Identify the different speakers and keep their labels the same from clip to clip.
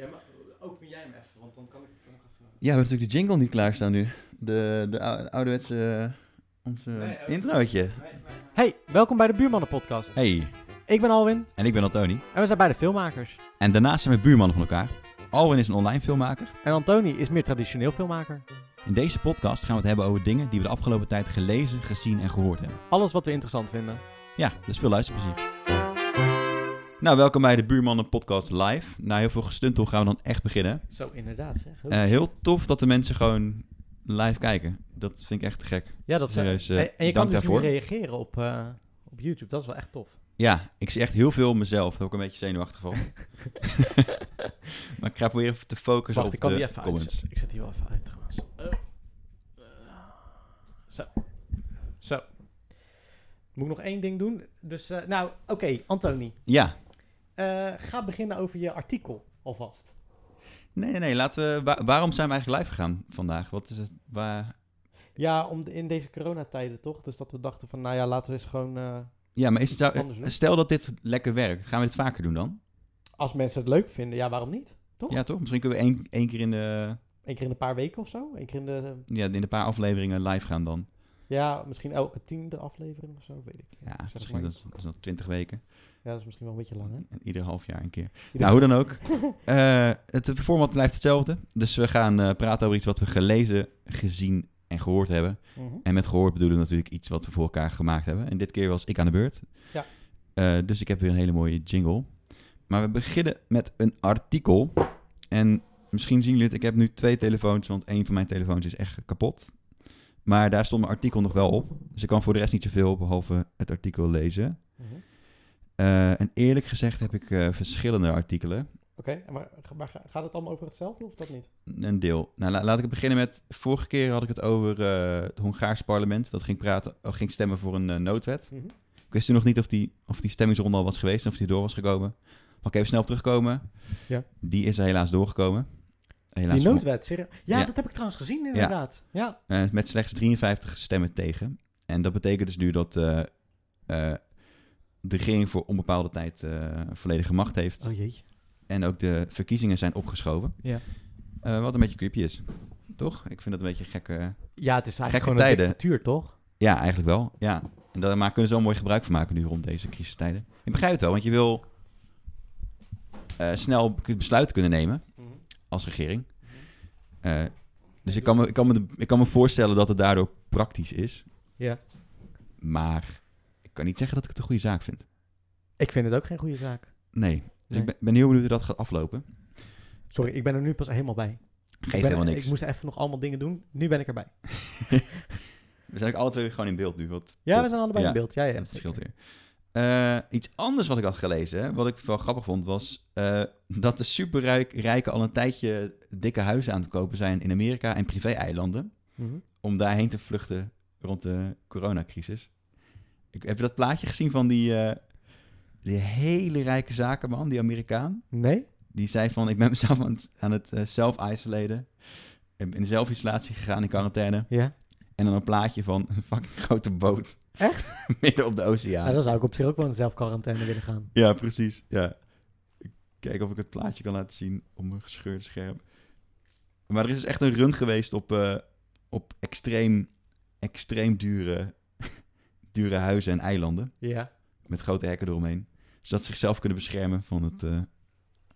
Speaker 1: Ja, maar open jij hem even, want dan kan ik het nog even...
Speaker 2: Ja, we hebben natuurlijk de jingle niet klaarstaan nu. De, de ou- ouderwetse eh, onze
Speaker 1: Nee, ook-
Speaker 2: introotje.
Speaker 3: Hey, welkom bij de Buurmannen Podcast.
Speaker 4: Hey,
Speaker 3: Ik ben Alwin
Speaker 4: en ik ben Antoni.
Speaker 3: en we zijn beide filmmakers.
Speaker 4: En daarnaast Ah, zijn we buurmannen van elkaar. Alwin is een online filmmaker.
Speaker 3: En Antoni is meer traditioneel filmmaker.
Speaker 4: In deze podcast gaan we het hebben over dingen die we de afgelopen tijd gelezen, gezien en gehoord hebben.
Speaker 3: Alles wat we interessant vinden.
Speaker 4: Ja, dus veel luisterplezier. Nou, welkom bij de Buurmannen Podcast live. Na heel veel gestuntel gaan we dan echt beginnen.
Speaker 3: Zo, inderdaad zeg.
Speaker 4: Eh, heel tof dat de mensen gewoon live kijken. Dat vind ik echt te gek.
Speaker 3: ja, dat is
Speaker 4: serieus, eh,
Speaker 3: en, en je
Speaker 4: dank
Speaker 3: kan dus
Speaker 4: daarvoor.
Speaker 3: nu reageren op, eh, op YouTube. Dat is wel echt tof.
Speaker 4: Ja, ik zie echt heel veel mezelf. Daar word ik een beetje zenuwachtig van. maar ik ga proberen even te focussen
Speaker 3: Wacht,
Speaker 4: op
Speaker 3: ik kan
Speaker 4: de
Speaker 3: die even
Speaker 4: eh, comments.
Speaker 3: uitzetten. Ik zet die wel even uit trouwens. Eh, eh, Zo. Zo. Moet ik nog één ding doen? Dus, eh, nou, oké, Antoni.
Speaker 4: Ja,
Speaker 3: Eh, ga beginnen over je artikel alvast.
Speaker 4: Nee, nee, nee. Laten we, wa- waarom zijn we eigenlijk live gegaan vandaag? Wat is het? Waar...
Speaker 3: Ja, om de- in deze coronatijden toch? Dus dat we dachten van, nou ja, laten we eens gewoon... eh,
Speaker 4: Ja, maar is het,
Speaker 3: Iets
Speaker 4: nou-
Speaker 3: anders doen.
Speaker 4: stel dat dit lekker werkt, gaan we dit vaker doen dan?
Speaker 3: als mensen het leuk vinden, ja, waarom niet? Toch?
Speaker 4: Ja, toch? Misschien kunnen we één, één keer in de,
Speaker 3: Eén keer in een paar weken of zo? Eén keer in de...
Speaker 4: ja, in een paar afleveringen live gaan dan.
Speaker 3: Ja, misschien elke tiende aflevering of zo, weet ik.
Speaker 4: Ja,
Speaker 3: Zeg het
Speaker 4: misschien
Speaker 3: maar
Speaker 4: dat,
Speaker 3: iets.
Speaker 4: dat is nog twintig weken.
Speaker 3: ja, dat is misschien wel een beetje lang, hè?
Speaker 4: En ieder half jaar een keer.
Speaker 3: Ieder-
Speaker 4: Nou, hoe dan ook. Eh, het format blijft hetzelfde. Dus we gaan eh, praten over iets wat we gelezen, gezien en gehoord hebben.
Speaker 3: Mhm.
Speaker 4: En met gehoord bedoelen we natuurlijk iets wat we voor elkaar gemaakt hebben. En dit keer was ik aan de beurt.
Speaker 3: Ja.
Speaker 4: Eh, dus ik heb weer een hele mooie jingle. Maar we beginnen met een artikel. En misschien zien jullie het, ik heb nu twee telefoons, want één van mijn telefoons is echt kapot. Maar daar stond mijn artikel nog wel op. Dus ik kan voor de rest niet zoveel op, behalve het artikel lezen.
Speaker 3: Mhm. Oké,
Speaker 4: Eh, en eerlijk gezegd heb ik eh, verschillende artikelen.
Speaker 3: en maar, maar ga- gaat het allemaal over hetzelfde of dat niet?
Speaker 4: Een deel. Nou, la- laat ik het beginnen met. Vorige keer had ik het over eh, het Hongaars parlement. Dat ging, praten, oh, ging stemmen voor een eh, noodwet.
Speaker 3: Mhm.
Speaker 4: Ik wist toen nog niet of die, of die stemmingsronde al was geweest en of die door was gekomen. Maar ik even snel op terugkomen.
Speaker 3: Ja.
Speaker 4: Die is er helaas doorgekomen. Helaas
Speaker 3: Die noodwet, serieus? Ja,
Speaker 4: Ja.
Speaker 3: dat heb ik trouwens gezien, inderdaad. Ja.
Speaker 4: voor- eh, met slechts 53 stemmen tegen. En dat betekent dus nu dat eh, eh, de regering voor onbepaalde tijd eh, volledige macht heeft.
Speaker 3: Oh jee.
Speaker 4: En ook de verkiezingen zijn opgeschoven.
Speaker 3: Ja.
Speaker 4: Eh, wat een beetje creepy is. Toch? Ik vind dat een beetje gekke.
Speaker 3: Ja, het is eigenlijk
Speaker 4: Gekke
Speaker 3: gewoon
Speaker 4: tijden.
Speaker 3: een dictatuur, toch?
Speaker 4: Ja, eigenlijk wel. Ja. En daar maar kunnen ze wel mooi gebruik van maken nu rond deze crisistijden. Ik begrijp het wel, want je wil eh, snel besluiten kunnen nemen
Speaker 3: Mhm.
Speaker 4: als regering. Eh, dus ik kan, me, ik, kan me, de- ik kan me voorstellen dat het daardoor praktisch is.
Speaker 3: Ja.
Speaker 4: Maar ik kan niet zeggen dat ik het een goede zaak vind.
Speaker 3: Ik vind het ook geen goede zaak.
Speaker 4: Nee. Dus
Speaker 3: Nee.
Speaker 4: ik ben, ben heel benieuwd hoe dat gaat aflopen.
Speaker 3: Sorry, ik ben er nu pas helemaal bij.
Speaker 4: Geeft
Speaker 3: ik ben-
Speaker 4: helemaal niks.
Speaker 3: Ik moest even nog allemaal dingen doen. Nu ben ik erbij.
Speaker 4: We zijn ook alle twee gewoon in beeld nu. Wat
Speaker 3: Ja,
Speaker 4: top.
Speaker 3: we zijn allebei
Speaker 4: Ja,
Speaker 3: in beeld. Ja, ja,
Speaker 4: dat scheelt
Speaker 3: zeker.
Speaker 4: weer. Eh, iets anders wat ik had gelezen, wat ik wel grappig vond, was eh, dat de superrijken al een tijdje dikke huizen aan het kopen zijn in Amerika en privé-eilanden.
Speaker 3: Mhm.
Speaker 4: Om daarheen te vluchten rond de coronacrisis. Ik, heb je dat plaatje gezien van die, eh, die hele rijke zakenman, die Amerikaan?
Speaker 3: Nee?
Speaker 4: Die zei van, ik ben mezelf aan het, aan het eh, zelf-isoleren. Ik ben in zelfisolatie gegaan in quarantaine.
Speaker 3: Ja.
Speaker 4: En dan een plaatje van een fucking grote boot.
Speaker 3: Echt?
Speaker 4: Midden op de oceaan.
Speaker 3: Nou, dan zou ik op zich ook wel in zelfquarantaine willen gaan.
Speaker 4: Ja, precies. Ja. Kijk of ik het plaatje kan laten zien op mijn gescheurde scherm. Maar er is dus echt een run geweest op, eh, op extreem, extreem dure, dure huizen en eilanden.
Speaker 3: Ja.
Speaker 4: Met grote hekken eromheen. Zodat ze zichzelf kunnen beschermen van, het, eh,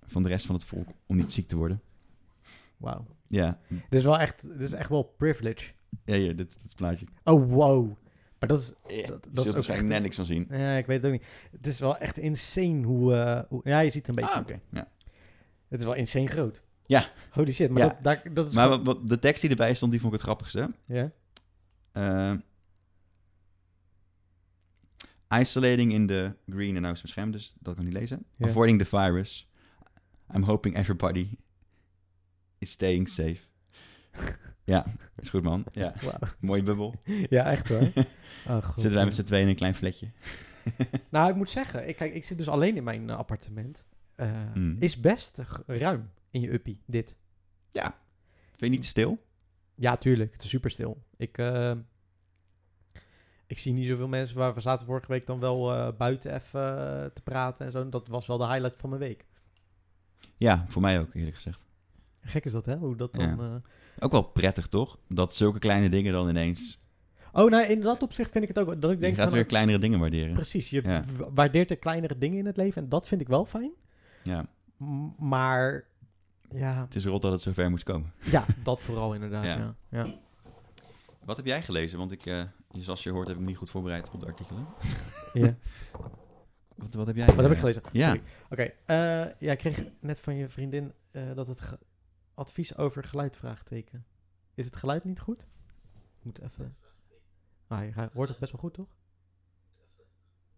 Speaker 4: van de rest van het volk. Om niet ziek te worden.
Speaker 3: Wauw.
Speaker 4: Ja,
Speaker 3: Dit is wel echt, dit is echt wel privilege.
Speaker 4: ja hier, dit, dit plaatje.
Speaker 3: Oh, wow. Maar dat is,
Speaker 4: dat,
Speaker 3: is
Speaker 4: je zult
Speaker 3: ook
Speaker 4: waarschijnlijk
Speaker 3: echt-
Speaker 4: net niks van zien.
Speaker 3: ja, ik weet het ook niet. Het is wel echt insane hoe, eh, hoe- ja, je ziet het een beetje.
Speaker 4: Ah, oké. ja.
Speaker 3: Het is wel insane groot.
Speaker 4: Ja.
Speaker 3: Holy shit, maar
Speaker 4: Ja.
Speaker 3: dat, daar, dat is
Speaker 4: Maar
Speaker 3: gewoon-
Speaker 4: wat, wat- de tekst die erbij stond, die vond ik het grappigste.
Speaker 3: ja.
Speaker 4: Uh, isolating in the green, en nou is mijn scherm, dus dat kan ik niet lezen.
Speaker 3: Ja.
Speaker 4: Avoiding the virus. I'm hoping everybody is staying safe. ja, is goed man. Ja,
Speaker 3: Wauw.
Speaker 4: mooie bubbel.
Speaker 3: ja, echt hoor. Oh, God.
Speaker 4: Zitten wij met z'n tweeën in een klein flatje.
Speaker 3: Nou, ik moet zeggen, ik, kijk, ik zit dus alleen in mijn eh, appartement. Eh,
Speaker 4: Mm.
Speaker 3: Is best g- ruim in je uppie, dit.
Speaker 4: Vind je niet te stil?
Speaker 3: Ja, tuurlijk. Het is super stil. Ik, eh, ik zie niet zoveel mensen waar we zaten vorige week dan wel eh, buiten even eh, te praten en zo. Dat was wel de highlight van mijn week.
Speaker 4: Ja, voor mij ook, eerlijk gezegd.
Speaker 3: Gek is dat, hè? Hoe dat dan... eh,
Speaker 4: Ook wel prettig, toch? Dat zulke kleine dingen dan ineens...
Speaker 3: Oh, nou, in dat opzicht vind ik het ook... wel- Dat ik
Speaker 4: Je
Speaker 3: denk
Speaker 4: gaat
Speaker 3: van, eh,
Speaker 4: weer kleinere dingen waarderen.
Speaker 3: Precies, je
Speaker 4: Ja.
Speaker 3: w- waardeert de kleinere dingen in het leven. En dat vind ik wel fijn.
Speaker 4: Ja,
Speaker 3: M- Maar ja,
Speaker 4: het is rot dat het zover moest komen.
Speaker 3: ja dat vooral inderdaad.
Speaker 4: Ja.
Speaker 3: Ja. Ja.
Speaker 4: Wat heb jij gelezen? Want ik, eh, zoals je hoort, heb ik me niet goed voorbereid op de artikelen.
Speaker 3: Ja.
Speaker 4: Wat, wat heb jij?
Speaker 3: Wat Oh, heb ik
Speaker 4: eh,
Speaker 3: gelezen?
Speaker 4: Ja.
Speaker 3: Sorry. Oké, eh, ja, ik kreeg net van je vriendin eh, dat het ge- advies over geluid vraagteken. Is het geluid niet goed? Ik moet even... Ah, je ra- hoort het best wel goed, toch?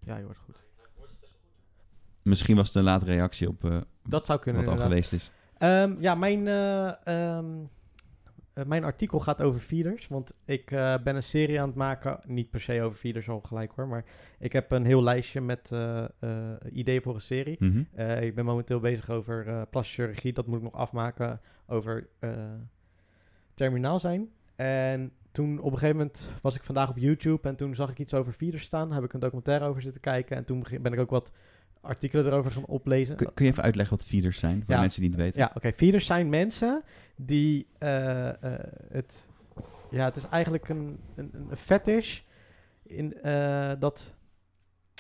Speaker 3: Ja, je hoort het goed.
Speaker 4: Misschien was het een late reactie op eh,
Speaker 3: Dat zou kunnen
Speaker 4: wat al
Speaker 3: inderdaad.
Speaker 4: geweest is.
Speaker 3: Ehm, ja, mijn, eh, ehm, eh, mijn artikel gaat over feeders. Want ik eh, ben een serie aan het maken. Niet per se over feeders al gelijk hoor. Maar ik heb een heel lijstje met eh, eh, ideeën voor een serie.
Speaker 4: Mhm.
Speaker 3: Eh, ik ben momenteel bezig over eh plastische chirurgie. Dat moet ik nog afmaken. Over eh, terminaal zijn. En toen op een gegeven moment was ik vandaag op YouTube. En toen zag ik iets over feeders staan. Heb ik een documentaire over zitten kijken. En toen begin- ben ik ook wat artikelen erover gaan oplezen.
Speaker 4: Kun, kun je even uitleggen wat feeders zijn? Voor
Speaker 3: Ja.
Speaker 4: de mensen die het niet weten.
Speaker 3: Ja, oké. Feeders zijn mensen die eh, eh, het... Ja, het is eigenlijk een, een, een fetish in, eh, dat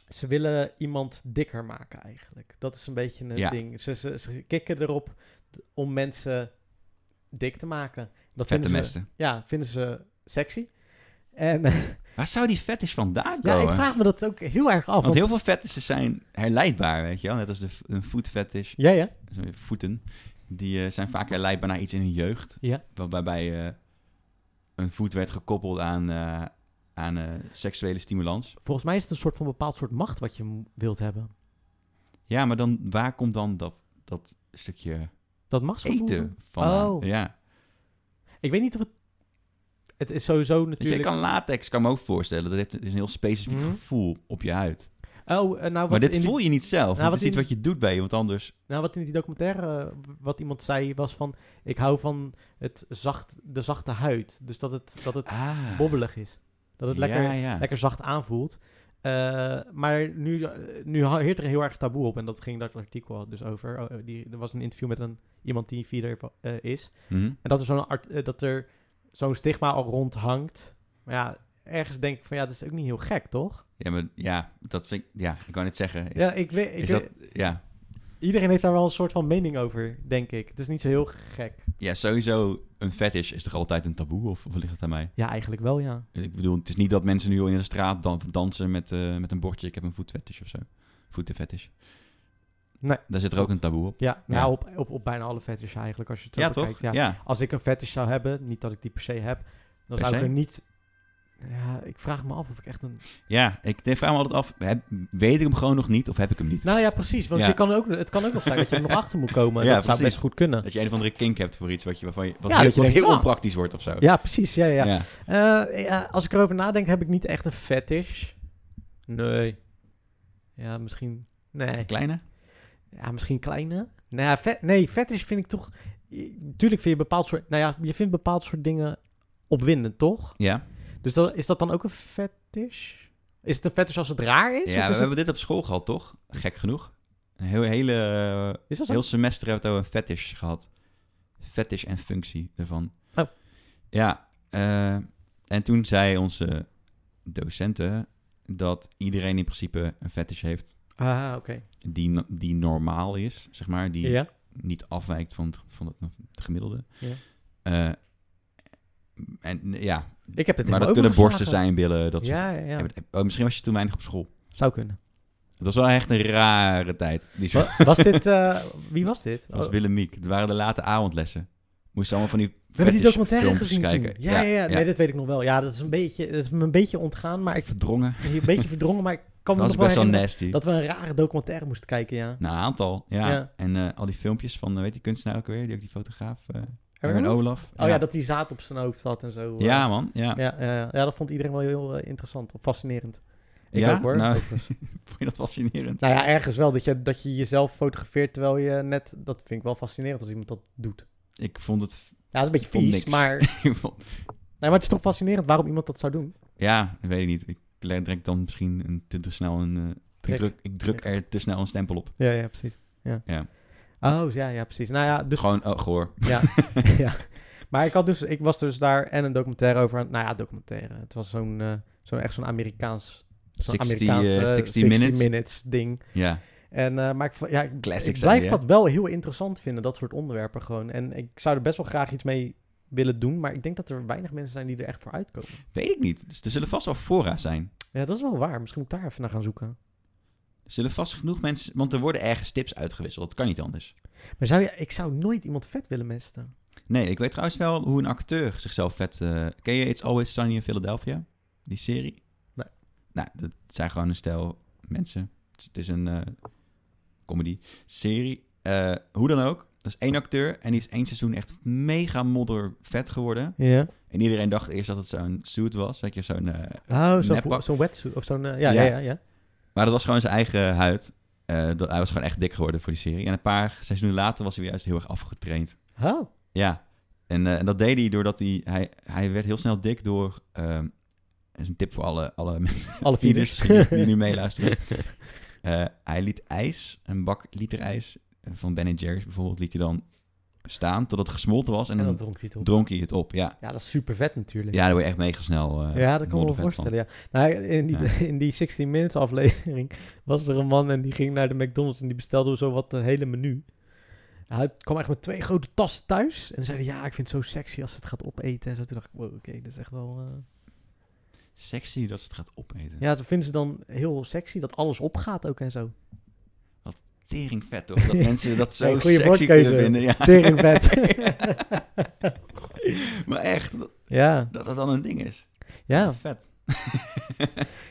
Speaker 3: ze willen iemand dikker maken eigenlijk. Dat is een beetje een
Speaker 4: Ja.
Speaker 3: ding. Ze, ze, ze kicken erop om mensen dik te maken. Dat
Speaker 4: Vette
Speaker 3: vinden ze,
Speaker 4: mesten.
Speaker 3: Ja, vinden ze sexy. En eh,
Speaker 4: Waar zou die fetish vandaan
Speaker 3: ja,
Speaker 4: komen?
Speaker 3: ik vraag me dat ook heel erg af.
Speaker 4: Want
Speaker 3: Want
Speaker 4: heel veel fetishes zijn herleidbaar, weet je wel. Net als de, f- een food fetish,
Speaker 3: Ja, ja.
Speaker 4: sorry, voeten. Die eh, zijn vaak herleidbaar naar iets in hun jeugd.
Speaker 3: Ja.
Speaker 4: Wa- Waarbij eh, een voet werd gekoppeld aan, eh, aan eh, seksuele stimulans.
Speaker 3: Volgens mij is het een soort van bepaald soort macht wat je m- wilt hebben.
Speaker 4: Ja, maar dan waar komt dan dat, dat stukje
Speaker 3: Dat machtsgevoel.
Speaker 4: eten van?
Speaker 3: Oh.
Speaker 4: Ja.
Speaker 3: Ik weet niet of het. Het is sowieso
Speaker 4: Weet je,
Speaker 3: natuurlijk.
Speaker 4: ik kan latex, kan me ook voorstellen. Dat heeft, is een heel specifiek
Speaker 3: Mhm.
Speaker 4: gevoel op je huid.
Speaker 3: Oh, eh, nou, wat
Speaker 4: Maar dit
Speaker 3: in die-
Speaker 4: voel je niet
Speaker 3: Nou,
Speaker 4: zelf. dit is
Speaker 3: wat
Speaker 4: iets
Speaker 3: in-
Speaker 4: wat je doet bij iemand anders.
Speaker 3: nou, wat in die documentaire. eh, wat iemand zei was van. Ik hou van het zacht, de zachte huid. Dus dat het, dat het
Speaker 4: Ah.
Speaker 3: bobbelig is. Dat het lekker,
Speaker 4: Ja, ja.
Speaker 3: lekker zacht aanvoelt. Eh, maar nu, eh, nu ha- heert er heel erg taboe op. En dat ging dat artikel dus over. Oh, eh, die, er was een interview met een, iemand die feeder eh, is.
Speaker 4: Mhm.
Speaker 3: En dat er zo'n art- eh, dat er zo'n stigma al rond hangt. Maar ja, ergens denk ik van ja, dat is ook niet heel gek, toch?
Speaker 4: Ja, maar ja, dat vind ik... Ja, ik kan niet zeggen. Is,
Speaker 3: ja, ik weet. Ik
Speaker 4: is
Speaker 3: weet-
Speaker 4: dat... Ja.
Speaker 3: Iedereen heeft daar wel een soort van mening over, denk ik. Het is niet zo heel gek.
Speaker 4: ja, sowieso een fetish is toch altijd een taboe? Of, of ligt het aan mij?
Speaker 3: Ja, eigenlijk wel, ja.
Speaker 4: Ik bedoel, het is niet dat mensen nu al in de straat dan, dansen met, eh, met een bordje. Ik heb een voetfetish of zo. Voetenfetish.
Speaker 3: Nee.
Speaker 4: Daar zit er ook een taboe op.
Speaker 3: Ja, nou,
Speaker 4: Ja.
Speaker 3: Op, op, op bijna alle fetish eigenlijk, als je het zo
Speaker 4: Ja,
Speaker 3: bekijkt.
Speaker 4: toch? Ja.
Speaker 3: Als ik een fetish zou hebben, niet dat ik die per se heb, dan
Speaker 4: Per
Speaker 3: zou ik
Speaker 4: se?
Speaker 3: er niet... Ja, ik vraag me af of ik echt een...
Speaker 4: Ja, ik denk- vraag me altijd af. Heb, weet ik hem gewoon nog niet of heb ik hem niet?
Speaker 3: Nou ja, precies. Want
Speaker 4: Ja.
Speaker 3: je kan ook, het kan ook nog zijn dat je er nog achter moet komen.
Speaker 4: Ja,
Speaker 3: dat zou
Speaker 4: precies.
Speaker 3: best goed kunnen.
Speaker 4: Dat je een of andere kink hebt voor iets wat, je, waarvan je, wat
Speaker 3: Ja,
Speaker 4: heel,
Speaker 3: dat je
Speaker 4: wat
Speaker 3: denkt,
Speaker 4: heel
Speaker 3: ah.
Speaker 4: onpraktisch wordt of zo.
Speaker 3: Ja, precies. Ja, ja. ja.
Speaker 4: ja.
Speaker 3: Eh, ja, als ik erover nadenk, heb ik niet echt een fetish. Nee. Ja, misschien... Nee.
Speaker 4: Kleine?
Speaker 3: Ja, misschien kleine. Nou ja, vet, nee, fetish vind ik toch... Tuurlijk vind je bepaald soort... Nou ja, je vindt bepaald soort dingen opwindend, toch?
Speaker 4: Ja.
Speaker 3: Dus dat, is dat dan ook een fetish? Is het een fetish als het raar is? of
Speaker 4: Ja, we
Speaker 3: is, het,
Speaker 4: hebben dit op school gehad, toch? Gek genoeg. Een heel, hele, eh,
Speaker 3: is dat zo?
Speaker 4: heel semester hebben we het over fetish gehad. Fetish en functie ervan.
Speaker 3: Oh.
Speaker 4: Ja, eh, en toen zei onze docenten dat iedereen in principe een fetish heeft
Speaker 3: Ah, oké.
Speaker 4: die, no- die normaal is, zeg maar. Die
Speaker 3: Ja?
Speaker 4: niet afwijkt van het, van het, het gemiddelde.
Speaker 3: Ja.
Speaker 4: Eh, en ja,
Speaker 3: Ik heb het
Speaker 4: maar dat
Speaker 3: helemaal
Speaker 4: kunnen borsten
Speaker 3: overgeslagen.
Speaker 4: zijn, billen, dat soort
Speaker 3: Ja, ja, ja.
Speaker 4: Oh, misschien was je toen weinig op school.
Speaker 3: Zou kunnen.
Speaker 4: Het was wel echt een rare tijd. Die school.
Speaker 3: Wa- Was dit... eh, wie was dit?
Speaker 4: Dat was
Speaker 3: Oh,
Speaker 4: Willem Miek. Het waren de late avondlessen. Moesten allemaal van die
Speaker 3: we hebben die
Speaker 4: fetish
Speaker 3: documentaire
Speaker 4: filmpjes
Speaker 3: gezien toen.
Speaker 4: kijken.
Speaker 3: Ja, ja, ja, Nee, dat weet ik nog wel. Ja, dat is een beetje... Dat is me een beetje ontgaan, maar ik...
Speaker 4: Verdrongen.
Speaker 3: Een beetje verdrongen, maar ik kan
Speaker 4: Dat
Speaker 3: me nog
Speaker 4: was
Speaker 3: wel
Speaker 4: best wel
Speaker 3: herinneren
Speaker 4: nasty.
Speaker 3: dat we een rare documentaire moesten kijken, ja.
Speaker 4: Nou, een aantal. Ja.
Speaker 3: Ja.
Speaker 4: En eh, al die filmpjes van, eh, weet die kunstenaar ook weer? Die ook die fotograaf. eh
Speaker 3: Erwin
Speaker 4: Erwin
Speaker 3: Olaf?
Speaker 4: Olaf.
Speaker 3: Oh ja, dat hij zaad op zijn hoofd had en zo. eh.
Speaker 4: Ja, man. Ja.
Speaker 3: Ja, ja, ja. Ja, dat vond iedereen wel heel eh, interessant of fascinerend. Ik
Speaker 4: Ja?
Speaker 3: ook hoor.
Speaker 4: Nou,
Speaker 3: overigens.
Speaker 4: vond je dat fascinerend?
Speaker 3: nou ja, ergens wel dat je, dat je jezelf fotografeert terwijl je net... Dat vind ik wel fascinerend als iemand dat doet.
Speaker 4: Ik vond het...
Speaker 3: Ja, dat is een beetje vies,
Speaker 4: Vond niks.
Speaker 3: maar, nee,
Speaker 4: ik vond-
Speaker 3: maar het is toch fascinerend waarom iemand dat zou doen.
Speaker 4: ja, ik weet het niet. Ik druk dan misschien een, te, te snel een... eh, ik
Speaker 3: Trek.
Speaker 4: druk, ik druk er te snel een stempel op.
Speaker 3: Ja, ja, precies. Ja.
Speaker 4: Ja.
Speaker 3: Oh, ja, ja, precies. Nou ja, dus
Speaker 4: Gewoon oh, goor.
Speaker 3: Ja, ja. Maar ik, had dus, ik was dus daar en een documentaire over. aan- Nou ja, documentaire. Het was zo'n, eh zo'n echt zo'n Amerikaans. Zo'n
Speaker 4: 60,
Speaker 3: Amerikaans
Speaker 4: eh,
Speaker 3: eh,
Speaker 4: 60
Speaker 3: minutes.
Speaker 4: minutes.
Speaker 3: ding.
Speaker 4: Ja.
Speaker 3: En, eh, maar ik, v- ja, ik,
Speaker 4: Classic
Speaker 3: ik
Speaker 4: zijn
Speaker 3: blijf
Speaker 4: die, hè?
Speaker 3: dat wel heel interessant vinden, dat soort onderwerpen gewoon. En ik zou er best wel graag iets mee willen doen, maar ik denk dat er weinig mensen zijn die er echt voor uitkomen.
Speaker 4: Weet ik niet. Dus er zullen vast wel fora zijn.
Speaker 3: Ja, dat is wel waar. Misschien moet ik daar even naar gaan zoeken.
Speaker 4: Er zullen vast genoeg mensen... Want er worden ergens tips uitgewisseld. Dat kan niet anders.
Speaker 3: Maar zou je, ik zou nooit iemand vet willen mesten.
Speaker 4: Nee, ik weet trouwens wel hoe een acteur zichzelf vet... eh, ken je It's Always Sunny in Philadelphia? Die serie?
Speaker 3: Nee.
Speaker 4: Nou, dat zijn gewoon een stel mensen. Het is- Het is een eh, comedy-serie. Eh, hoe dan ook. Dat is één acteur en die is één seizoen echt mega modder vet geworden.
Speaker 3: Ja.
Speaker 4: En iedereen dacht eerst dat het zo'n suit was. Weet je, zo'n... eh,
Speaker 3: Oh, zo'n
Speaker 4: Neppak.
Speaker 3: zo'n wetsuit of zo'n... eh, ja, ja,
Speaker 4: Ja.
Speaker 3: ja, ja.
Speaker 4: Maar dat was gewoon zijn eigen huid. Eh, dat, hij was gewoon echt dik geworden voor die serie. En een paar seizoenen later was hij weer juist heel erg afgetraind.
Speaker 3: Oh.
Speaker 4: Ja. En, eh, en dat deed hij doordat hij... Hij, hij werd heel snel dik door... ehm dat is een tip voor alle, alle mensen
Speaker 3: Alle
Speaker 4: feeders
Speaker 3: vierders.
Speaker 4: die, die nu meeluisteren. Eh, hij liet ijs, een bak liter ijs eh, van Ben Jerry's bijvoorbeeld, liet hij dan staan totdat het gesmolten was. En,
Speaker 3: En dan
Speaker 4: dan
Speaker 3: dronk hij het op.
Speaker 4: dronk hij het op, ja.
Speaker 3: Ja, dat is super vet natuurlijk.
Speaker 4: Ja, daar word je echt mega snel eh,
Speaker 3: Ja, dat kan ik me wel
Speaker 4: moddervet van.
Speaker 3: voorstellen. Ja. Nou, in, die, in die 16 Minutes aflevering was er een man en die ging naar de McDonald's en die bestelde zo wat een hele menu. Hij kwam echt met twee grote tassen thuis en dan zei hij, ja, ik vind het zo sexy als ze het gaat opeten. En zo toen dacht ik, wow, oké, dat is echt wel... eh.
Speaker 4: Sexy dat ze het gaat opeten.
Speaker 3: Ja, dat vinden ze dan heel sexy, dat alles opgaat ook en zo.
Speaker 4: tering vet toch? Dat mensen dat zo
Speaker 3: Hey, goeie
Speaker 4: sexy
Speaker 3: woordkeuze.
Speaker 4: kunnen vinden. Ja.
Speaker 3: Tering vet.
Speaker 4: maar echt, dat-
Speaker 3: ja,
Speaker 4: dat dat dan een ding is.
Speaker 3: ja.
Speaker 4: Vet.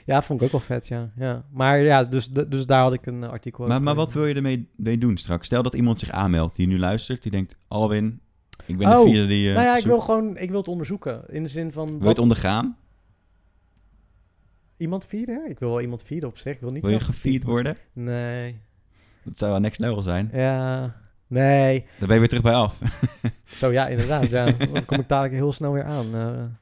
Speaker 3: Ja, vond ik ook wel vet, ja. ja. Maar ja, dus, dus daar had ik een eh, artikel
Speaker 4: Maar,
Speaker 3: over.
Speaker 4: maar wat wil je ermee mee doen straks? Stel dat iemand zich aanmeldt die nu luistert, die denkt, Alwin, ik ben
Speaker 3: Oh,
Speaker 4: de vierde die eh
Speaker 3: nou ja, ik
Speaker 4: zoekt.
Speaker 3: wil gewoon, ik wil het onderzoeken. In de zin van,
Speaker 4: Wil je het
Speaker 3: wat-
Speaker 4: ondergaan?
Speaker 3: iemand vieren? hè? Ik wil wel iemand vieren op zich. Ik wil niet
Speaker 4: Wil je
Speaker 3: zelf
Speaker 4: gevierd worden?
Speaker 3: worden. Nee.
Speaker 4: Dat zou wel next level zijn.
Speaker 3: Ja. Nee.
Speaker 4: Dan ben je weer terug bij af.
Speaker 3: Zo ja, inderdaad. ja. Dan kom ik dadelijk heel snel weer aan. Eh,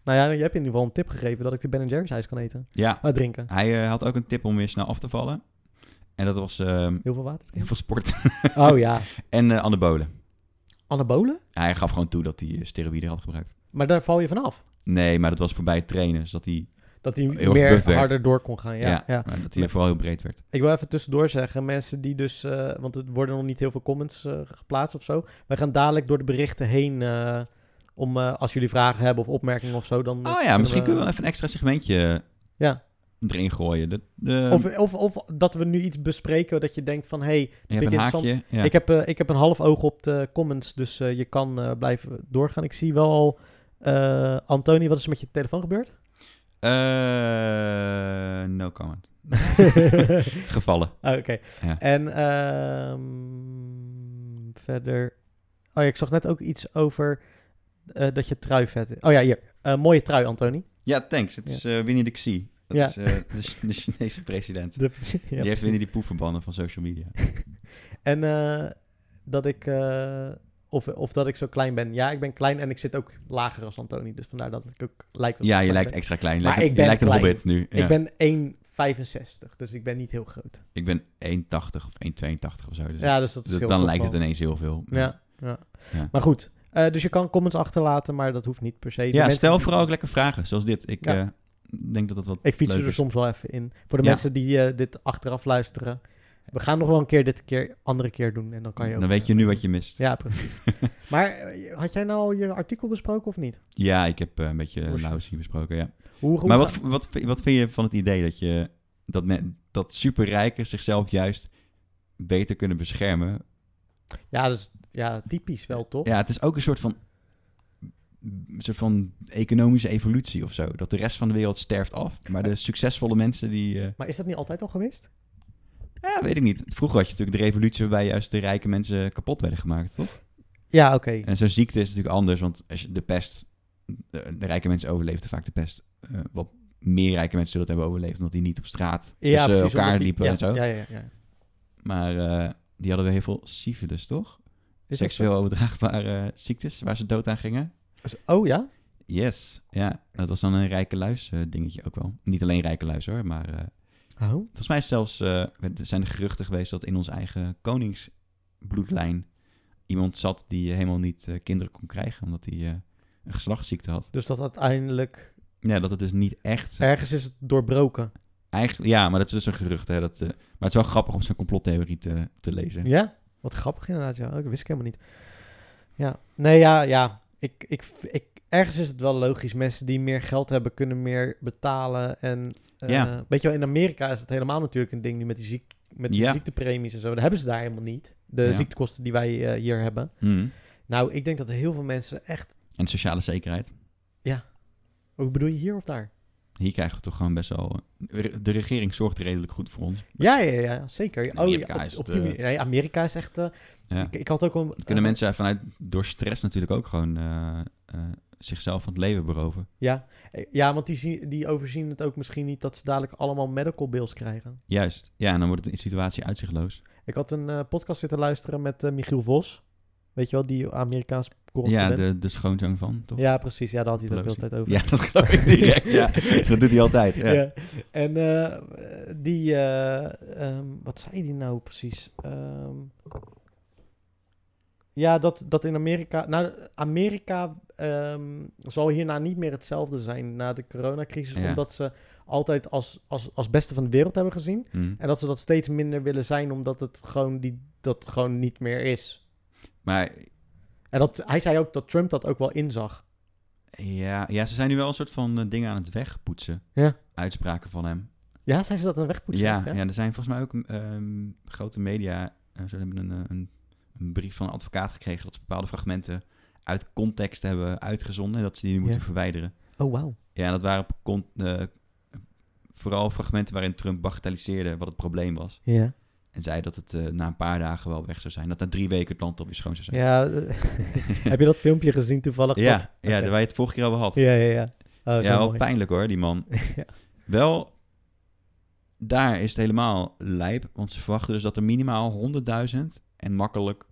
Speaker 3: nou ja, je hebt in ieder geval een tip gegeven dat ik de Ben Jerry's ijs kan eten.
Speaker 4: ja,
Speaker 3: Ah, drinken.
Speaker 4: hij eh, had ook een tip om weer snel af te vallen. En dat was ehm,
Speaker 3: Heel veel water.
Speaker 4: heel veel sport
Speaker 3: Oh ja.
Speaker 4: en eh, anabolen.
Speaker 3: Anabolen?
Speaker 4: Hij gaf gewoon toe dat hij eh, steroïden had gebruikt.
Speaker 3: Maar daar val je vanaf.
Speaker 4: Nee, maar dat was voorbij het trainen, zodat hij,
Speaker 3: Dat hij
Speaker 4: Heel erg
Speaker 3: meer
Speaker 4: buff werd.
Speaker 3: harder door kon gaan. Ja,
Speaker 4: ja,
Speaker 3: ja.
Speaker 4: maar dat hij vooral heel breed werd.
Speaker 3: Ik wil even tussendoor zeggen, mensen die dus... eh, want er worden nog niet heel veel comments eh, geplaatst of zo. Wij gaan dadelijk door de berichten heen... eh, om eh, als jullie vragen hebben of opmerkingen of zo, dan... eh,
Speaker 4: Oh ja, misschien
Speaker 3: we-
Speaker 4: kunnen we wel even een extra segmentje
Speaker 3: Ja.
Speaker 4: erin gooien. Dat, ehm, de,
Speaker 3: Of, of, of dat we nu iets bespreken dat je denkt van... hé, hey,
Speaker 4: je
Speaker 3: vind ik
Speaker 4: hebt een haakje. Ja.
Speaker 3: ik, heb, eh, ik heb een half oog op de comments, dus eh, je kan eh, blijven doorgaan. Ik zie wel al... eh, Antoni, wat is er met je telefoon gebeurd?
Speaker 4: Eh, no comment. Gevallen.
Speaker 3: Ah, Oké.
Speaker 4: Ja.
Speaker 3: En ehm, verder... Oh ja, ik zag net ook iets over eh, dat je trui vet is. Oh ja, hier. Eh, mooie trui, Antoni.
Speaker 4: Ja, thanks. Het
Speaker 3: Ja.
Speaker 4: is eh, Winnie de Xi. Dat
Speaker 3: Ja.
Speaker 4: is eh, de, Ch- de Chinese president.
Speaker 3: De- ja,
Speaker 4: Die heeft
Speaker 3: precies.
Speaker 4: Winnie die poep verbannen van social media.
Speaker 3: En eh, dat ik... eh, of, of dat ik zo klein ben. Ja, ik ben klein en ik zit ook lager als Antoni. Dus vandaar dat ik ook lijk. wat
Speaker 4: Ja,
Speaker 3: ik
Speaker 4: je
Speaker 3: klein
Speaker 4: lijkt
Speaker 3: ben.
Speaker 4: extra klein. Je
Speaker 3: Maar
Speaker 4: lijkt, een-
Speaker 3: ik ben
Speaker 4: je lijkt een
Speaker 3: klein.
Speaker 4: hobbit nu. Ja.
Speaker 3: Ik ben 1,65. Dus ik ben niet heel groot.
Speaker 4: Ik ben 1,80 of 1,82 of zo. Dus
Speaker 3: Ja, dus dat
Speaker 4: dat-
Speaker 3: scheelt
Speaker 4: dan
Speaker 3: toch
Speaker 4: lijkt het
Speaker 3: wel.
Speaker 4: ineens heel veel.
Speaker 3: Ja, ja.
Speaker 4: Ja.
Speaker 3: Maar goed. Eh, dus je kan comments achterlaten, maar dat hoeft niet per se. De
Speaker 4: Ja,
Speaker 3: mensen
Speaker 4: stel
Speaker 3: die-
Speaker 4: vooral ook lekker vragen, zoals dit. Ik
Speaker 3: Ja.
Speaker 4: eh, denk dat dat wat
Speaker 3: Ik fiets
Speaker 4: leuk
Speaker 3: er
Speaker 4: is.
Speaker 3: soms wel even in. Voor de
Speaker 4: Ja.
Speaker 3: mensen die eh, dit achteraf luisteren. We gaan nog wel een keer dit keer, andere keer doen. En dan kan je ook... eh,
Speaker 4: Dan weet je nu wat je mist.
Speaker 3: Ja, precies. maar eh, had jij nou je artikel besproken of niet?
Speaker 4: Ja, ik heb eh, een beetje
Speaker 3: Hoe is-
Speaker 4: Laos hier besproken, ja.
Speaker 3: Hoe, hoe
Speaker 4: maar
Speaker 3: ga-
Speaker 4: wat, wat, wat vind je van het idee dat, je, dat, men, dat superrijken zichzelf juist beter kunnen beschermen?
Speaker 3: Ja, dat is ja, typisch wel, toch?
Speaker 4: Ja, het is ook een soort van, een soort van economische evolutie of zo. Dat de rest van de wereld sterft af. Maar de succesvolle mensen die... eh,
Speaker 3: Maar is dat niet altijd al geweest?
Speaker 4: ja, weet ik niet. Vroeger had je natuurlijk de revolutie waarbij juist de rijke mensen kapot werden gemaakt, toch?
Speaker 3: Ja, oké.
Speaker 4: En zo'n ziekte is natuurlijk anders, want als je de pest... De, de rijke mensen overleefden vaak de pest. Eh, wat meer rijke mensen zullen het hebben overleefd, omdat die niet op straat
Speaker 3: ja,
Speaker 4: tussen
Speaker 3: precies,
Speaker 4: Dus, eh, elkaar
Speaker 3: omdat die-
Speaker 4: liepen
Speaker 3: ja,
Speaker 4: en zo.
Speaker 3: Ja, ja, ja.
Speaker 4: Maar eh, die hadden we heel veel syfilis, toch?
Speaker 3: Is dat
Speaker 4: Seksueel overdraagbare eh, ziektes waar ze dood aan gingen.
Speaker 3: zo? Oh ja?
Speaker 4: Yes, ja. Dat was dan een rijke luis eh, dingetje ook wel. Niet alleen rijke luis hoor, maar eh,
Speaker 3: Oh.
Speaker 4: volgens mij is zelfs eh, er zijn er geruchten geweest dat in ons eigen koningsbloedlijn iemand zat die helemaal niet eh, kinderen kon krijgen, omdat hij eh, een geslachtsziekte had.
Speaker 3: Dus dat uiteindelijk...
Speaker 4: Ja, dat het dus niet echt...
Speaker 3: Ergens is het doorbroken.
Speaker 4: Eigenlijk, ja, maar dat is dus een gerucht. Hè, dat, eh, maar het is wel grappig om zo'n complottheorie te, te lezen.
Speaker 3: Ja? Wat grappig inderdaad, ja. Oh, Dat wist ik helemaal niet. Ja. Nee, ja, ja. Ik, ik, ik, ergens is het wel logisch. Mensen die meer geld hebben, kunnen meer betalen. En eh,
Speaker 4: Ja.
Speaker 3: weet je wel, in Amerika is het helemaal natuurlijk een ding nu met die, ziek, met die
Speaker 4: Ja.
Speaker 3: ziektepremies en zo. Dat hebben ze daar helemaal niet. De
Speaker 4: Ja.
Speaker 3: ziektekosten die wij eh, hier hebben.
Speaker 4: Hmm.
Speaker 3: Nou, ik denk dat heel veel mensen echt...
Speaker 4: En sociale zekerheid.
Speaker 3: Ook bedoel je hier of daar?
Speaker 4: Hier krijgen we toch gewoon best wel... De regering zorgt redelijk goed voor ons.
Speaker 3: Ja, ja, ja, zeker.
Speaker 4: In
Speaker 3: Oh,
Speaker 4: Amerika
Speaker 3: ja, op,
Speaker 4: is
Speaker 3: op
Speaker 4: het,
Speaker 3: die
Speaker 4: eh,
Speaker 3: manier. Nee, Amerika is echt... eh,
Speaker 4: Ja.
Speaker 3: ik, ik had ook een...
Speaker 4: Dat kunnen
Speaker 3: eh,
Speaker 4: mensen vanuit, door stress natuurlijk ook gewoon eh, eh, zichzelf van het leven beroven.
Speaker 3: Ja, Eh, ja want die, zien, die overzien het ook misschien niet dat ze dadelijk allemaal medical bills krijgen.
Speaker 4: Juist. Ja, en dan wordt het een situatie uitzichtloos.
Speaker 3: Ik had een eh, podcast zitten luisteren met eh, Michiel Vos. Weet je wel, die Amerikaanse
Speaker 4: Ja,
Speaker 3: correspondent.
Speaker 4: de, de schoonzoon van, toch?
Speaker 3: ja, precies. Ja, daar had hij het ook de hele tijd over.
Speaker 4: Ja, dat geloof ik direct. ja. Dat doet hij altijd. Ja.
Speaker 3: Ja. En eh, die, eh, ehm, wat zei die nou precies? Ehm, ja, dat, dat in Amerika, nou, Amerika ehm, zal hierna niet meer hetzelfde zijn na de coronacrisis,
Speaker 4: Ja.
Speaker 3: omdat ze altijd als, als, als beste van de wereld hebben gezien.
Speaker 4: Mm.
Speaker 3: En dat ze dat steeds minder willen zijn, omdat het gewoon, die, dat gewoon niet meer is.
Speaker 4: Maar
Speaker 3: En dat, hij zei ook dat Trump dat ook wel inzag.
Speaker 4: ja, ja, ze zijn nu wel een soort van eh, dingen aan het wegpoetsen.
Speaker 3: Ja.
Speaker 4: Uitspraken van hem.
Speaker 3: Ja, zijn ze dat aan het wegpoetsen?
Speaker 4: ja,
Speaker 3: echt, hè?
Speaker 4: ja, er zijn volgens mij ook ehm, grote media. eh, ze hebben een, eh, een, een brief van een advocaat gekregen dat ze bepaalde fragmenten uit context hebben uitgezonden. En dat ze die nu moeten
Speaker 3: Ja.
Speaker 4: verwijderen.
Speaker 3: Oh, wauw.
Speaker 4: Ja, en dat waren con- eh, vooral fragmenten waarin Trump bagatelliseerde wat het probleem was.
Speaker 3: Ja.
Speaker 4: En zei dat het eh, na een paar dagen wel weg zou zijn. Dat na drie weken het land op weer schoon zou zijn.
Speaker 3: Ja, eh, heb je dat filmpje gezien toevallig?
Speaker 4: ja,
Speaker 3: Dat-
Speaker 4: ja,
Speaker 3: Oké.
Speaker 4: waar je het vorige keer over had.
Speaker 3: ja, ja, ja. Oh,
Speaker 4: ja,
Speaker 3: zo
Speaker 4: wel
Speaker 3: mooi.
Speaker 4: pijnlijk hoor, die man.
Speaker 3: Ja.
Speaker 4: Wel, daar is het helemaal lijp. Want ze verwachten dus dat er minimaal 100.000 en makkelijk 500.000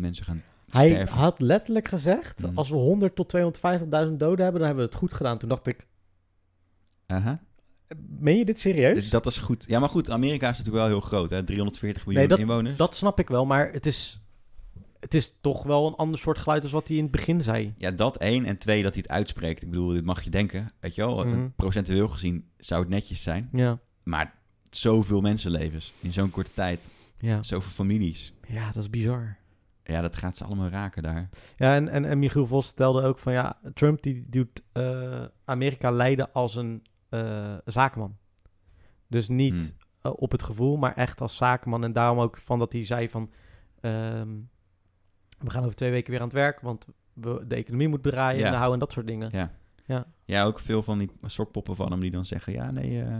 Speaker 4: mensen gaan
Speaker 3: Hij
Speaker 4: sterven.
Speaker 3: had letterlijk gezegd,
Speaker 4: Mm.
Speaker 3: als we 100 tot 250.000 doden hebben, dan hebben we het goed gedaan. Toen dacht ik,
Speaker 4: Aha.
Speaker 3: meen je dit serieus?
Speaker 4: Dus dat is goed. Ja, maar goed, Amerika is natuurlijk wel heel groot. Hè? 340 miljoen
Speaker 3: dat-
Speaker 4: inwoners.
Speaker 3: Dat snap ik wel, maar het is, het is toch wel een ander soort geluid als wat hij in het begin zei.
Speaker 4: Ja, dat één. En twee, dat hij het uitspreekt. Ik bedoel, dit mag je denken. Weet je wel,
Speaker 3: Mhm.
Speaker 4: procentueel gezien zou het netjes zijn.
Speaker 3: Ja,
Speaker 4: Maar zoveel mensenlevens in zo'n korte tijd.
Speaker 3: ja.
Speaker 4: Zoveel families.
Speaker 3: ja dat is bizar.
Speaker 4: Ja, dat gaat ze allemaal raken daar.
Speaker 3: Ja, en, en, en Michiel Vos stelde ook van ja, Trump die doet eh, Amerika leiden als een eh, zakenman. Dus niet
Speaker 4: Hmm.
Speaker 3: eh, op het gevoel, maar echt als zakenman. En daarom ook van dat hij zei van ehm, we gaan over twee weken weer aan het werk, want we, de economie moet draaien
Speaker 4: Ja.
Speaker 3: en houden en dat soort dingen.
Speaker 4: Ja.
Speaker 3: Ja.
Speaker 4: ja, ook veel van die sokpoppen van hem die dan zeggen... ja, nee, eh,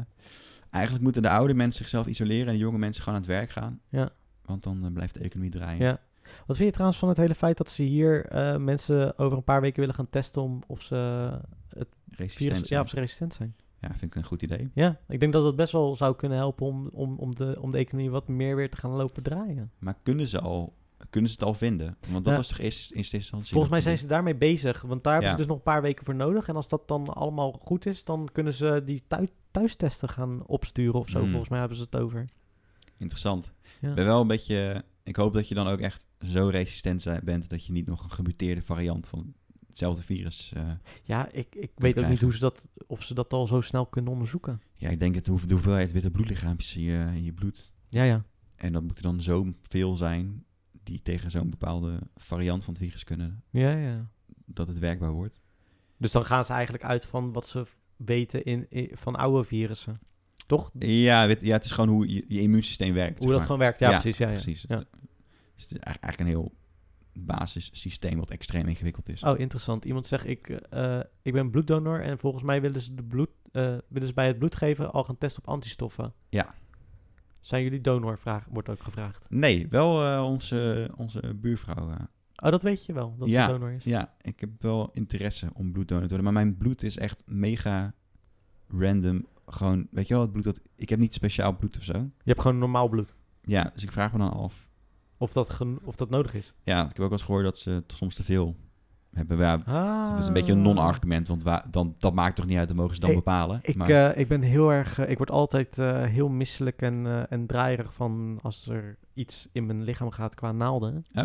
Speaker 4: eigenlijk moeten de oude mensen zichzelf isoleren... en de jonge mensen gewoon aan het werk gaan.
Speaker 3: Ja.
Speaker 4: Want dan eh, blijft de economie draaien.
Speaker 3: Ja. Wat vind je trouwens van het hele feit dat ze hier eh, mensen over een paar weken willen gaan testen om of ze
Speaker 4: Resistent
Speaker 3: virus, ja,
Speaker 4: zijn.
Speaker 3: of ze resistent zijn?
Speaker 4: Ja, vind ik een goed idee.
Speaker 3: Ja, ik denk dat dat best wel zou kunnen helpen om, om, om, de, om de economie wat meer weer te gaan lopen draaien.
Speaker 4: Maar kunnen ze, al, kunnen ze het al vinden? Want dat
Speaker 3: Ja.
Speaker 4: was toch eerst in eerste instantie...
Speaker 3: Volgens mij
Speaker 4: dat
Speaker 3: zijn ze daarmee bezig, want daar hebben
Speaker 4: Ja.
Speaker 3: ze dus nog een paar weken voor nodig. En als dat dan allemaal goed is, dan kunnen ze die thui- thuistesten gaan opsturen of zo.
Speaker 4: Hmm.
Speaker 3: Volgens mij hebben ze het over.
Speaker 4: Interessant.
Speaker 3: Ja.
Speaker 4: Ik ben wel een beetje... Ik hoop dat je dan ook echt zo resistent zijn- bent... dat je niet nog een gemuteerde variant van hetzelfde virus... eh,
Speaker 3: Ja, ik, ik weet ook niet
Speaker 4: krijgen.
Speaker 3: hoe ze dat, of ze dat al zo snel kunnen onderzoeken.
Speaker 4: ja, ik denk het hoe- de hoeveelheid witte bloedlichaampjes in je, in je bloed...
Speaker 3: Ja, ja.
Speaker 4: en dat moet er dan zoveel zijn... die tegen zo'n bepaalde variant van het virus kunnen...
Speaker 3: ja, ja.
Speaker 4: dat het werkbaar wordt.
Speaker 3: Dus dan gaan ze eigenlijk uit van wat ze weten in, in- van oude virussen. Toch?
Speaker 4: Ja, weet, ja het is gewoon hoe je, je immuunsysteem
Speaker 3: Hoe
Speaker 4: werkt. zeg
Speaker 3: dat
Speaker 4: maar.
Speaker 3: gewoon werkt. Ja,
Speaker 4: Ja,
Speaker 3: precies. Ja, ja.
Speaker 4: Precies. Dus het is eigenlijk eigenlijk een heel basissysteem... wat extreem ingewikkeld is.
Speaker 3: Oh, interessant. Iemand zegt, ik, eh, eh, ik ben bloeddonor en volgens mij willen ze, de bloed, eh, willen ze bij het bloed geven al gaan testen op antistoffen.
Speaker 4: Ja.
Speaker 3: Zijn jullie donor? Vraag, wordt ook gevraagd.
Speaker 4: Nee, wel eh, onze, onze buurvrouw... eh,
Speaker 3: Oh, dat weet je wel, dat
Speaker 4: Ja.
Speaker 3: ze donor is.
Speaker 4: Ja, ik heb wel interesse om bloeddonor te worden. Maar mijn bloed is echt mega random. Gewoon, weet je wel, het bloed dat... Ik heb niet speciaal bloed of zo.
Speaker 3: Je hebt gewoon normaal bloed.
Speaker 4: Ja, dus ik vraag me dan af.
Speaker 3: Of dat, gen- of dat nodig is.
Speaker 4: Ja, ik heb ook wel eens gehoord dat ze t- soms te veel hebben. Ja,
Speaker 3: Ah.
Speaker 4: Dus dat is een beetje een non-argument, want wa- dan, dat maakt toch niet uit. Dan mogen ze dan
Speaker 3: Ik-
Speaker 4: bepalen.
Speaker 3: Ik,
Speaker 4: maar
Speaker 3: eh, ik ben heel erg, eh, ik word altijd eh, heel misselijk en, eh en draaierig van als er iets in mijn lichaam gaat qua naalden.
Speaker 4: Oh.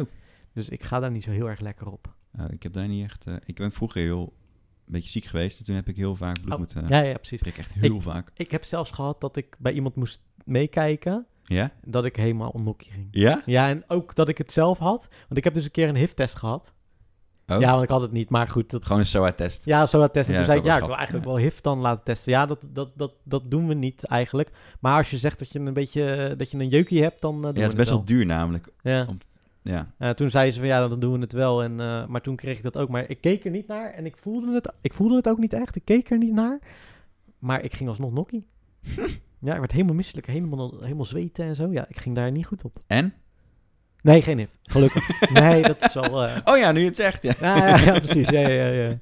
Speaker 3: Dus ik ga daar niet zo heel erg lekker op.
Speaker 4: Eh, ik heb daar niet echt... eh, ik ben vroeger heel... Een beetje ziek geweest. En toen heb ik heel vaak bloed
Speaker 3: Oh,
Speaker 4: moeten
Speaker 3: Ja, ja, precies.
Speaker 4: prikken. Echt heel vaak.
Speaker 3: Ik heb zelfs gehad dat ik bij iemand moest meekijken,
Speaker 4: Ja?
Speaker 3: dat ik helemaal onnokkie ging.
Speaker 4: Ja?
Speaker 3: Ja, en ook dat ik het zelf had. Want ik heb dus een keer een HIV-test gehad.
Speaker 4: Oh.
Speaker 3: Ja, want ik had het niet, maar goed. Dat,
Speaker 4: Gewoon een SOA-test.
Speaker 3: ja, zo dat testen.
Speaker 4: Ja,
Speaker 3: toen zei
Speaker 4: ik
Speaker 3: ik,
Speaker 4: had
Speaker 3: ja, ik wil
Speaker 4: dat
Speaker 3: eigenlijk
Speaker 4: gehad, ja.
Speaker 3: wel HIV dan laten testen. Ja, dat, dat, dat, dat doen we niet eigenlijk. Maar als je zegt dat je een beetje, dat je een jeukie hebt, dan eh, doen
Speaker 4: Ja,
Speaker 3: we
Speaker 4: het is best wel
Speaker 3: het
Speaker 4: duur namelijk.
Speaker 3: wel. Ja.
Speaker 4: Ja.
Speaker 3: Eh, toen zeiden ze van ja, dan doen we het wel. En, eh, maar toen kreeg ik dat ook. Maar ik keek er niet naar en ik voelde het, ik voelde het ook niet echt. Ik keek er niet naar. Maar ik ging alsnog nokkie. ja, ik werd helemaal misselijk. Helemaal, helemaal zweten en zo. Ja, ik ging daar niet goed op.
Speaker 4: En?
Speaker 3: Nee, geen HIV. Gelukkig. nee, dat is al... eh,
Speaker 4: Oh ja, nu je het zegt. Ja.
Speaker 3: ja, ja, ja, precies. Ja, ja, ja.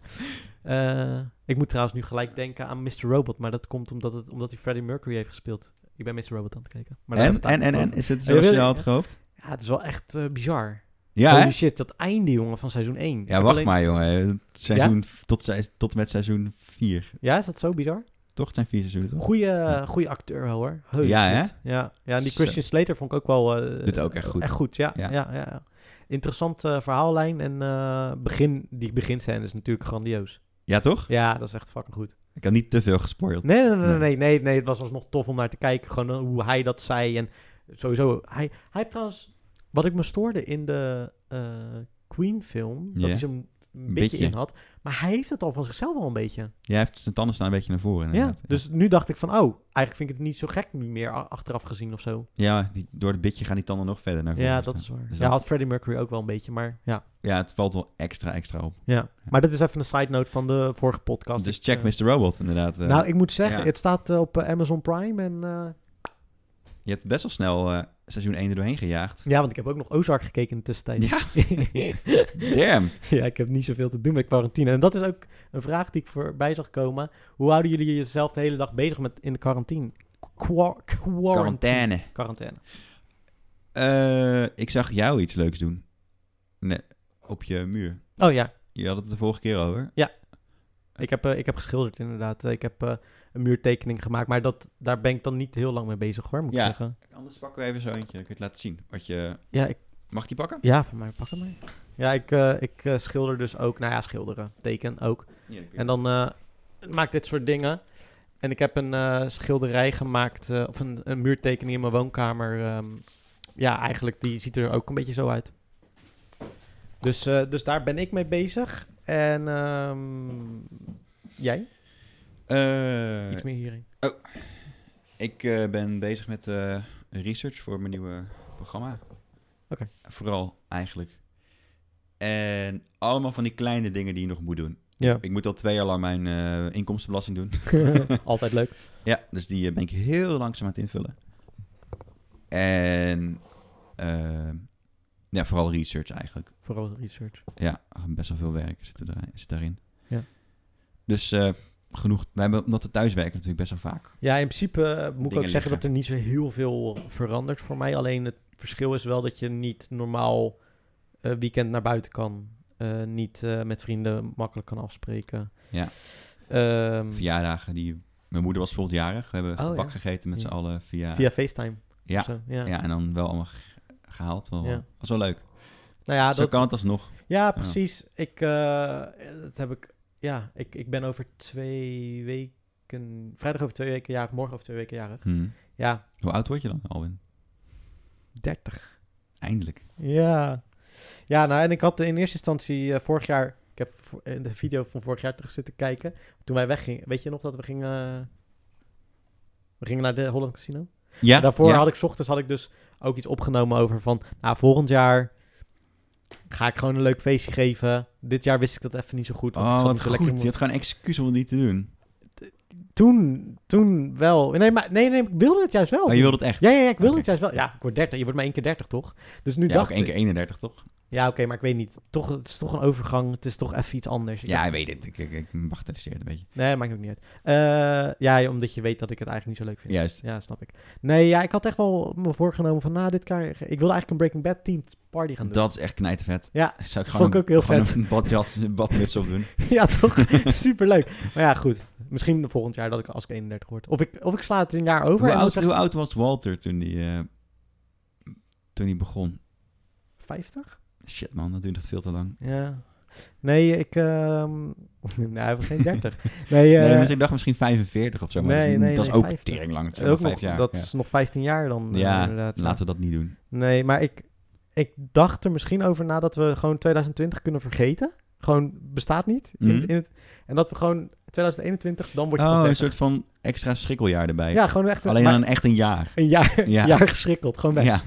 Speaker 3: Eh, ik moet trouwens nu gelijk denken aan Mr. Robot. Maar dat komt omdat, het, omdat hij Freddie Mercury heeft gespeeld. Ik ben Mr. Robot aan het kijken. Maar daar
Speaker 4: En,
Speaker 3: hebben
Speaker 4: en,
Speaker 3: we
Speaker 4: en,
Speaker 3: het
Speaker 4: en?
Speaker 3: eigenlijk
Speaker 4: Is het
Speaker 3: Ja,
Speaker 4: zo
Speaker 3: wil-
Speaker 4: snel het gehoofd?
Speaker 3: over. Ja, het is wel echt eh, bizar.
Speaker 4: Ja, hè?
Speaker 3: Holy shit, dat einde, jongen, van seizoen 1.
Speaker 4: Ja, wacht maar, jongen. Seizoen, tot, se- tot en met seizoen 4.
Speaker 3: Ja, is dat zo bizar?
Speaker 4: Toch Het zijn vier seizoenen, toch?
Speaker 3: Goeie, goeie acteur wel, hoor. Holy
Speaker 4: Ja,
Speaker 3: shit. Ja, ja, en die
Speaker 4: Zo.
Speaker 3: Christian Slater vond ik ook wel... eh,
Speaker 4: Doet ook echt goed.
Speaker 3: Echt goed, ja.
Speaker 4: Ja.
Speaker 3: ja. ja, ja. Interessante verhaallijn en eh, begin, die beginscène is natuurlijk grandioos.
Speaker 4: Ja, toch?
Speaker 3: Ja, dat is echt fucking goed.
Speaker 4: Ik had niet te veel gespoild.
Speaker 3: Nee, nee, nee,
Speaker 4: Nee.
Speaker 3: nee, nee, nee, Het was alsnog tof om naar te kijken. Gewoon eh, hoe hij dat zei. En sowieso, hij, hij heeft trouwens... Wat ik me stoorde in de eh, Queen-film,
Speaker 4: Ja.
Speaker 3: dat hij zo'n beetje,
Speaker 4: Beetje.
Speaker 3: in had. Maar hij heeft het al van zichzelf al een beetje.
Speaker 4: Jij heeft zijn tanden staan een beetje naar voren.
Speaker 3: Ja,
Speaker 4: inderdaad.
Speaker 3: dus nu dacht ik van, oh, eigenlijk vind ik het niet zo gek nu meer a- achteraf gezien of zo.
Speaker 4: Ja, die, door het bitje gaan die tanden nog verder naar voren.
Speaker 3: Ja, dat
Speaker 4: staan.
Speaker 3: is waar.
Speaker 4: Dus
Speaker 3: Ja,
Speaker 4: dat-
Speaker 3: had Freddie Mercury ook wel een beetje, maar ja.
Speaker 4: ja, het valt wel extra, extra op.
Speaker 3: ja. Maar dat is even een side note van de vorige podcast.
Speaker 4: Dus
Speaker 3: Ik,
Speaker 4: check
Speaker 3: eh,
Speaker 4: Mr. Robot, inderdaad. eh.
Speaker 3: Nou, ik moet zeggen,
Speaker 4: ja.
Speaker 3: het staat eh, op eh, Amazon Prime en... eh,
Speaker 4: Je hebt best wel snel eh, seizoen 1 er doorheen gejaagd.
Speaker 3: ja, want ik heb ook nog Ozark gekeken in de tussentijd.
Speaker 4: Ja, damn.
Speaker 3: ja, ik heb niet zoveel te doen met quarantine. En dat is ook een vraag die ik voorbij zag komen. Hoe houden jullie jezelf de hele dag bezig met in de quarantine? Qua quarantine.
Speaker 4: Quarantaine.
Speaker 3: Quarantaine.
Speaker 4: Eh, ik zag jou iets leuks doen. Nee, op je muur.
Speaker 3: Oh ja,
Speaker 4: Je had het de vorige keer over.
Speaker 3: Ik heb, eh, ik heb geschilderd inderdaad. Ik heb eh, een muurtekening gemaakt, maar dat, daar ben ik dan niet heel lang mee bezig hoor, moet
Speaker 4: Ja.
Speaker 3: ik zeggen.
Speaker 4: Anders pakken we even zo eentje. Dan kun je het laten zien. Wat je...
Speaker 3: Ja, ik,
Speaker 4: Mag ik die pakken?
Speaker 3: ja van mij, pak hem maar. Ja, ik, eh, ik eh, schilder dus ook, nou ja, schilderen, teken ook. En dan eh, maak ik dit soort dingen. En ik heb een eh, schilderij gemaakt, eh, of een, een muurtekening in mijn woonkamer. ehm, ja, eigenlijk, die ziet er ook een beetje zo uit. Dus, eh, dus daar ben ik mee bezig. En ehm, jij?
Speaker 4: Eh,
Speaker 3: Iets meer hierin.
Speaker 4: ik eh, ben bezig met eh, research voor mijn nieuwe programma.
Speaker 3: Oké.
Speaker 4: Vooral eigenlijk. En allemaal van die kleine dingen die je nog moet doen.
Speaker 3: Ja,
Speaker 4: Ik moet al twee jaar lang mijn eh, inkomstenbelasting doen.
Speaker 3: altijd leuk.
Speaker 4: Ja, dus die eh, ben ik heel langzaam aan het invullen. En eh, ja, vooral research eigenlijk.
Speaker 3: Vooral research.
Speaker 4: Ja, best wel veel werk zit, er, zit daarin.
Speaker 3: Ja.
Speaker 4: Dus eh, genoeg. Wij hebben, omdat we thuiswerken natuurlijk best wel vaak.
Speaker 3: Ja, in principe eh, moet ik ook
Speaker 4: Dingen
Speaker 3: zeggen
Speaker 4: liggen.
Speaker 3: dat er niet zo heel veel verandert voor mij. Alleen het verschil is wel dat je niet normaal eh, weekend naar buiten kan. Eh, niet eh, met vrienden makkelijk kan afspreken.
Speaker 4: Ja.
Speaker 3: Ehm, via,
Speaker 4: Verjaardagen die... Mijn moeder was bijvoorbeeld jarig. We hebben
Speaker 3: Oh,
Speaker 4: gebak
Speaker 3: ja.
Speaker 4: gegeten met
Speaker 3: Ja.
Speaker 4: z'n allen via...
Speaker 3: FaceTime.
Speaker 4: eh, Ja,
Speaker 3: of zo, ja.
Speaker 4: ja. en dan wel allemaal ge- gehaald. Wel,
Speaker 3: Ja.
Speaker 4: was wel leuk.
Speaker 3: Nou ja,
Speaker 4: Zo
Speaker 3: dat,
Speaker 4: kan het alsnog.
Speaker 3: ja precies. Ik, eh, dat heb ik, ja, ik, ik ben over twee weken, vrijdag over twee weken jarig, morgen over twee weken jarig.
Speaker 4: Hm.
Speaker 3: Ja,
Speaker 4: Hoe oud word je dan, Alwin?
Speaker 3: 30.
Speaker 4: Eindelijk.
Speaker 3: Ja. Ja, nou, en ik had in eerste instantie eh, vorig jaar... Ik heb vo- eh, de video van vorig jaar terug zitten kijken. Toen wij weggingen. Weet je nog dat we gingen... eh, we gingen naar de Holland Casino?
Speaker 4: Ja,
Speaker 3: En daarvoor
Speaker 4: ja.
Speaker 3: had ik 's ochtends had ik dus ook iets opgenomen over van... Nou, volgend jaar ga ik gewoon een leuk feestje geven. Dit jaar wist ik dat even niet zo goed. Want ik
Speaker 4: Oh,
Speaker 3: zat
Speaker 4: wat
Speaker 3: niet zo
Speaker 4: goed.
Speaker 3: lekker in
Speaker 4: Je
Speaker 3: mijn-
Speaker 4: had gewoon een excuus om het niet te doen.
Speaker 3: Toen, toen wel. Nee, maar, nee, nee, ik wilde het juist wel.
Speaker 4: Maar je wilde het echt.
Speaker 3: Oh. Ja, ja, ja, ik wilde
Speaker 4: Oké.
Speaker 3: het juist wel. Ja, ik word 30. Je wordt maar één keer 30, toch? Dus nu
Speaker 4: Ja,
Speaker 3: dacht
Speaker 4: ook één
Speaker 3: ik...
Speaker 4: keer 31, toch?
Speaker 3: Ja, oké, maar ik weet niet. Toch, het is toch een overgang. Het is toch even iets anders. Ik
Speaker 4: Ja,
Speaker 3: heb-
Speaker 4: ik weet het. Ik, ik, ik bagatelliseer het een beetje.
Speaker 3: Nee, maakt ook niet uit. Eh, ja, omdat je weet dat ik het eigenlijk niet zo leuk vind.
Speaker 4: Juist.
Speaker 3: Ja, snap ik. Nee, ja, ik had echt wel me voorgenomen van, nou, dit kan... Ik wilde eigenlijk een Breaking Bad team party gaan doen.
Speaker 4: Dat is echt knijtervet.
Speaker 3: Ja,
Speaker 4: Zou ik
Speaker 3: vond
Speaker 4: gewoon
Speaker 3: ik ook heel
Speaker 4: gewoon
Speaker 3: vet.
Speaker 4: een badjas, een badmuts op doen.
Speaker 3: ja, toch? Superleuk. Maar ja, goed. Misschien volgend jaar dat ik als ik 31 word. Of ik, of ik sla het een jaar over.
Speaker 4: Hoe
Speaker 3: en dan
Speaker 4: oud,
Speaker 3: zeg
Speaker 4: hoe oud was Walter toen hij, eh, toen hij begon?
Speaker 3: 50?
Speaker 4: Shit man, dat duurt echt veel te lang.
Speaker 3: Ja. Nee, ik... ehm nou, we geen 30. Nee, eh
Speaker 4: nee, maar ik dacht misschien 45 of zo. Maar
Speaker 3: nee,
Speaker 4: dat is,
Speaker 3: nee,
Speaker 4: dat is
Speaker 3: nee,
Speaker 4: ook
Speaker 3: 50.
Speaker 4: tering lang. Dat is
Speaker 3: ook
Speaker 4: ook
Speaker 3: nog,
Speaker 4: vijf jaar.
Speaker 3: dat
Speaker 4: ja.
Speaker 3: is nog 15 jaar dan eh,
Speaker 4: Ja,
Speaker 3: inderdaad. ja.
Speaker 4: Laten we dat niet doen.
Speaker 3: Nee, maar ik, ik dacht er misschien over na dat we gewoon 2020 kunnen vergeten. Gewoon bestaat niet. In,
Speaker 4: Mhm.
Speaker 3: in het, en dat we gewoon 2021, dan word je
Speaker 4: Oh,
Speaker 3: pas
Speaker 4: een
Speaker 3: 30.
Speaker 4: soort van extra schrikkeljaar erbij.
Speaker 3: Ja, gewoon echt een,
Speaker 4: Alleen
Speaker 3: maar
Speaker 4: dan echt een jaar.
Speaker 3: een jaar,
Speaker 4: Ja.
Speaker 3: jaar geschrikkeld. Gewoon weg.
Speaker 4: Ja,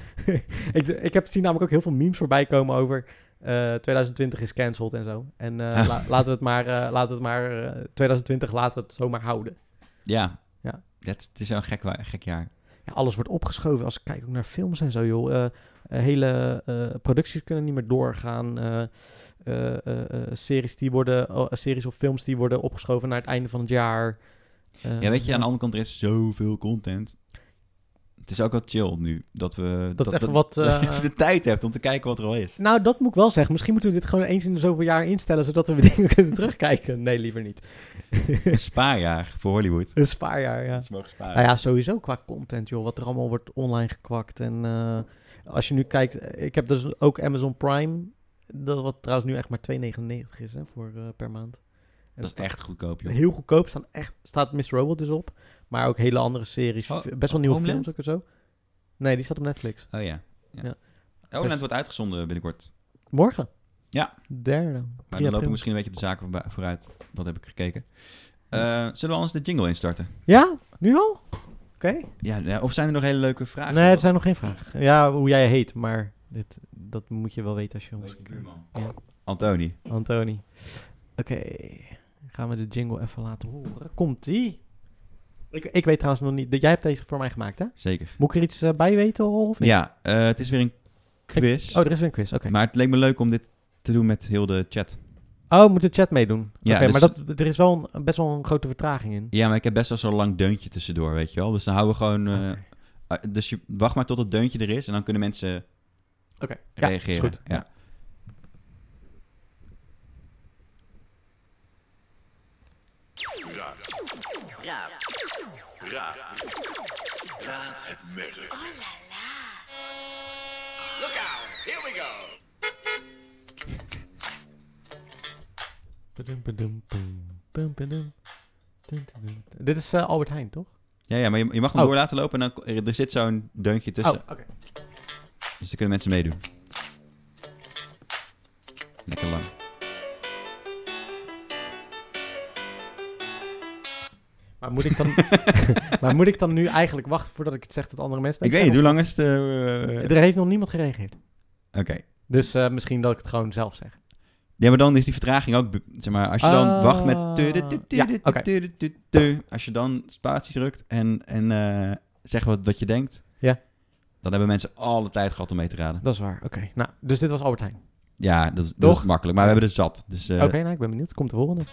Speaker 3: Ik, ik heb zien namelijk ook heel veel memes voorbij komen over eh, 2020 is cancelled en zo. En eh,
Speaker 4: Ah.
Speaker 3: la- laten we het maar, eh, laten we het maar eh, 2020 laten we het zomaar houden.
Speaker 4: ja.
Speaker 3: Ja.
Speaker 4: Dat, het is wel een gek, wa- gek jaar.
Speaker 3: Ja, alles wordt opgeschoven. Als ik kijk ook naar films en zo, joh. Eh, eh, hele eh, producties kunnen niet meer doorgaan. Eh, eh, eh, eh, series, die worden, oh, eh, series of films die worden opgeschoven naar het einde van het jaar. Eh,
Speaker 4: Ja, weet je, aan de andere kant, er is zoveel content. Het is ook wel chill nu, dat we...
Speaker 3: dat, even
Speaker 4: dat-
Speaker 3: wat...
Speaker 4: dat je
Speaker 3: eh,
Speaker 4: even de tijd hebt om te kijken wat er al is.
Speaker 3: Nou, dat moet ik wel zeggen. Misschien moeten we dit gewoon eens in de zoveel jaar instellen, zodat we dingen kunnen terugkijken. Nee, liever niet.
Speaker 4: Een spaarjaar voor Hollywood.
Speaker 3: Een spaarjaar, ja.
Speaker 4: Ze mogen sparen.
Speaker 3: Nou ja, sowieso qua content, joh. Wat er allemaal wordt online gekwakt. En eh, als je nu kijkt... eh, Ik heb dus ook Amazon Prime. Dat wat trouwens nu echt maar 2,99 is hè, voor, eh, per maand. En
Speaker 4: Dat is echt goedkoop, joh.
Speaker 3: Heel goedkoop. Staan echt, staat Miss Robot dus op. Maar ook hele andere series.
Speaker 4: Oh,
Speaker 3: fi- best wel nieuwe
Speaker 4: Homeland?
Speaker 3: films ook en zo. Nee, die staat op Netflix.
Speaker 4: Oh ja. ja.
Speaker 3: Ja.
Speaker 4: Homeland wordt uitgezonden binnenkort.
Speaker 3: Morgen.
Speaker 4: Ja.
Speaker 3: Derde.
Speaker 4: Maar
Speaker 3: 3
Speaker 4: dan lopen
Speaker 3: april.
Speaker 4: we misschien een beetje op de zaken voorba- vooruit. Wat heb ik gekeken. Eh, zullen we anders de jingle instarten?
Speaker 3: Ja? Nu al? Oké.
Speaker 4: Ja, ja, of zijn er nog hele leuke vragen?
Speaker 3: Nee, er zijn nog geen vragen. Ja, hoe jij heet, maar dit, dat moet je wel weten als je ons...
Speaker 4: Beetje buurman.
Speaker 3: Ja.
Speaker 4: Antoni.
Speaker 3: Antoni. Oké, gaan we de jingle even laten horen. Komt-ie. Ik, ik weet trouwens nog niet... dat- Jij hebt deze voor mij gemaakt, hè?
Speaker 4: Zeker.
Speaker 3: Moet ik er iets eh, bij weten of niet?
Speaker 4: Ja, eh, het is weer een quiz.
Speaker 3: Oh, er is weer een quiz. Oké.
Speaker 4: Maar het leek me leuk om dit te doen met heel de chat.
Speaker 3: Oh, moet de chat meedoen?
Speaker 4: Ja,
Speaker 3: Oké,
Speaker 4: dus-
Speaker 3: maar dat, er is wel een, best wel een grote vertraging in.
Speaker 4: Ja, maar ik heb best wel zo'n lang deuntje tussendoor, weet je wel. Dus dan houden we gewoon... eh,
Speaker 3: Oké.
Speaker 4: ah, dus je wacht maar tot het deuntje er is en dan kunnen mensen
Speaker 3: Oké, ja,
Speaker 4: reageren.
Speaker 3: is goed.
Speaker 4: Ja.
Speaker 3: Padum, padum, pum, pum, padum. Dun, dun, dun. Dit is eh, Albert Heijn, toch?
Speaker 4: Ja, ja, maar je, je mag hem
Speaker 3: Oh.
Speaker 4: door laten lopen en dan, er, er zit zo'n deuntje tussen.
Speaker 3: Oh, oké.
Speaker 4: Dus dan kunnen mensen meedoen. Lekker lang.
Speaker 3: Maar moet, ik dan, maar moet ik dan nu eigenlijk wachten voordat ik het zeg dat andere mensen...
Speaker 4: Ik
Speaker 3: het
Speaker 4: weet niet, hoe
Speaker 3: zeggen?
Speaker 4: lang is het? eh, eh,
Speaker 3: Er heeft nog niemand gereageerd.
Speaker 4: Oké.
Speaker 3: Dus eh, misschien dat ik het gewoon zelf zeg.
Speaker 4: Ja, maar dan is die vertraging ook, bu- zeg maar, als je dan
Speaker 3: Ah.
Speaker 4: wacht met... tudu, tudu,
Speaker 3: Ja,
Speaker 4: tudu,
Speaker 3: oké.
Speaker 4: tudu, tudu, tudu, Als je dan spatie drukt en, en eh, zeg wat, wat je denkt...
Speaker 3: Ja.
Speaker 4: Dan hebben mensen alle tijd gehad om mee te raden.
Speaker 3: Dat is waar, oké. Nou, dus dit was Albert Heijn.
Speaker 4: Ja, dat, is- dat
Speaker 3: Toch?
Speaker 4: is makkelijk. Maar we hebben er zat. Dus eh,
Speaker 3: Oké, nou, ik ben benieuwd. Komt de volgende.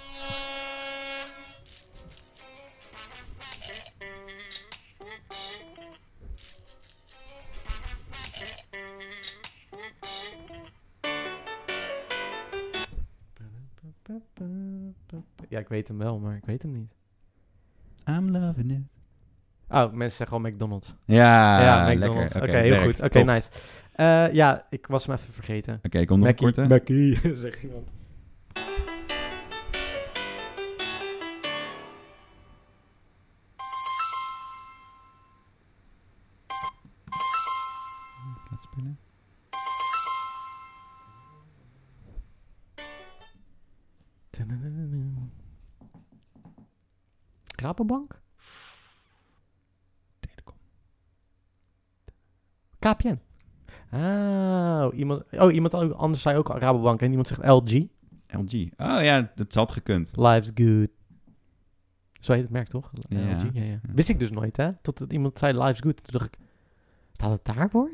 Speaker 3: Ja, ik weet hem wel, maar ik weet hem niet.
Speaker 4: I'm loving it.
Speaker 3: Oh, mensen zeggen al McDonald's.
Speaker 4: Ja,
Speaker 3: ja,
Speaker 4: Ah, lekker.
Speaker 3: McDonald's. Oké,
Speaker 4: het
Speaker 3: heel
Speaker 4: werkt.
Speaker 3: goed. Oké,
Speaker 4: Top.
Speaker 3: nice. Eh, ja, ik was hem even vergeten.
Speaker 4: Oké, ik kom nog een
Speaker 3: Mackie,
Speaker 4: korte.
Speaker 3: Mackie, zegt iemand.
Speaker 4: Laat spelen.
Speaker 3: Rabobank?
Speaker 4: Telecom.
Speaker 3: KPN. Oh, iemand, oh, iemand anders zei ook Rabobank en iemand zegt LG.
Speaker 4: LG. Oh ja, dat had gekund.
Speaker 3: Life's good. Zo heet het merk toch? L-
Speaker 4: Ja.
Speaker 3: LG, ja, ja. Wist ik dus nooit, hè? Totdat iemand zei Life's good. Toen dacht ik, staat het daarvoor?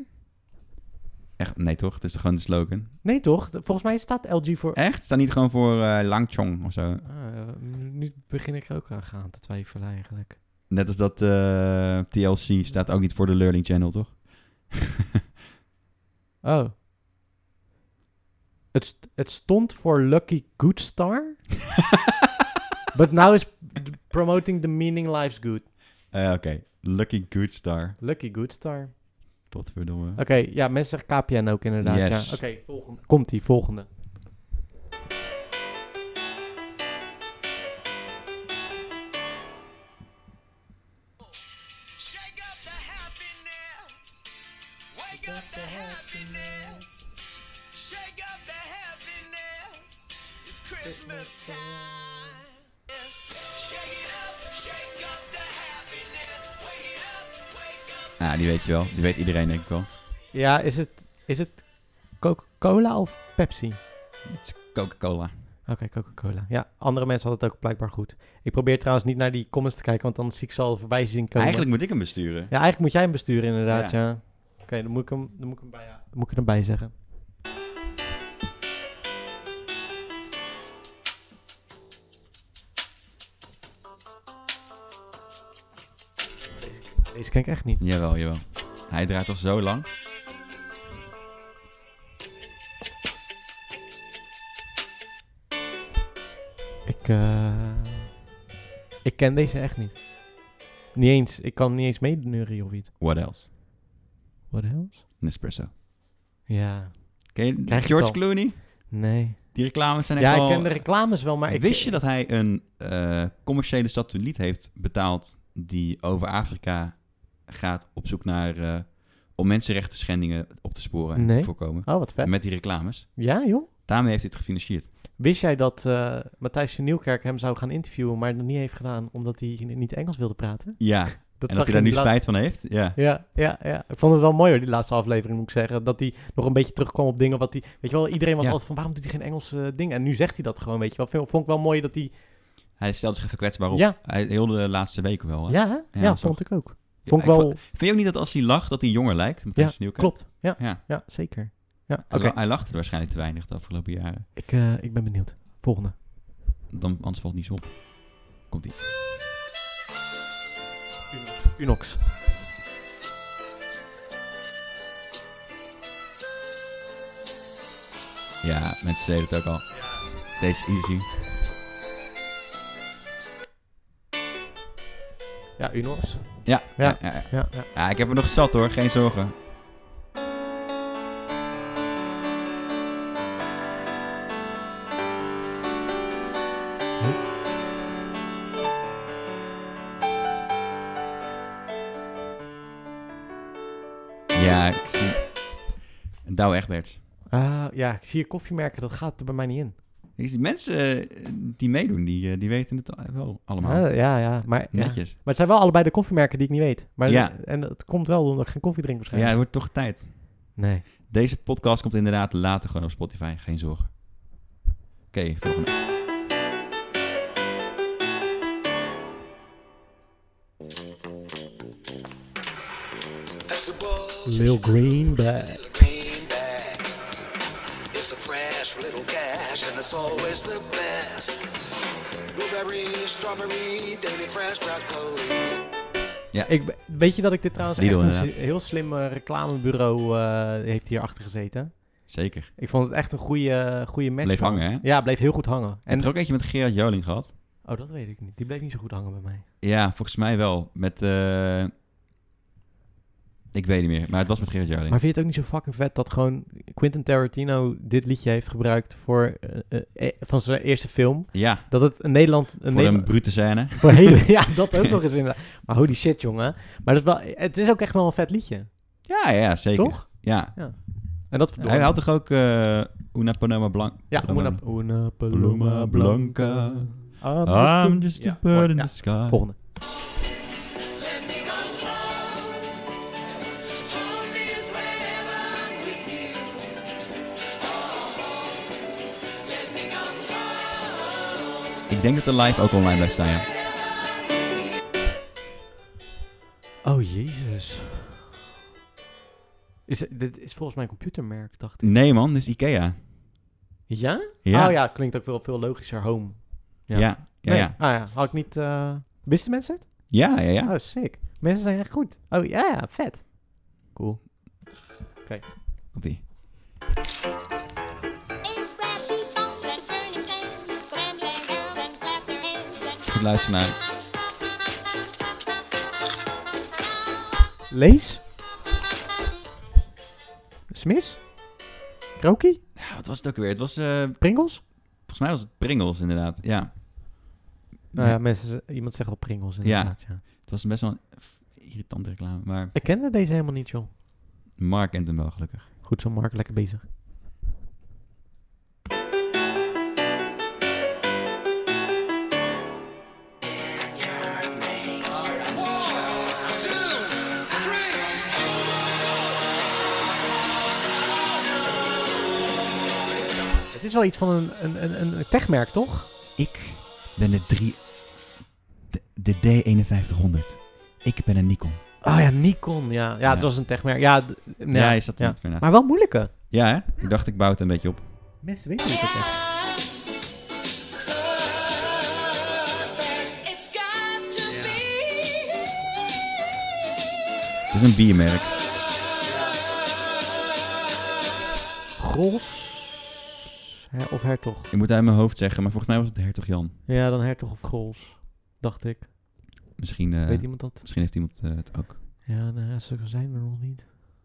Speaker 4: Echt, nee toch? Het is toch gewoon de slogan?
Speaker 3: Nee, toch? D- Volgens mij staat LG voor...
Speaker 4: Echt? Staat niet gewoon voor eh Langchong of zo?
Speaker 3: Ah, nu begin ik er ook aan gaan te twijfelen eigenlijk.
Speaker 4: Net als dat eh, TLC staat ook niet voor de Learning Channel, toch?
Speaker 3: Oh. Het, st- het stond voor Lucky Good Star. But now is d- promoting the meaning life's good.
Speaker 4: Eh, Oké, Lucky Good Star.
Speaker 3: Lucky Good Star.
Speaker 4: Potverdomme.
Speaker 3: Oké, ja, mensen zeggen KPN ook inderdaad.
Speaker 4: Yes.
Speaker 3: Ja. Oké, volgende. Komt die volgende.
Speaker 5: Shake up the happiness. Wake up the happiness. Shake up the happiness. It's Christmas time. Yes. Shake it up, shake up the happiness. Wake it up, wake up.
Speaker 4: Ah, die weet je wel. Die weet iedereen denk ik wel.
Speaker 3: Ja, is het, is het Coca-Cola of Pepsi?
Speaker 4: Het is Coca-Cola.
Speaker 3: Oké, Coca-Cola. Ja, andere mensen hadden het ook blijkbaar goed. Ik probeer trouwijns niet naar die comments te kijken, want dan zie ik ze al voorbij zien komen.
Speaker 4: Eigenlijk moet ik hem besturen.
Speaker 3: Ja, eigenlijk moet jij hem besturen inderdaad,
Speaker 4: Ja.
Speaker 3: ja. Oké, dan moet ik hem, dan moet ik hem bij, ja, moet ik hem erbij zeggen. Deze, deze ken ik echt niet.
Speaker 4: Jawel, jawel. Hij draait al zo lang.
Speaker 3: Ik, eh, ik ken deze echt niet. Niet eens. Ik kan niet eens meedeneuren of iets.
Speaker 4: What else?
Speaker 3: What else?
Speaker 4: Nespresso.
Speaker 3: Ja.
Speaker 4: Ken je
Speaker 3: Krijg je
Speaker 4: George
Speaker 3: het al.
Speaker 4: Clooney?
Speaker 3: Nee.
Speaker 4: Die reclames zijn echt
Speaker 3: Ja, ik
Speaker 4: wel-
Speaker 3: ken de reclames wel, maar ik...
Speaker 4: Wist je dat hij een eh, commerciële satelliet heeft betaald die over Afrika gaat op zoek naar eh, om mensenrechten schendingen op te sporen en
Speaker 3: Nee.
Speaker 4: te voorkomen?
Speaker 3: Oh, wat vet.
Speaker 4: Met die reclames.
Speaker 3: Ja, joh.
Speaker 4: Daarmee heeft hij het gefinancierd.
Speaker 3: Wist jij dat eh Matthijs van Nieuwkerk hem zou gaan interviewen, maar dat niet heeft gedaan omdat hij niet Engels wilde praten?
Speaker 4: Ja, en dat
Speaker 3: zag
Speaker 4: hij
Speaker 3: je
Speaker 4: daar
Speaker 3: in
Speaker 4: nu
Speaker 3: die laat-
Speaker 4: spijt van heeft. Ja.
Speaker 3: Ja, ja, ja. Ik vond het wel mooi hoor, die laatste aflevering moet ik zeggen. Dat hij nog een beetje terugkwam op dingen wat hij... Weet je wel, iedereen was
Speaker 4: Ja.
Speaker 3: altijd van waarom doet hij geen Engelse dingen? En nu zegt hij dat gewoon, weet je wel. Vond- Vond ik wel mooi dat hij...
Speaker 4: Hij stelde zich even kwetsbaar op.
Speaker 3: Ja,
Speaker 4: Hij, heel de laatste weken wel. hè?
Speaker 3: ja, hè? ja,
Speaker 4: dat is
Speaker 3: vond ik ook.
Speaker 4: Ja,
Speaker 3: Vond ik wel...
Speaker 4: Vind je ook niet dat als hij lacht, dat hij jonger lijkt? Matthijs
Speaker 3: Ja,
Speaker 4: van Nieuwkerk?
Speaker 3: Klopt, ja.
Speaker 4: Ja.
Speaker 3: Ja, zeker. Ja, oké.
Speaker 4: Hij la- Hij lachte waarschijnlijk te weinig de afgelopen jaren.
Speaker 3: Ik, eh, ik ben benieuwd. Volgende.
Speaker 4: Dan, anders valt het niet zo op. Komt ie.
Speaker 3: Unox.
Speaker 4: Ja, mensen zeiden het ook al. Deze is easy.
Speaker 3: Ja, Unox.
Speaker 4: Ja, ja.
Speaker 3: Ja.
Speaker 4: ja, ja.
Speaker 3: Ja, ja.
Speaker 4: Ja, ik heb er nog zat hoor, geen zorgen. Ja, ik zie. Douwe Egberts.
Speaker 3: Ah, ja, ik zie je koffiemerken, dat gaat er bij mij niet in.
Speaker 4: Ik zie mensen eh, die meedoen, die, eh, die weten het al- wel allemaal.
Speaker 3: Ah, ja, ja, maar... Ja.
Speaker 4: Netjes.
Speaker 3: Maar het zijn wel allebei de koffiemerken die ik niet weet. Maar
Speaker 4: Ja.
Speaker 3: En het komt wel omdat ik geen koffie drink
Speaker 4: Ja, het
Speaker 3: waarschijnlijk.
Speaker 4: wordt toch tijd.
Speaker 3: Nee.
Speaker 4: Deze podcast komt inderdaad later gewoon op Spotify, geen zorgen. Oké, volgende.
Speaker 5: That's the buzz.
Speaker 3: Lil Green Bag.
Speaker 5: Little green bag. It's a fresh little cash, and it's always the best. Blueberry, strawberry, daily fresh broccoli.
Speaker 3: Ik, be- weet je dat ik dit trouwens
Speaker 4: Lidl,
Speaker 3: echt een
Speaker 4: inderdaad.
Speaker 3: si- heel slim eh, reclamebureau eh heeft hierachter gezeten.
Speaker 4: Zeker.
Speaker 3: Ik vond het echt een goede, goede match.
Speaker 4: Bleef
Speaker 3: man.
Speaker 4: hangen, hè?
Speaker 3: Ja, bleef heel goed hangen.
Speaker 4: En
Speaker 3: En,
Speaker 4: er ook eentje met Gerard Joling gehad.
Speaker 3: oh, dat weet ik niet. Die bleef niet zo goed hangen bij mij.
Speaker 4: Ja, volgens mij wel. Met. eh, Ik weet niet meer, maar het was met Gerard Joling.
Speaker 3: Maar vind je het ook niet zo fucking vet dat gewoon Quentin Tarantino dit liedje heeft gebruikt voor, eh, eh, eh, van zijn eerste film?
Speaker 4: Ja,
Speaker 3: Dat het in Nederland... Een
Speaker 4: voor een
Speaker 3: Nederland-
Speaker 4: brute scène.
Speaker 3: voor hele, ja, dat ook nog eens inderdaad. Maar holy shit, jongen. Maar dat is wel, het is ook echt wel een vet liedje,
Speaker 4: Ja, ja, zeker.
Speaker 3: toch?
Speaker 4: Ja.
Speaker 3: En dat
Speaker 4: Hij had toch ook eh Una Panoma Blanca?
Speaker 3: Ja, una, una
Speaker 4: Paloma
Speaker 3: paloma
Speaker 4: blanca.
Speaker 3: blanca.
Speaker 4: I'm just
Speaker 3: Ja,
Speaker 4: a bird
Speaker 3: mooi.
Speaker 4: in
Speaker 3: Ja,
Speaker 4: the sky.
Speaker 3: Volgende.
Speaker 4: Ik denk dat de live ook online blijft staan. ja.
Speaker 3: Oh, jezus. Is, het- dit is volgens mij een computermerk, dacht ik.
Speaker 4: Nee, man, dit is Ikea.
Speaker 3: Ja?
Speaker 4: Ja,
Speaker 3: Oh ja, klinkt ook wel veel logischer. Home.
Speaker 4: ja.
Speaker 3: ja.
Speaker 4: ja, ja,
Speaker 3: Nee.
Speaker 4: ja.
Speaker 3: Ah ja, had ik niet... eh Wisten mensen het?
Speaker 4: ja, ja, ja.
Speaker 3: Oh, sick. Mensen zijn echt goed. Oh ja, ja, vet. Cool.
Speaker 4: Komt-ie. Goed luisteren naar.
Speaker 3: Lees? mis? Roki?
Speaker 4: Ja, Ah, wat was het ook weer? Het was, eh,
Speaker 3: Pringles?
Speaker 4: volgens mij was het Pringles inderdaad. Ja.
Speaker 3: Nou ja, mensen, ze- iemand zegt wel Pringles inderdaad, ja.
Speaker 4: Het was best wel een irritante reclame. Maar
Speaker 3: Ik kende deze helemaal niet, joh.
Speaker 4: Mark kent hem wel gelukkig.
Speaker 3: Goed zo, Mark. Lekker bezig. Het is wel iets van een, een, een, een techmerk, toch?
Speaker 4: Ik ben de 3... De, D5100. Ik ben een Nikon.
Speaker 3: Oh ja, Nikon, ja. Ja, het
Speaker 4: Ja.
Speaker 3: was een techmerk. Ja, d- nee,
Speaker 4: Ja, je zat er
Speaker 3: ja.
Speaker 4: niet meer na.
Speaker 3: Maar wel moeilijke.
Speaker 4: Ja, hè? Ik dacht, ik bouw het een beetje op.
Speaker 3: Mensen weten het ook echt.
Speaker 6: It's got to
Speaker 4: Het is een biermerk.
Speaker 3: Gros Her- of Hertog.
Speaker 4: Ik moet uit mijn hoofd zeggen, maar volgens mij was het Hertog Jan.
Speaker 3: Ja, dan Hertog of Grols, dacht ik.
Speaker 4: Misschien, eh,
Speaker 3: Weet iemand dat?
Speaker 4: misschien heeft iemand eh, het ook.
Speaker 3: Ja, nou, ze zijn er nog niet.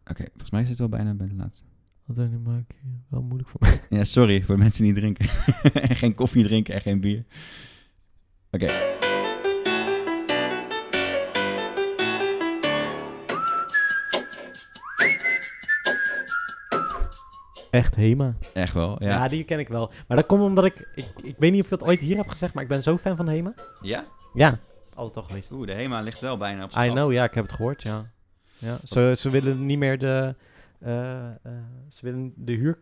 Speaker 4: Oké, volgens mij zit het wel bijna bij de laatste.
Speaker 3: Wat dan ook, maak je wel moeilijk voor mij.
Speaker 4: Ja, sorry voor de mensen die drinken. en geen koffie drinken en geen bier. Oké.
Speaker 3: Echt Hema.
Speaker 4: Echt wel,
Speaker 3: Ja.
Speaker 4: ja.
Speaker 3: die ken ik wel. Maar dat komt omdat ik, ik... Ik weet niet of ik dat ooit hier heb gezegd, maar ik ben zo fan van Hema.
Speaker 4: Ja?
Speaker 3: Ja, altijd al geweest.
Speaker 4: Oeh, de Hema ligt wel bijna op
Speaker 3: I
Speaker 4: zijn gat.
Speaker 3: know, ja, ik heb het gehoord, ja. ja ze, ze willen niet meer de... eh, eh, ze willen de huur...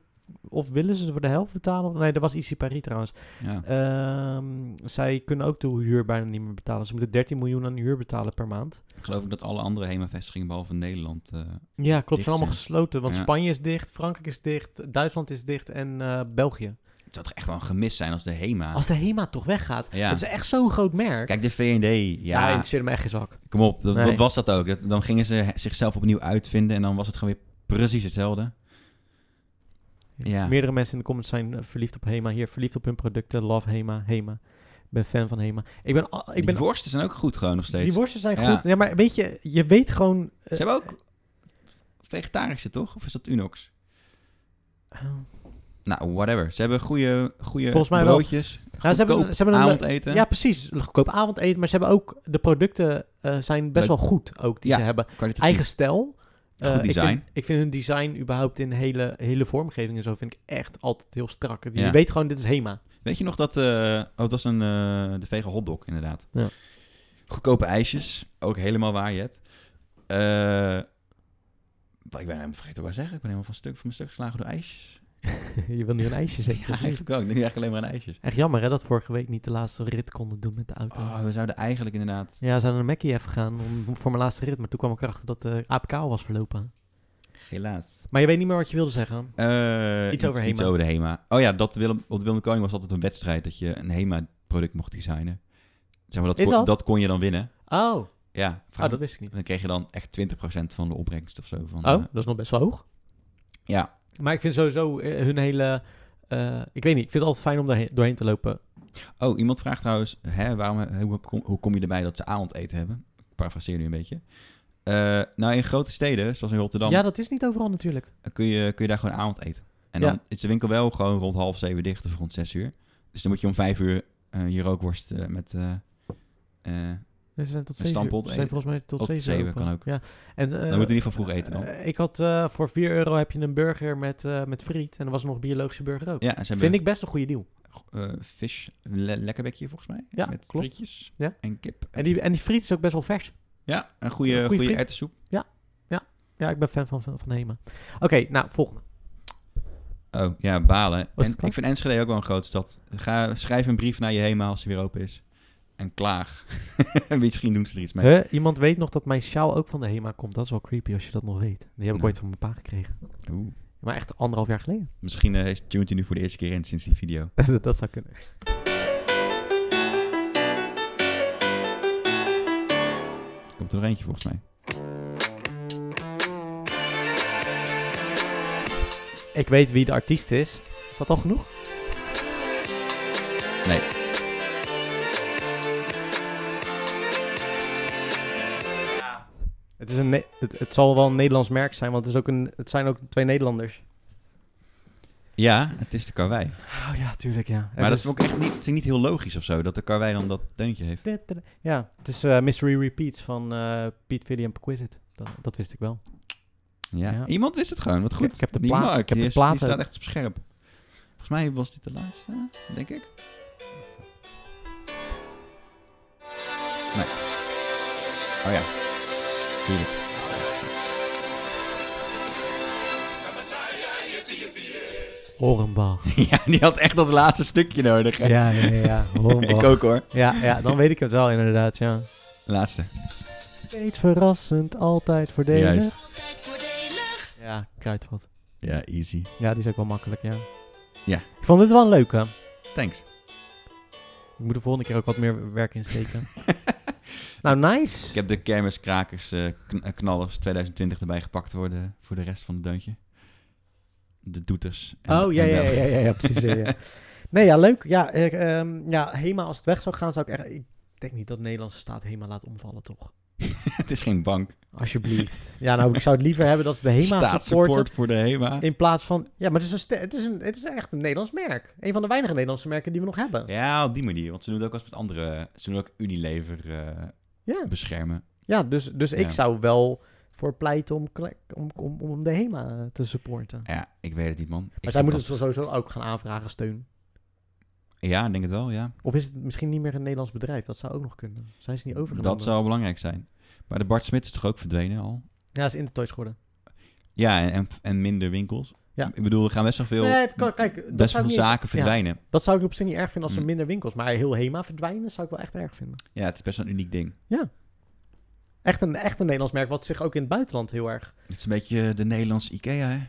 Speaker 3: Of willen ze voor de helft betalen? Nee, dat was IC Paris trouwens.
Speaker 4: Ja.
Speaker 3: Ehm, zij kunnen ook de huur bijna niet meer betalen. Ze moeten 13 miljoen aan huur betalen per maand.
Speaker 4: Ik geloof ook dat alle andere Hema-vestigingen, behalve Nederland... eh,
Speaker 3: Ja, klopt.
Speaker 4: Dicht
Speaker 3: Ze zijn allemaal
Speaker 4: zijn.
Speaker 3: gesloten. Want
Speaker 4: Ja.
Speaker 3: Spanje is dicht, Frankrijk is dicht, Duitsland is dicht en eh, België.
Speaker 4: het zou toch echt wel een gemis zijn als de Hema...
Speaker 3: Als de HEMA toch weggaat,
Speaker 4: Ja.
Speaker 3: dat is echt zo'n groot merk.
Speaker 4: Kijk, de V&D, ja,
Speaker 3: ja, het zit hem echt in zak.
Speaker 4: kom op. Dat,
Speaker 3: Nee.
Speaker 4: Wat was dat ook? Dat, dan gingen ze he- zichzelf opnieuw uitvinden en dan was het gewoon weer precies hetzelfde. Ja.
Speaker 3: Meerdere mensen in de comments zijn eh, verliefd op HEMA. Hier, verliefd op hun producten. Love HEMA, HEMA. Ik ben fan van HEMA. Ik ben... al- ik
Speaker 4: Die
Speaker 3: ben
Speaker 4: worsten zijn ook goed gewoon nog steeds.
Speaker 3: die worsten zijn
Speaker 4: Ja.
Speaker 3: goed. Ja, maar weet je, je weet gewoon... eh,
Speaker 4: Ze hebben ook vegetarische, toch? Of is dat Unox?
Speaker 3: eh,
Speaker 4: Nou, whatever. Ze hebben goede, goede
Speaker 3: Volgens mij wel.
Speaker 4: broodjes.
Speaker 3: Ja, ze hebben,
Speaker 4: goedkoop
Speaker 3: ze hebben een, eh,
Speaker 4: avondeten.
Speaker 3: Ja, precies. Goedkoop avondeten. Maar ze hebben ook... De producten eh, zijn best
Speaker 4: Leuk.
Speaker 3: wel goed ook die
Speaker 4: Ja.
Speaker 3: ze hebben.
Speaker 4: Kwalitatief.
Speaker 3: Eigen stijl. Eh,
Speaker 4: Goed
Speaker 3: Ik
Speaker 4: design.
Speaker 3: vind, ik vind hun design überhaupt in hele, hele vormgeving en zo... vind ik echt altijd heel strak. Je
Speaker 4: Ja.
Speaker 3: weet gewoon, dit is HEMA.
Speaker 4: Weet je nog dat... eh, oh, het was een eh de vege hotdog, inderdaad.
Speaker 3: Ja.
Speaker 4: Goedkope ijsjes. Ook helemaal waar, Jet. Eh, wat ik ben helemaal vergeten wat ik wou zeggen. Ik ben helemaal van stuk, van mijn stuk geslagen door ijsjes.
Speaker 3: je wil nu een ijsje zeker.
Speaker 4: Ja,
Speaker 3: of niet?
Speaker 4: eigenlijk ook. Ik denk eigenlijk alleen maar aan ijsjes.
Speaker 3: Echt jammer hè, dat vorige week niet de laatste rit konden doen met de auto.
Speaker 4: Oh, we zouden eigenlijk inderdaad...
Speaker 3: Ja, we zijn naar Mackie even gegaan om, voor mijn laatste rit. Maar toen kwam ik erachter dat de APK al was verlopen.
Speaker 4: Helaas.
Speaker 3: Maar je weet niet meer wat je wilde zeggen.
Speaker 4: Eh,
Speaker 3: Iets over
Speaker 4: Iets
Speaker 3: Hema.
Speaker 4: over de HEMA. Oh ja, dat Willem, want Willem de Koning was altijd een wedstrijd dat je een HEMA-product mocht designen. Zeg maar, dat,
Speaker 3: Is
Speaker 4: kon,
Speaker 3: dat?
Speaker 4: dat kon je dan winnen.
Speaker 3: Oh,
Speaker 4: Ja, vraag
Speaker 3: oh
Speaker 4: me-
Speaker 3: dat wist ik niet.
Speaker 4: dan kreeg je dan echt 20% van de opbrengst of zo. Van,
Speaker 3: Oh,
Speaker 4: eh,
Speaker 3: dat is nog best wel hoog.
Speaker 4: ja.
Speaker 3: Maar ik vind sowieso eh, hun hele... eh, ik weet niet, ik vind het altijd fijn om daar doorheen te lopen.
Speaker 4: Oh, iemand vraagt trouwens, hè, waarom, hè, hoe, kom, hoe kom je erbij dat ze avondeten hebben? Ik parafraseer nu een beetje. Eh, nou, in grote steden, zoals in Rotterdam,
Speaker 3: Ja, dat is niet overal natuurlijk.
Speaker 4: kun, je, kun je daar gewoon avondeten. En
Speaker 3: Ja.
Speaker 4: dan is de winkel wel gewoon rond half zeven dicht of rond zes uur. Dus dan moet je om vijf uur eh, je rookworst eh, met... eh, eh,
Speaker 3: Nee, Ze zijn tot
Speaker 4: Een
Speaker 3: zeven uur.
Speaker 4: stampot,
Speaker 3: Ze zijn
Speaker 4: eh,
Speaker 3: volgens mij tot
Speaker 4: tot
Speaker 3: zeven uur
Speaker 4: zeven
Speaker 3: open.
Speaker 4: kan ook.
Speaker 3: Ja. En, eh,
Speaker 4: dan moet je in ieder geval vroeg eten dan.
Speaker 3: eh, ik had eh, voor 4 euro heb je een burger met, eh, met friet. En er was nog biologische burger ook.
Speaker 4: Ja, en ze
Speaker 3: Vind
Speaker 4: hebben
Speaker 3: ik best een goede deal.
Speaker 4: eh, vis, le lekkerbekje volgens mij.
Speaker 3: Ja,
Speaker 4: met
Speaker 3: klopt.
Speaker 4: frietjes
Speaker 3: Ja.
Speaker 4: en kip.
Speaker 3: En die, en die friet is ook best wel vers.
Speaker 4: Ja, een
Speaker 3: Een
Speaker 4: goede,
Speaker 3: goede
Speaker 4: goede
Speaker 3: friet.
Speaker 4: erwtensoep.
Speaker 3: Ja, ik ben fan van, van, van Hema. Oké, nou, volgende.
Speaker 4: Oh, ja, balen.
Speaker 3: het
Speaker 4: En
Speaker 3: klaar?
Speaker 4: ik vind Enschede ook wel een grote stad. Ga, schrijf een brief naar je HEMA als ze weer open is. En klaag. Misschien doen ze er iets mee.
Speaker 3: Huh? Iemand weet nog dat mijn sjaal ook van de Hema komt. Dat is wel creepy als je dat nog weet. Die heb ik
Speaker 4: Nou.
Speaker 3: ooit van mijn pa gekregen.
Speaker 4: Oeh.
Speaker 3: Maar echt anderhalf jaar geleden.
Speaker 4: Misschien eh tunt hij nu voor de eerste keer in sinds die video.
Speaker 3: dat, dat zou kunnen.
Speaker 4: Komt er nog eentje volgens mij.
Speaker 3: Ik weet wie de artiest is. Is dat al genoeg?
Speaker 4: Nee.
Speaker 3: Het is een Ne- het, het zal wel een Nederlands merk zijn, want het, is ook een, het zijn ook twee Nederlanders.
Speaker 4: Ja, het is de karwei.
Speaker 3: Oh ja, tuurlijk, ja.
Speaker 4: Maar dat is ook echt niet, vind ik niet heel logisch of zo, dat de karwei dan dat deuntje heeft.
Speaker 3: Ja, het is eh, Mystery Repeats van eh Pete Viddy en Perquisite. Dat, dat wist ik wel.
Speaker 4: Ja.
Speaker 3: Ja.
Speaker 4: Iemand wist het gewoon, wat goed.
Speaker 3: Ik- ik heb de
Speaker 4: Die
Speaker 3: pla-
Speaker 4: Mark,
Speaker 3: ik heb
Speaker 4: die
Speaker 3: de
Speaker 4: is-
Speaker 3: platen.
Speaker 4: Die staat echt op scherp. Volgens mij was dit de laatste, denk ik. Nee. Oh ja. Tuurlijk.
Speaker 3: Orenbach.
Speaker 4: ja, die had echt dat laatste stukje nodig. hè?
Speaker 3: ja, ja, ja.
Speaker 4: ik ook hoor.
Speaker 3: Ja, ja, dan weet ik het wel inderdaad, ja.
Speaker 4: Laatste.
Speaker 3: Steeds verrassend, altijd voordelig.
Speaker 4: Juist.
Speaker 5: Altijd voordelig.
Speaker 3: Ja, kruidvat.
Speaker 4: Ja, easy.
Speaker 3: Ja, die is ook wel makkelijk, ja.
Speaker 4: Ja.
Speaker 3: Ik vond dit wel een leuke.
Speaker 4: Thanks.
Speaker 3: Ik moet de volgende keer ook wat meer werk insteken. nou, nice.
Speaker 4: Ik heb de kermiskrakers eh, kn- eh, knallers 2020 erbij gepakt voor de, voor de rest van het deuntje. De doeters. en-
Speaker 3: Oh, ja,
Speaker 4: en
Speaker 3: ja,
Speaker 4: wel.
Speaker 3: ja, ja, ja, precies. ja, ja. Nee, ja, leuk. Ja, ik, ehm, ja, HEMA, als het weg zou gaan, zou ik echt... Ik denk niet dat de Nederlandse staat HEMA laat omvallen, toch?
Speaker 4: het is geen bank.
Speaker 3: Alsjeblieft. Ja, nou, ik zou het liever hebben dat ze de HEMA supporten...
Speaker 4: Staatssupport voor de E HEMA.
Speaker 3: In plaats van... Ja, maar het is, een, ste- het, is een, het is echt een Nederlands merk. Een van de weinige Nederlandse merken die we nog hebben. Ja,
Speaker 4: Ja, op die manier. Want ze doen het ook als met andere. Ze doen ook Unilever eh,
Speaker 3: ja.
Speaker 4: beschermen.
Speaker 3: dus, dus ik
Speaker 4: Ja.
Speaker 3: zou wel voor pleiten om, kle- om, om, om de HEMA te supporten.
Speaker 4: Ja, ik weet het niet, man. Ik
Speaker 3: Maar zij
Speaker 4: vind
Speaker 3: moeten
Speaker 4: dat-
Speaker 3: het sowieso ook gaan aanvragen, steun.
Speaker 4: Ja, ik denk het wel, ja.
Speaker 3: Of is het misschien niet meer een Nederlands bedrijf? Dat zou ook nog kunnen. Zijn ze niet overgenomen?
Speaker 4: Dat zou belangrijk zijn. Maar de Bart Smit is toch ook verdwenen al?
Speaker 3: Ja, is Intertoys geworden.
Speaker 4: Ja, en- en, en minder winkels.
Speaker 3: Ja.
Speaker 4: Ik bedoel, er gaan best wel veel,
Speaker 3: nee, het kan- kijk, dat
Speaker 4: best
Speaker 3: zou,
Speaker 4: veel
Speaker 3: ik niet eens-
Speaker 4: zaken verdwijnen.
Speaker 3: dat zou ik op zich niet erg vinden als er
Speaker 4: Mm.
Speaker 3: minder winkels. Maar heel HEMA verdwijnen zou ik wel echt erg vinden.
Speaker 4: Ja. het is best wel een uniek ding.
Speaker 3: Echt een, echt een Nederlands merk, wat zich ook in het buitenland heel erg...
Speaker 4: Het is een beetje eh, de Nederlands Ikea, hè?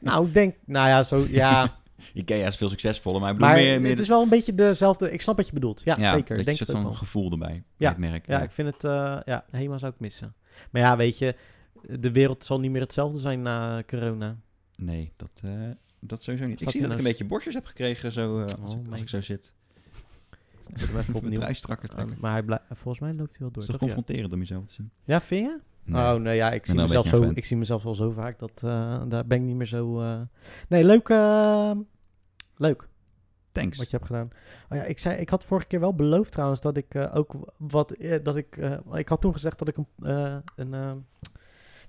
Speaker 3: Nou, ik denk... Nou ja, zo... Ja,
Speaker 4: Ikea is veel succesvoller, maar ik bedoel
Speaker 3: Maar
Speaker 4: meer... meer
Speaker 3: het is wel een beetje dezelfde. Ik snap wat je bedoelt. Ja, zeker.
Speaker 4: ja, Dat
Speaker 3: Ik
Speaker 4: je
Speaker 3: denk
Speaker 4: een
Speaker 3: het
Speaker 4: soort
Speaker 3: ook
Speaker 4: van
Speaker 3: wel.
Speaker 4: gevoel erbij, bij het merk.
Speaker 3: Ja, ik vind het. eh, ja, Hema zou ik missen. Maar ja, weet je, de wereld zal niet meer hetzelfde zijn na corona.
Speaker 4: Nee, dat, eh, dat sowieso niet.
Speaker 3: Zat
Speaker 4: ik
Speaker 3: hij
Speaker 4: zie dat ik
Speaker 3: nou
Speaker 4: een
Speaker 3: s-
Speaker 4: beetje borstjes heb gekregen zo, eh, als,
Speaker 3: Oh
Speaker 4: ik, als
Speaker 3: my-
Speaker 4: ik zo zit.
Speaker 3: Ik zet hem even
Speaker 4: Mijn
Speaker 3: opnieuw. Oh,
Speaker 4: trui strakker
Speaker 3: aan.
Speaker 4: trekken.
Speaker 3: Eh, maar hij blijft, volgens mij loopt hij wel
Speaker 4: Het
Speaker 3: door.
Speaker 4: is toch
Speaker 3: toch? ja?
Speaker 4: confronterend om jezelf te zien?
Speaker 3: ja, vind je? Oh nee, ja, ik zie,
Speaker 4: ben daar Nou, een
Speaker 3: mezelf
Speaker 4: beetje aan
Speaker 3: zo,
Speaker 4: gewend.
Speaker 3: ik zie mezelf wel zo vaak dat eh, daar ben ik niet meer zo. eh, Nee, leuk. eh, leuk.
Speaker 4: Thanks.
Speaker 3: wat je hebt gedaan. Oh ja, ik, zei, ik had vorige keer wel beloofd trouwens dat ik eh, ook wat. eh, dat ik, eh, ik had toen gezegd dat ik een, eh, een eh,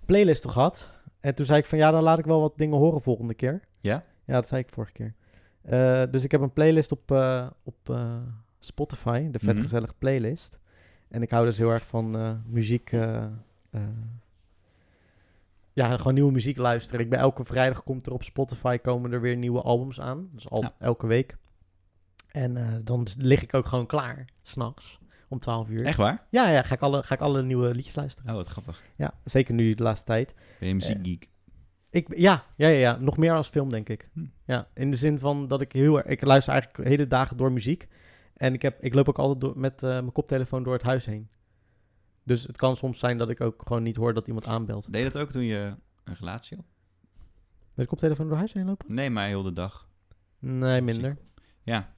Speaker 3: playlist toch had. En toen zei ik van ja, dan laat ik wel wat dingen horen volgende keer.
Speaker 4: Ja?
Speaker 3: Ja, dat zei ik vorige keer. Eh, dus ik heb een playlist op, eh, op eh, Spotify, de
Speaker 4: Mhm.
Speaker 3: vetgezellige playlist. En ik hou dus heel erg van eh, muziek. eh, eh, ja, gewoon nieuwe muziek luisteren. Ik ben elke vrijdag komt er op Spotify komen er weer nieuwe albums aan. Dus al,
Speaker 4: Ja.
Speaker 3: elke week. En eh, dan lig ik ook gewoon klaar, s'nachts, om 12 uur.
Speaker 4: Echt waar?
Speaker 3: Ja, ja ga, ik alle, ga ik alle nieuwe liedjes luisteren.
Speaker 4: Oh, wat grappig.
Speaker 3: Ja, zeker nu de laatste tijd.
Speaker 4: Ben je
Speaker 3: Eh.
Speaker 4: muziekgeek?
Speaker 3: Ik, ja, ja, ja, ja, nog meer als film, denk ik.
Speaker 4: Hm.
Speaker 3: Ja, in de zin van dat ik heel erg... Ik luister eigenlijk hele dagen door muziek. En ik, heb, ik loop ook altijd door, met eh, mijn koptelefoon door het huis heen. Dus het kan soms zijn dat ik ook gewoon niet hoor dat iemand aanbelt.
Speaker 4: Deed je dat ook toen je een relatie had?
Speaker 3: Met de koptelefoon door huis heen lopen?
Speaker 4: Nee, maar heel de dag.
Speaker 3: Nee, minder.
Speaker 4: Ja,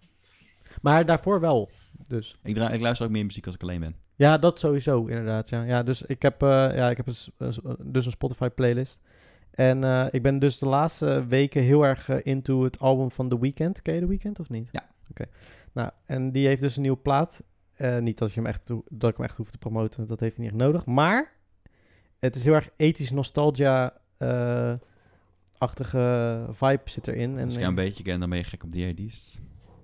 Speaker 3: Maar daarvoor wel, dus.
Speaker 4: ik, dra- ik luister ook meer muziek als ik alleen ben.
Speaker 3: Ja, dat sowieso, inderdaad. Ja, ja dus ik heb, eh, ja, ik heb een s- een s- dus een Spotify-playlist. En eh, ik ben dus de laatste weken heel erg eh, into het album van The Weeknd. Ken je The Weeknd of niet?
Speaker 4: Ja.
Speaker 3: Oké. Nou, en die heeft dus een nieuwe plaat. Eh, niet dat, je hem echt toe- dat ik hem echt hoef te promoten, dat heeft hij niet echt nodig. Maar het is heel erg ethisch nostalgia-achtige vibe zit erin. En
Speaker 4: als ik jou een beetje ken, dan ben je gek op die ID's.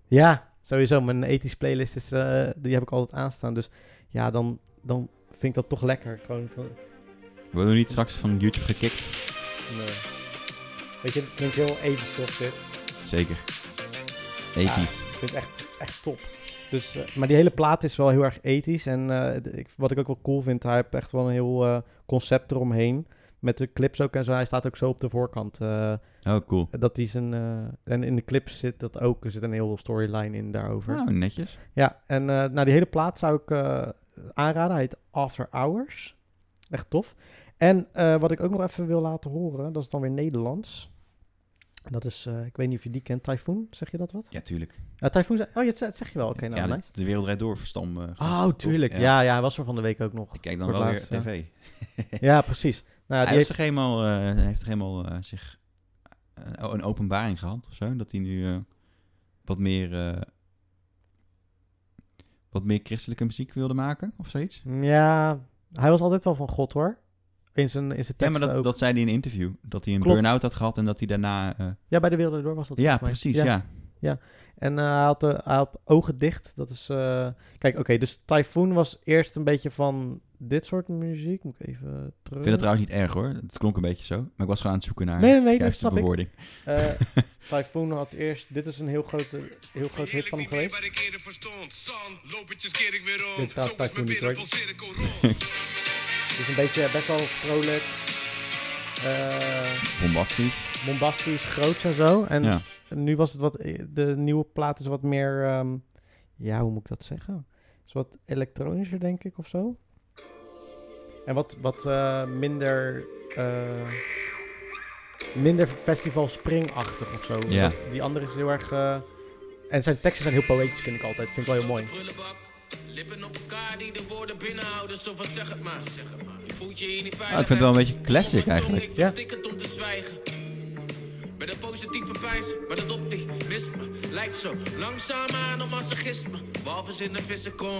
Speaker 3: ja, sowieso. Mijn ethisch playlist is, eh, die heb ik altijd aanstaan. Dus ja, dan, dan vind ik dat toch lekker. Gewoon van, eh,
Speaker 4: We worden niet straks van YouTube gekikt.
Speaker 3: nee. Weet je, het klinkt heel ethisch toch dit.
Speaker 4: Zeker. Ethisch.
Speaker 3: Ik vind het echt, echt top. Dus, eh, maar die hele plaat is wel heel erg ethisch. En eh, d- ik, wat ik ook wel cool vind, hij heeft echt wel een heel eh, concept eromheen. Met de clips ook en zo. Hij staat ook zo op de voorkant. eh,
Speaker 4: Oh, cool.
Speaker 3: dat hij zijn. eh, en in de clips zit dat ook. Er zit een heel storyline in daarover.
Speaker 4: Nou, netjes.
Speaker 3: Ja, en eh, nou, die hele plaat zou ik eh, aanraden. Hij heet After Hours. Echt tof. En eh, wat ik ook nog even wil laten horen, dat is dan weer Nederlands. Dat is, eh, ik weet niet of je die kent, Typhoon, zeg je dat wat?
Speaker 4: Ja, tuurlijk.
Speaker 3: Ja, Typhoon, zei- oh ja, dat ze- dat zeg je wel. Oké, nou,
Speaker 4: ja, de-
Speaker 3: nice.
Speaker 4: de, wereld rijdt door, verstam.
Speaker 3: Oh,
Speaker 4: eh, gast.
Speaker 3: tuurlijk. Ja.
Speaker 4: Ja.
Speaker 3: Ja, hij was er van de week ook nog.
Speaker 4: Ik kijk dan
Speaker 3: Voor
Speaker 4: wel
Speaker 3: het
Speaker 4: weer
Speaker 3: laatst, ja.
Speaker 4: tv.
Speaker 3: Ja, precies. Nou, ja,
Speaker 4: hij
Speaker 3: die
Speaker 4: heeft
Speaker 3: heeft,
Speaker 4: toch helemaal, eh, hij heeft toch helemaal eh, zich eh, een openbaring gehad of zo? Dat hij nu eh, wat meer... eh, wat meer christelijke muziek wilde maken of zoiets?
Speaker 3: ja, hij was altijd wel van God hoor. In zijn, in zijn
Speaker 4: Ja,
Speaker 3: teksten
Speaker 4: maar dat,
Speaker 3: ook.
Speaker 4: dat zei hij in een interview. Dat hij een
Speaker 3: Klopt.
Speaker 4: burn-out had gehad en dat hij daarna... eh,
Speaker 3: Ja, bij de Wereld Door was dat
Speaker 4: ja,
Speaker 3: volgens mij.
Speaker 4: precies, ja.
Speaker 3: En eh, hij, had, eh, hij had ogen dicht. Dat is. eh, Kijk, oké, dus Typhoon was eerst een beetje van dit soort muziek. Moet ik even terug.
Speaker 4: Ik vind het trouwens niet erg hoor. Het klonk een beetje zo. Maar ik was gewoon aan het zoeken naar
Speaker 3: Nee, nee, nee,
Speaker 4: de
Speaker 3: dat
Speaker 4: juiste
Speaker 3: snap ik.
Speaker 4: bewoording.
Speaker 3: Eh, Typhoon had eerst. Dit is een heel grote, heel groot hit van hem geweest.
Speaker 5: ik eerder verstond. San, lopertjes keer ik weer om.
Speaker 3: Dit staat
Speaker 5: Zo is
Speaker 3: Typhoon
Speaker 5: mijn
Speaker 3: niet, hoor.
Speaker 5: wereldpulseer ik al rond.
Speaker 3: Dus een beetje best wel vrolijk. eh,
Speaker 4: Bombastisch.
Speaker 3: bombastisch, groots en zo. En
Speaker 4: Ja.
Speaker 3: nu was het wat. eh, De nieuwe plaat is wat meer. ehm, ja, hoe moet ik dat zeggen? Is wat elektronischer, denk ik, of zo. En wat, wat eh, minder. eh, minder festival springachtig of zo.
Speaker 4: Ja.
Speaker 3: Dat- Die andere is heel erg. eh, en zijn teksten zijn heel poëtisch, vind ik altijd. Vind ik wel heel mooi.
Speaker 5: Prullenbak, lippen op elkaar die de woorden binnenhouden. Zo van zeg het maar. Zeg het maar. Je voelt je hier niet veilig.
Speaker 4: Ah, ik vind het wel een beetje classic eigenlijk.
Speaker 5: Ik
Speaker 3: Ja.
Speaker 5: vertik het om te zwijgen. Met een positieve prijs, maar dat op dich mist me. Lijkt zo langzaam aan om als een gisme. Walvis in de vissen kom.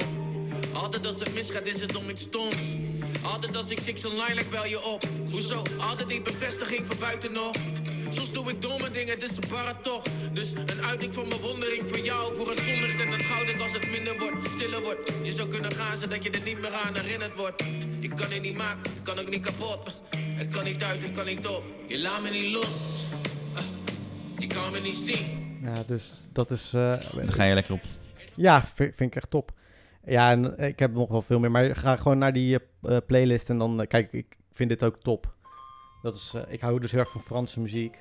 Speaker 5: Altijd als het misgaat is het om iets stoms. Altijd als ik chicks online lijk bel je op. Hoezo? Altijd die bevestiging van buiten nog. Soms doe ik domme dingen, het is een barre toch. Dus een uiting van bewondering voor jou. Voor het zonlicht en het goud ik als het minder wordt, stiller wordt. Je zou kunnen gaan zodat je er niet meer aan herinnerd wordt. Ik kan het niet maken, het kan ook niet kapot. Het kan niet uit, het kan niet op. Je laat me niet los. Je kan me niet zien.
Speaker 3: Ja, dus dat is. eh,
Speaker 4: Dan ga je lekker op.
Speaker 3: Ja, vi- vind, ik echt top. Ja, en eh, ik heb nog wel veel meer, maar ga gewoon naar die eh, eh, playlist en dan eh, kijk, ik vind dit ook top. Dat is, eh, ik hou dus heel erg van Franse muziek.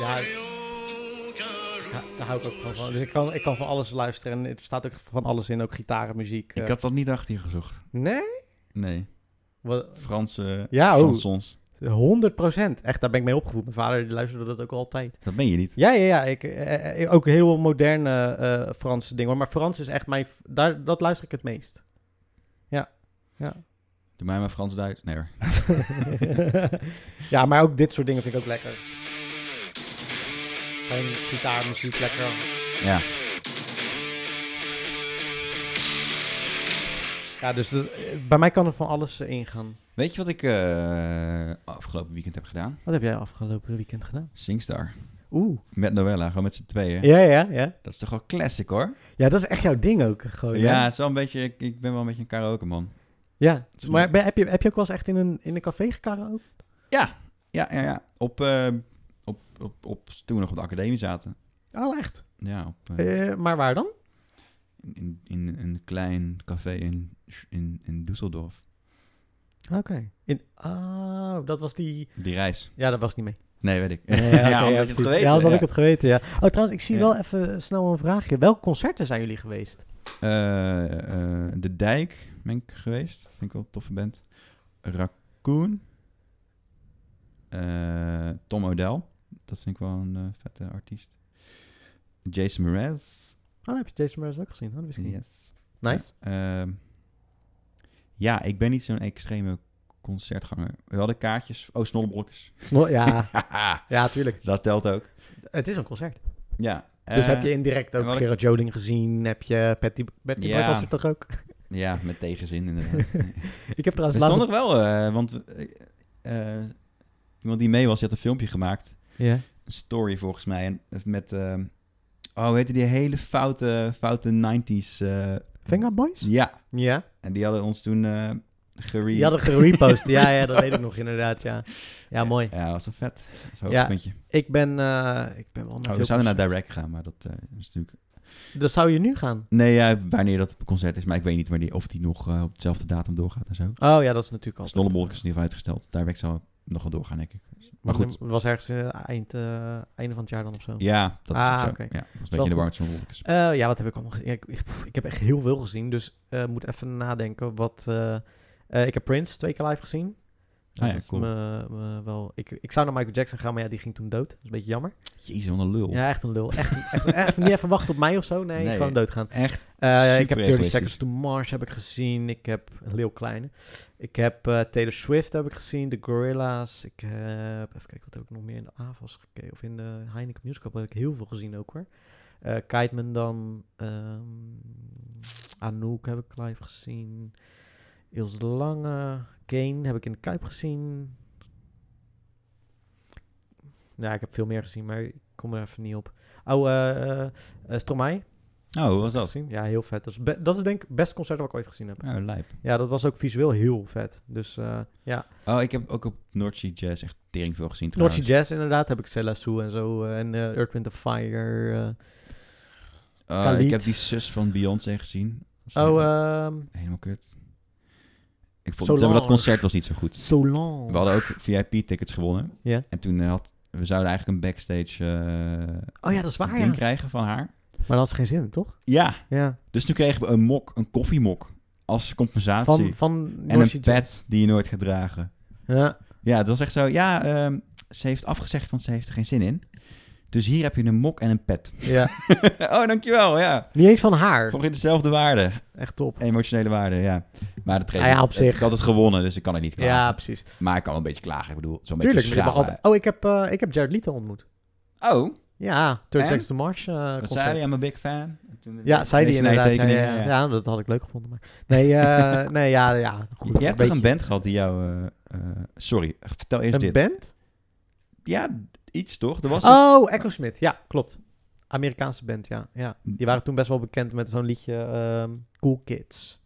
Speaker 3: Ja, ja, daar hou ik ook gewoon van. Dus ik kan, ik kan van alles luisteren en er staat ook van alles in, ook gitarenmuziek. eh.
Speaker 4: Ik had dat niet achter je gezocht.
Speaker 3: Nee?
Speaker 4: Nee.
Speaker 3: Wat,
Speaker 4: Franse
Speaker 3: ja, oh,
Speaker 4: chansons.
Speaker 3: 100 Echt, daar ben ik mee opgevoed. Mijn vader die luisterde dat ook altijd.
Speaker 4: Dat ben je niet.
Speaker 3: Ja, ja, ja. Ik, eh, eh, ook heel moderne eh, Franse dingen hoor. Maar Frans is echt mijn... v- Daar, dat luister ik het meest. Ja. Ja.
Speaker 4: Doe mij maar Frans-Duits. Nee hoor.
Speaker 3: ja, maar ook dit soort dingen vind ik ook lekker. Gewoon gitaarmuziek lekker.
Speaker 4: Ja.
Speaker 3: Ja, dus dat- eh, bij mij kan er van alles eh, ingaan.
Speaker 4: Weet je wat ik eh, afgelopen weekend heb gedaan?
Speaker 3: Wat heb jij afgelopen weekend gedaan?
Speaker 4: Singstar.
Speaker 3: Oeh.
Speaker 4: Met Noella, gewoon met z'n tweeën.
Speaker 3: Ja, ja, ja.
Speaker 4: Dat is toch wel classic hoor?
Speaker 3: Ja, dat is echt jouw ding ook. eh, Gewoon, hè?
Speaker 4: ja, het is wel een beetje, ik, ik ben wel een beetje een karaoke man.
Speaker 3: ja.
Speaker 4: is
Speaker 3: Maar
Speaker 4: leuk.
Speaker 3: ben- heb je, heb je ook wel eens echt in een, in een café gekaraoke?
Speaker 4: Ja, ja, ja. ja. Op, eh, op, op, op, toen we nog op de academie zaten.
Speaker 3: Oh, echt?
Speaker 4: Ja, op, eh,
Speaker 3: Eh, maar waar dan?
Speaker 4: in, in, in een klein café in, in, in Düsseldorf.
Speaker 3: Oké. In, oh, dat was die...
Speaker 4: Die reis.
Speaker 3: Ja, dat was niet mee.
Speaker 4: Nee, weet ik.
Speaker 3: Nee,
Speaker 4: ja,
Speaker 3: oké,
Speaker 4: anders had je het
Speaker 3: precies.
Speaker 4: geweten,
Speaker 3: Ja, anders had
Speaker 4: ja.
Speaker 3: ik het geweten, ja. Oh, trouwens, ik zie
Speaker 4: Ja.
Speaker 3: wel even snel een vraagje. Welke concerten zijn jullie geweest?
Speaker 4: Eh, eh, de Dijk ben ik geweest. Vind ik wel een toffe band. Raccoon. Eh, Tom O'Dell. Dat vind ik wel een eh, vette artiest. Jason Mraz.
Speaker 3: Oh, heb je Jason Mraz ook gezien? Oh, dat wist ik niet.
Speaker 4: Yes.
Speaker 3: Nice.
Speaker 4: Ja, ehm, ja, ik ben niet zo'n extreme concertganger. We hadden kaartjes. Oh, snollebolletjes.
Speaker 3: Snor- Ja, ja, tuurlijk.
Speaker 4: dat telt ook.
Speaker 3: Het is een concert.
Speaker 4: Ja.
Speaker 3: dus
Speaker 4: eh,
Speaker 3: heb je indirect ook
Speaker 4: en wat ik-
Speaker 3: Gerard Joling gezien? Heb je Patty, Patty
Speaker 4: Ja.
Speaker 3: Bart was er toch ook?
Speaker 4: Ja, met tegenzin inderdaad.
Speaker 3: Ik heb trouwens
Speaker 4: We
Speaker 3: laatst...
Speaker 4: stonden er wel, eh, want we- eh, eh, iemand die mee was, die had een filmpje gemaakt.
Speaker 3: Ja.
Speaker 4: Een story volgens mij. En met, eh, oh, hoe heette die hele foute, foute 90s? eh,
Speaker 3: Venga Boys?
Speaker 4: ja,
Speaker 3: Ja.
Speaker 4: en die hadden ons toen eh gere-
Speaker 3: Die hadden gerepost. ja, ja, dat weet ik nog inderdaad, ja. Ja, mooi.
Speaker 4: Ja, dat was wel vet. Dat is een
Speaker 3: Ja,
Speaker 4: hoogtepuntje.
Speaker 3: Ik ben... eh ik ben wel naar
Speaker 4: oh, we
Speaker 3: veel
Speaker 4: zouden naar
Speaker 3: concerten.
Speaker 4: Direct gaan, maar dat eh, is natuurlijk...
Speaker 3: Dat zou je nu gaan?
Speaker 4: Nee, ja, wanneer dat concert is, maar ik weet niet wanneer, of die nog eh, op dezelfde datum doorgaat en zo.
Speaker 3: Oh ja, dat is natuurlijk al.
Speaker 4: Snollebolk is in ieder geval uitgesteld. Direct zal nog wel doorgaan, denk ik.
Speaker 3: Maar
Speaker 4: Maar
Speaker 3: goed.
Speaker 4: goed.
Speaker 3: Het was ergens eh, eind, eh, einde van het jaar dan of zo.
Speaker 4: Ja, dat
Speaker 3: Ah,
Speaker 4: is ook zo.
Speaker 3: oké.
Speaker 4: Ja, dat was een
Speaker 3: wel
Speaker 4: beetje in
Speaker 3: goed.
Speaker 4: de war met Snollebolk.
Speaker 3: Eh, ja, wat heb ik allemaal gezien? Ja, ik, ik- pff, ik heb echt heel veel gezien, dus eh moet even nadenken. Wat, eh, eh, ik heb Prince twee keer live gezien.
Speaker 4: Ah, ja,
Speaker 3: Dat is
Speaker 4: cool.
Speaker 3: me- me wel, ik, ik zou naar Michael Jackson gaan, maar ja, die ging toen dood. Dat is een beetje jammer.
Speaker 4: Jezus, wat een lul.
Speaker 3: Eh, Ja, echt een lul. Echt, een- echt, een- even, niet even wachten op mij of zo. Nee,
Speaker 4: Nee.
Speaker 3: gewoon doodgaan.
Speaker 4: Echt.
Speaker 3: Eh, ik
Speaker 4: Super
Speaker 3: heb 30
Speaker 4: egoïstisch.
Speaker 3: Seconds to Mars heb ik gezien. Ik heb een heel kleine. Ik heb eh, Taylor Swift heb ik gezien. The Gorillas. Ik heb even kijken wat heb ik nog meer in de AVAS gekeken. Of in de Heineken Musical heb ik heel veel gezien ook hoor. Eh Kiteman dan. ehm, Anouk heb ik live gezien. Ilse de Lange. Kane heb ik in de Kuip gezien. Nou, ik heb veel meer gezien, maar ik kom er even niet op. Oh, eh eh, eh, Stromae
Speaker 4: Oh, hoe was dat?
Speaker 3: gezien. Ja, heel vet. Dat is, be- dat is denk ik het beste concert wat ik ooit gezien heb.
Speaker 4: Oh, lijp.
Speaker 3: Ja, dat was ook visueel heel vet. Dus eh, ja,
Speaker 4: Oh, ik heb ook op Noordzee Jazz echt tering veel gezien
Speaker 3: North
Speaker 4: trouwens.
Speaker 3: Sea Jazz inderdaad heb ik Cella Sue en zo. eh, en eh Earth, Wind and Fire. eh.
Speaker 4: Oh,
Speaker 3: Khalid.
Speaker 4: ik heb die zus van Beyoncé gezien. Dat is
Speaker 3: oh,
Speaker 4: helemaal,
Speaker 3: ehm
Speaker 4: helemaal kut. Ik vond
Speaker 3: Solange.
Speaker 4: dat concert was niet zo goed.
Speaker 3: Solange.
Speaker 4: We hadden ook VIP-tickets gewonnen.
Speaker 3: Ja.
Speaker 4: En toen eh, had... We zouden eigenlijk een backstage eh,
Speaker 3: Oh ja, dat is waar,
Speaker 4: ding
Speaker 3: ja.
Speaker 4: krijgen van haar.
Speaker 3: Maar dat had ze geen zin in, toch?
Speaker 4: Ja.
Speaker 3: Ja.
Speaker 4: Dus toen kregen we een mok, een koffiemok, als compensatie.
Speaker 3: Van, van
Speaker 4: en
Speaker 3: North Sea
Speaker 4: een
Speaker 3: Jazz.
Speaker 4: pet die je nooit gaat dragen.
Speaker 3: Ja.
Speaker 4: Ja, het was echt zo. Ja, ehm, ze heeft afgezegd, want ze heeft er geen zin in. Dus hier heb je een mok en een pet.
Speaker 3: ja.
Speaker 4: oh, dankjewel. Ja,
Speaker 3: Niet eens van haar.
Speaker 4: ongeveer dezelfde waarde.
Speaker 3: Echt top.
Speaker 4: Emotionele waarde, ja. Maar dat
Speaker 3: Nou ja, op zich.
Speaker 4: Ik had het gewonnen, dus ik kan het niet klagen.
Speaker 3: Ja, precies.
Speaker 4: Maar ik kan wel een beetje klagen. Ik bedoel, zo'n
Speaker 3: Tuurlijk.
Speaker 4: beetje
Speaker 3: maar je mag
Speaker 4: schrapen.
Speaker 3: altijd- Oh, ik heb, eh, ik heb Jared Leto ontmoet.
Speaker 4: Oh,
Speaker 3: Ja, 30
Speaker 4: En?
Speaker 3: Seconds to Mars eh,
Speaker 4: dat
Speaker 3: concert.
Speaker 4: zei hij, I'm a big fan. En toen-
Speaker 3: Ja, zei die
Speaker 4: deze
Speaker 3: inderdaad. Ja,
Speaker 4: nijtekening,
Speaker 3: ja, ja. Ja, dat had ik leuk gevonden. Maar... Nee, eh, nee, ja, ja. Goed,
Speaker 4: Je hebt toch
Speaker 3: beetje-
Speaker 4: een band gehad die jou... eh, eh, sorry, vertel eerst
Speaker 3: Een
Speaker 4: dit.
Speaker 3: band?
Speaker 4: Ja, iets toch? Er was een-
Speaker 3: Oh, Echo Smith. Ja, klopt. Amerikaanse band, ja. ja. Die waren toen best wel bekend met zo'n liedje ehm, Cool Kids.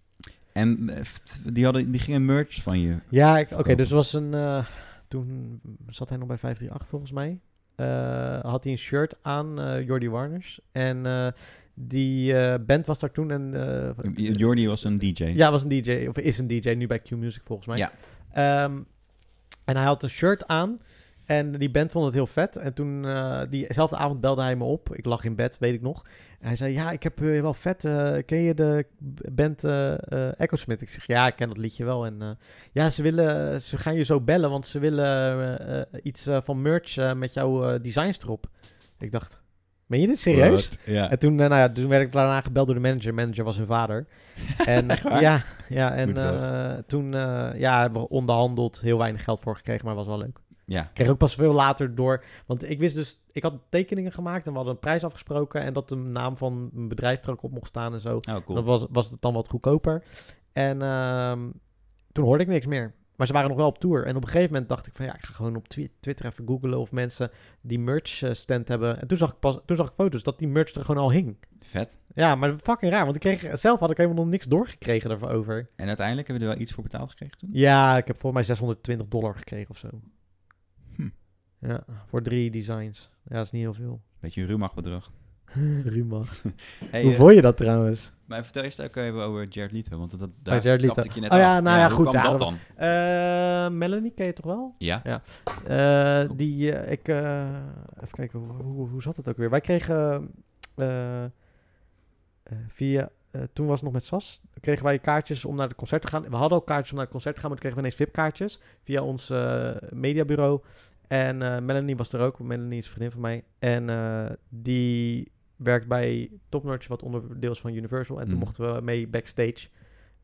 Speaker 4: En eh, f- die, hadden, die gingen merch van je.
Speaker 3: Ja, ik- oké,
Speaker 4: Verkopen.
Speaker 3: dus er was een... eh, toen zat hij nog bij 538 volgens mij. Eh, had hij een shirt aan, eh Jordi Warners. En eh, die eh, band was daar toen een... eh,
Speaker 4: Jordi was een DJ.
Speaker 3: Ja, was een DJ, of is een DJ nu bij Q Music volgens mij.
Speaker 4: Ja.
Speaker 3: Ehm, en hij had een shirt aan. En die band vond het heel vet. En toen, eh, diezelfde avond belde hij me op. Ik lag in bed, weet ik nog. En hij zei, ja, ik heb eh, wel vet. eh, ken je de band eh eh, Echo Smith? Ik zeg, ja, ik ken dat liedje wel. En eh, ja, ze, willen, ze gaan je zo bellen, want ze willen eh, eh, iets eh, van merch eh, met jouw eh, designs erop. Ik dacht, meen je dit serieus?
Speaker 4: Wat? Ja.
Speaker 3: En toen, eh, nou ja, toen werd ik daarna gebeld door de manager. Manager was hun vader. En,
Speaker 4: Echt waar?
Speaker 3: Ja, ja en
Speaker 4: Moet wel.
Speaker 3: eh, toen eh, ja, hebben we onderhandeld. Heel weinig geld voor gekregen, maar was wel leuk.
Speaker 4: ja.
Speaker 3: Ik kreeg ook pas veel later door. Want ik wist dus, ik had tekeningen gemaakt en we hadden een prijs afgesproken. En dat de naam van mijn bedrijf er ook op mocht staan en zo.
Speaker 4: Oh, cool.
Speaker 3: Dat was, was het dan wat goedkoper. En ehm, toen hoorde ik niks meer. Maar ze waren nog wel op tour. En op een gegeven moment dacht ik van ja, ik ga gewoon op Twi- Twitter even googlen of mensen die merch eh, stand hebben. En toen zag ik pas, toen zag ik foto's dat die merch er gewoon al hing.
Speaker 4: Vet.
Speaker 3: Ja, maar fucking raar. Want ik kreeg, zelf had ik helemaal nog niks doorgekregen daarvan over.
Speaker 4: En uiteindelijk hebben we er wel iets voor betaald gekregen toen?
Speaker 3: Ja, ik heb volgens mij 620 dollar gekregen of zo.
Speaker 4: Hm.
Speaker 3: Ja, voor drie designs. Ja, dat is niet heel veel.
Speaker 4: Beetje een ruwmag bedrag.
Speaker 3: Rumach.
Speaker 4: Hey,
Speaker 3: Hoe
Speaker 4: eh,
Speaker 3: vond je dat trouwens?
Speaker 4: maar vertel eerst ook even over Jared Leto, want dat, dat, daar
Speaker 3: Jared Leto.
Speaker 4: kapte ik je net
Speaker 3: Oh
Speaker 4: af.
Speaker 3: ja, nou ja,
Speaker 4: hoe
Speaker 3: goed,
Speaker 4: kwam
Speaker 3: ja,
Speaker 4: dat
Speaker 3: dat-
Speaker 4: dan?
Speaker 3: Eh, Melanie ken je toch wel?
Speaker 4: Ja,
Speaker 3: Eh, die, eh, ik, eh, even kijken, hoe, hoe, hoe zat het ook weer? Wij kregen eh, eh, via, eh, toen was het nog met SAS, kregen wij kaartjes om naar het concert te gaan. We hadden al kaartjes om naar het concert te gaan, maar toen kregen we ineens VIP-kaartjes via ons eh, mediabureau. En eh, Melanie was er ook, Melanie is een vriendin van mij. En eh, die werkt bij Top Notch, wat onderdeel is van Universal. En toen
Speaker 4: Mhm.
Speaker 3: mochten we mee backstage.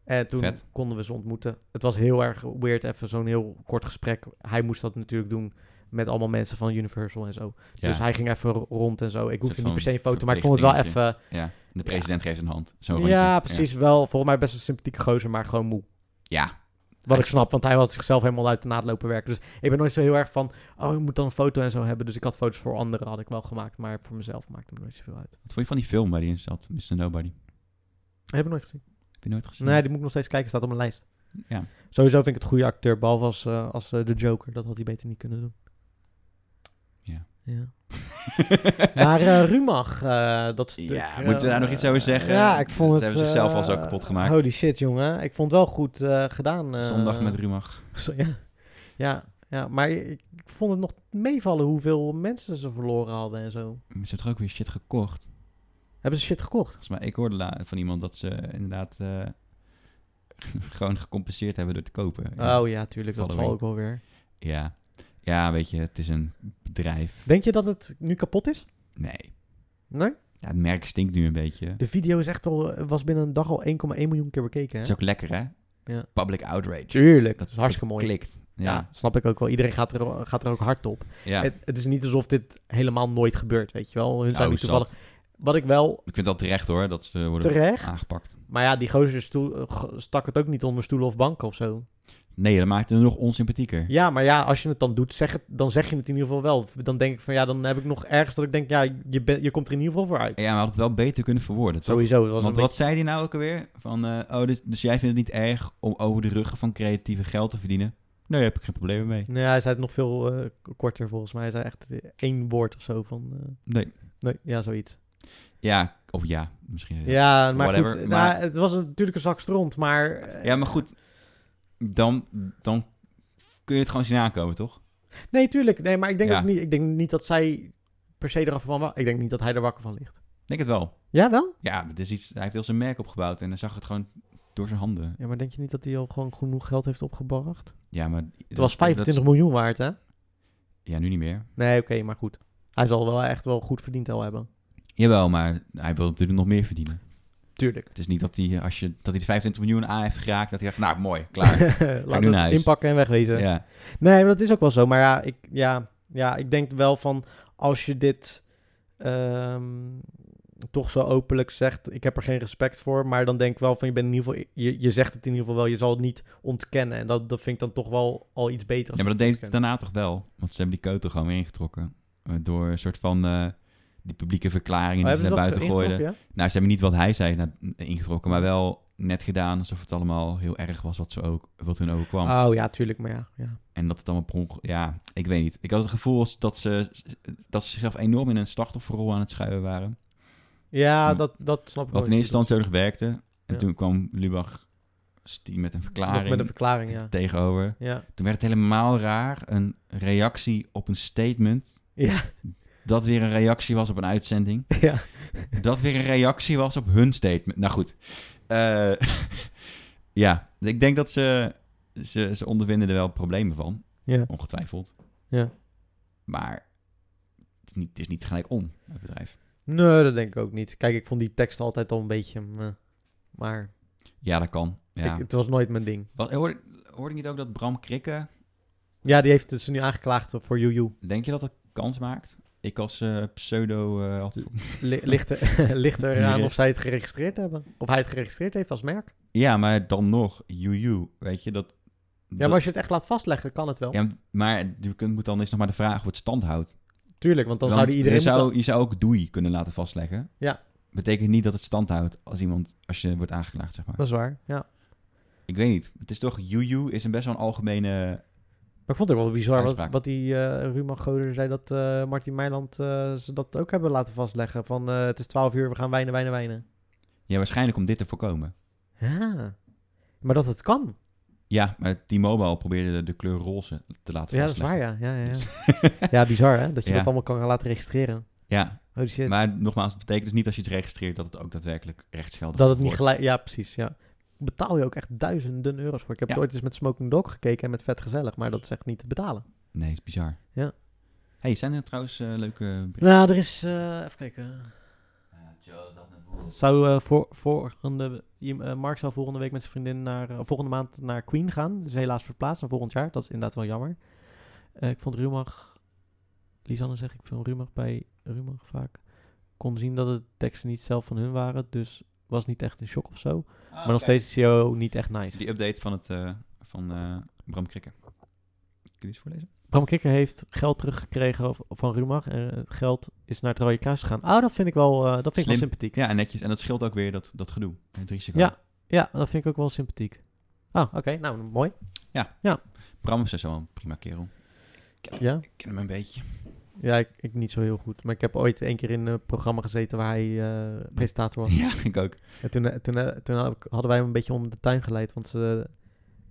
Speaker 3: En toen
Speaker 4: Vet.
Speaker 3: konden we ze ontmoeten. Het was heel erg weird, even zo'n heel kort gesprek. Hij moest dat natuurlijk doen met allemaal mensen van Universal en zo.
Speaker 4: ja,
Speaker 3: Dus hij ging even rond en zo. Ik hoefde
Speaker 4: soort
Speaker 3: niet per se een
Speaker 4: van
Speaker 3: foto, maar ik vond het wel even...
Speaker 4: ja. De president geeft een hand. Zo
Speaker 3: Ja, precies. Wel volgens mij best een sympathieke gozer, maar gewoon moe.
Speaker 4: Ja.
Speaker 3: Wat ik snap, want hij had zichzelf helemaal uit de naad lopen werken. Dus ik ben nooit zo heel erg van, oh, je moet dan een foto en zo hebben. Dus ik had foto's voor anderen, had ik wel gemaakt. Maar voor mezelf maakte het me nooit zoveel uit.
Speaker 4: Wat vond je van die film waar die in zat? Mr. Nobody.
Speaker 3: Heb ik nooit gezien.
Speaker 4: Heb je nooit gezien?
Speaker 3: Nee, die moet ik nog steeds kijken. Staat op mijn lijst.
Speaker 4: Ja.
Speaker 3: Sowieso vind ik het goede acteur, behalve als, eh, als eh, de Joker. Dat had hij beter niet kunnen doen.
Speaker 4: Ja.
Speaker 3: Ja. maar eh Rumach, eh, dat stuk...
Speaker 4: Ja,
Speaker 3: eh,
Speaker 4: moeten we daar nog iets over zeggen?
Speaker 3: Ja, ik vond het...
Speaker 4: Ze hebben zichzelf
Speaker 3: eh,
Speaker 4: al zo kapot gemaakt.
Speaker 3: Holy shit, jongen. Ik vond het wel goed eh, gedaan. eh.
Speaker 4: Zondag met Rumach.
Speaker 3: Zo- ja. Ja, ja, maar ik ik vond het nog meevallen hoeveel mensen ze verloren hadden en zo.
Speaker 4: Ze hebben toch ook weer shit gekocht?
Speaker 3: Hebben ze shit gekocht?
Speaker 4: Volgens mij, ik hoorde la- van iemand dat ze inderdaad eh, gewoon gecompenseerd hebben door te kopen.
Speaker 3: Oh ja, tuurlijk. Dat zal
Speaker 4: Following.
Speaker 3: ook wel weer.
Speaker 4: Ja. ja, weet je, het is een bedrijf.
Speaker 3: Denk je dat het nu kapot is?
Speaker 4: Nee.
Speaker 3: Nee?
Speaker 4: Ja, het merk stinkt nu een beetje.
Speaker 3: De video is echt al, eh, was binnen een dag al 1,1 miljoen keer bekeken.
Speaker 4: Het
Speaker 3: Hè?
Speaker 4: is ook lekker, hè?
Speaker 3: Ja.
Speaker 4: Public outrage.
Speaker 3: Tuurlijk. Dat is hartstikke mooi.
Speaker 4: Klikt.
Speaker 3: Ja.
Speaker 4: Ja.
Speaker 3: snap ik ook wel. Iedereen gaat er, gaat er ook hard op.
Speaker 4: ja.
Speaker 3: Het, het is niet alsof dit helemaal nooit gebeurt, weet je wel. Hun
Speaker 4: Nou,
Speaker 3: zijn niet
Speaker 4: hoe
Speaker 3: toevallig. Wat ik wel
Speaker 4: Ik vind dat terecht hoor, dat ze worden
Speaker 3: terecht.
Speaker 4: aangepakt.
Speaker 3: Maar ja, die gozer stoel, g- stak het ook niet onder stoelen of banken of zo.
Speaker 4: Nee, dat maakt het nog onsympathieker.
Speaker 3: Ja, maar ja, als je het dan doet, zeg het, dan zeg je het in ieder geval wel. Dan denk ik van ja, dan heb ik nog ergens dat ik denk, ja, je, bent je komt er in ieder geval voor uit.
Speaker 4: Ja, we hadden het wel beter kunnen verwoorden. toch?
Speaker 3: Sowieso. Dat was
Speaker 4: Want
Speaker 3: een
Speaker 4: wat zei die nou ook alweer? Van, eh, oh, dus, dus jij vindt het niet erg om over de ruggen van creatieven geld te verdienen? Nee, daar heb ik geen problemen mee.
Speaker 3: Nee, hij zei het nog veel eh, k- korter volgens mij. Hij zei echt eh, één woord of zo van... eh,
Speaker 4: Nee.
Speaker 3: nee, ja, zoiets.
Speaker 4: Ja, of ja, misschien.
Speaker 3: Ja, maar
Speaker 4: whatever,
Speaker 3: goed.
Speaker 4: maar-
Speaker 3: Nou, het was een- natuurlijk een zak stront, maar... eh,
Speaker 4: Ja, maar goed, dan, dan kun je het gewoon zien aankomen, toch?
Speaker 3: Nee, tuurlijk. Nee, maar ik denk,
Speaker 4: Ja.
Speaker 3: ook niet, ik denk niet dat zij per se erachter van... wa- Ik denk niet dat hij er wakker van ligt.
Speaker 4: Ik Denk het wel.
Speaker 3: Ja, wel?
Speaker 4: Ja, het is iets, hij heeft heel zijn merk opgebouwd en dan zag het gewoon door zijn handen.
Speaker 3: Ja, maar denk je niet dat hij al gewoon genoeg geld heeft opgebracht?
Speaker 4: Ja, maar...
Speaker 3: Het was 25 miljoen waard, hè?
Speaker 4: Ja, nu niet meer.
Speaker 3: Nee, oké, maar goed. Hij zal wel echt wel goed verdiend al hebben.
Speaker 4: Jawel, maar hij wil natuurlijk nog meer verdienen.
Speaker 3: Tuurlijk.
Speaker 4: Het is niet dat hij, eh, als je, dat hij de 25 miljoen aan heeft geraakt, dat hij dacht, nou, mooi, klaar.
Speaker 3: Laat
Speaker 4: nu
Speaker 3: het
Speaker 4: naar huis.
Speaker 3: inpakken en wegwezen.
Speaker 4: ja.
Speaker 3: Nee, maar dat is ook wel zo. Maar ja, ik, ja, ja, ik denk wel van als je dit ehm, toch zo openlijk zegt, ik heb er geen respect voor. Maar dan denk ik wel van je bent in ieder geval, je, je zegt het in ieder geval wel, je zal het niet ontkennen. En dat, dat vind ik dan toch wel al iets beter. als
Speaker 4: ja, maar dat
Speaker 3: het
Speaker 4: deed hij
Speaker 3: ontkent.
Speaker 4: daarna toch wel? Want ze hebben die keutel gewoon weer ingetrokken. Eh, Door een soort van eh, die publieke verklaringen
Speaker 3: Oh,
Speaker 4: die ze
Speaker 3: hebben
Speaker 4: naar
Speaker 3: ze dat
Speaker 4: buiten gooiden.
Speaker 3: ingetrokken, ja?
Speaker 4: Nou, ze hebben niet wat hij zei naar- eh, ingetrokken, maar wel net gedaan alsof het allemaal heel erg was wat, ze ook, wat hun overkwam.
Speaker 3: Oh ja, tuurlijk, maar ja. ja.
Speaker 4: En dat het allemaal per ongeluk- Ja, ik weet niet. Ik had het gevoel dat ze, dat ze zichzelf enorm in een slachtofferrol aan het schuiven waren.
Speaker 3: Ja,
Speaker 4: Hm.
Speaker 3: dat, dat snap ik
Speaker 4: Wat in
Speaker 3: wel.
Speaker 4: eerste instantie nodig werkte. En
Speaker 3: Ja.
Speaker 4: toen kwam Lubach Stie met een verklaring
Speaker 3: Nog met een verklaring, ja.
Speaker 4: tegenover.
Speaker 3: Ja,
Speaker 4: Toen werd het helemaal raar. Een reactie op een statement.
Speaker 3: ja,
Speaker 4: Dat weer een reactie was op een uitzending.
Speaker 3: ja.
Speaker 4: dat weer een reactie was op hun statement. Nou goed. Eh, ja, ik denk dat ze, ze... Ze ondervinden er wel problemen van.
Speaker 3: ja.
Speaker 4: Ongetwijfeld.
Speaker 3: Ja.
Speaker 4: Maar het is niet, het is niet gelijk om, het bedrijf.
Speaker 3: Nee, dat denk ik ook niet. Kijk, ik vond die tekst altijd al een beetje... meh. maar
Speaker 4: Ja, dat kan. Ja.
Speaker 3: ik, het was nooit mijn ding.
Speaker 4: Wat, hoorde, hoorde ik niet ook dat Bram Krikke...
Speaker 3: Ja, die heeft ze nu aangeklaagd voor Juju.
Speaker 4: Denk je dat dat kans maakt? Ik als eh, pseudo... eh, had-
Speaker 3: Li- Ligt, er, ligt eraan
Speaker 4: Jurist.
Speaker 3: of zij het geregistreerd hebben. Of hij het geregistreerd heeft als merk.
Speaker 4: ja, maar dan nog. Juju, weet je, dat...
Speaker 3: Ja, maar als je het echt laat vastleggen, kan het wel.
Speaker 4: Ja, maar je kunt, moet dan eens nog maar de vraag hoe het stand houdt.
Speaker 3: Tuurlijk, want dan
Speaker 4: Want
Speaker 3: zou die iedereen...
Speaker 4: je, zou, je zou ook doei kunnen laten vastleggen.
Speaker 3: Ja.
Speaker 4: Betekent niet dat het stand houdt als iemand, als je wordt aangeklaagd, zeg maar.
Speaker 3: Dat is waar, ja.
Speaker 4: Ik weet niet. Het is toch, Juju is een best wel een algemene...
Speaker 3: Maar ik vond het wel bizar wat,
Speaker 4: Uitspraak.
Speaker 3: wat die eh Ruman Goder zei dat eh Martin Meiland eh, ze dat ook hebben laten vastleggen. Van eh, het is 12 uur, we gaan wijnen, wijnen, wijnen.
Speaker 4: Ja, waarschijnlijk om dit te voorkomen.
Speaker 3: Ja. Maar dat het kan.
Speaker 4: Ja, maar T-Mobile probeerde de, de kleur roze te laten
Speaker 3: Ja, dat is waar,
Speaker 4: vastleggen.
Speaker 3: ja. Ja, ja, ja. ja bizar hè, dat je
Speaker 4: Ja.
Speaker 3: dat allemaal kan gaan laten registreren.
Speaker 4: Ja,
Speaker 3: Holy shit.
Speaker 4: maar nogmaals, het betekent dus niet als je het registreert dat het ook daadwerkelijk rechtsgeldig
Speaker 3: dat het niet
Speaker 4: wordt.
Speaker 3: gelijk... Ja, precies, ja. Betaal je ook echt duizenden euro's voor. Ik heb
Speaker 4: Ja.
Speaker 3: het ooit eens met Smoking Dog gekeken en met Vet Gezellig, maar dat is echt niet te betalen.
Speaker 4: Nee, is bizar.
Speaker 3: Ja.
Speaker 4: hey, zijn er trouwens eh, leuke... berichten?
Speaker 3: Nou, er is... eh, even kijken. Zou eh, voor, volgende... iem- eh, Mark zou volgende week met zijn vriendin naar... eh, volgende maand naar Queen gaan. Dus helaas verplaatst naar volgend jaar. Dat is inderdaad wel jammer. Eh, ik vond Rumach... Lisanne zeg ik van Rumach bij Rumach vaak. Kon zien dat de teksten niet zelf van hun waren. Dus was niet echt een shock of zo. maar nog steeds is CEO niet echt nice.
Speaker 4: Die update van, het, eh, van eh, Bram Krikke. Kun je iets voorlezen?
Speaker 3: Bram Kikker heeft geld teruggekregen v- van Rumach. En het geld is naar het Rode Kruis gegaan. Ah, dat vind ik wel, eh, dat vind ik wel
Speaker 4: Slim.
Speaker 3: sympathiek.
Speaker 4: Ja, en netjes. En dat scheelt ook weer dat, dat gedoe. en Het risico.
Speaker 3: Ja. Ja, dat vind ik ook wel sympathiek. Ah, oké. nou, mooi.
Speaker 4: Bram is sowieso wel een prima kerel.
Speaker 3: Ja,
Speaker 4: Ik ken hem een beetje.
Speaker 3: ja ik, ik niet zo heel goed. Maar ik heb ooit één keer in een programma gezeten waar hij eh, presentator was.
Speaker 4: Ja, ik ook.
Speaker 3: En toen, eh, toen, eh, toen had ik- hadden wij hem een beetje om de tuin geleid. Want ze,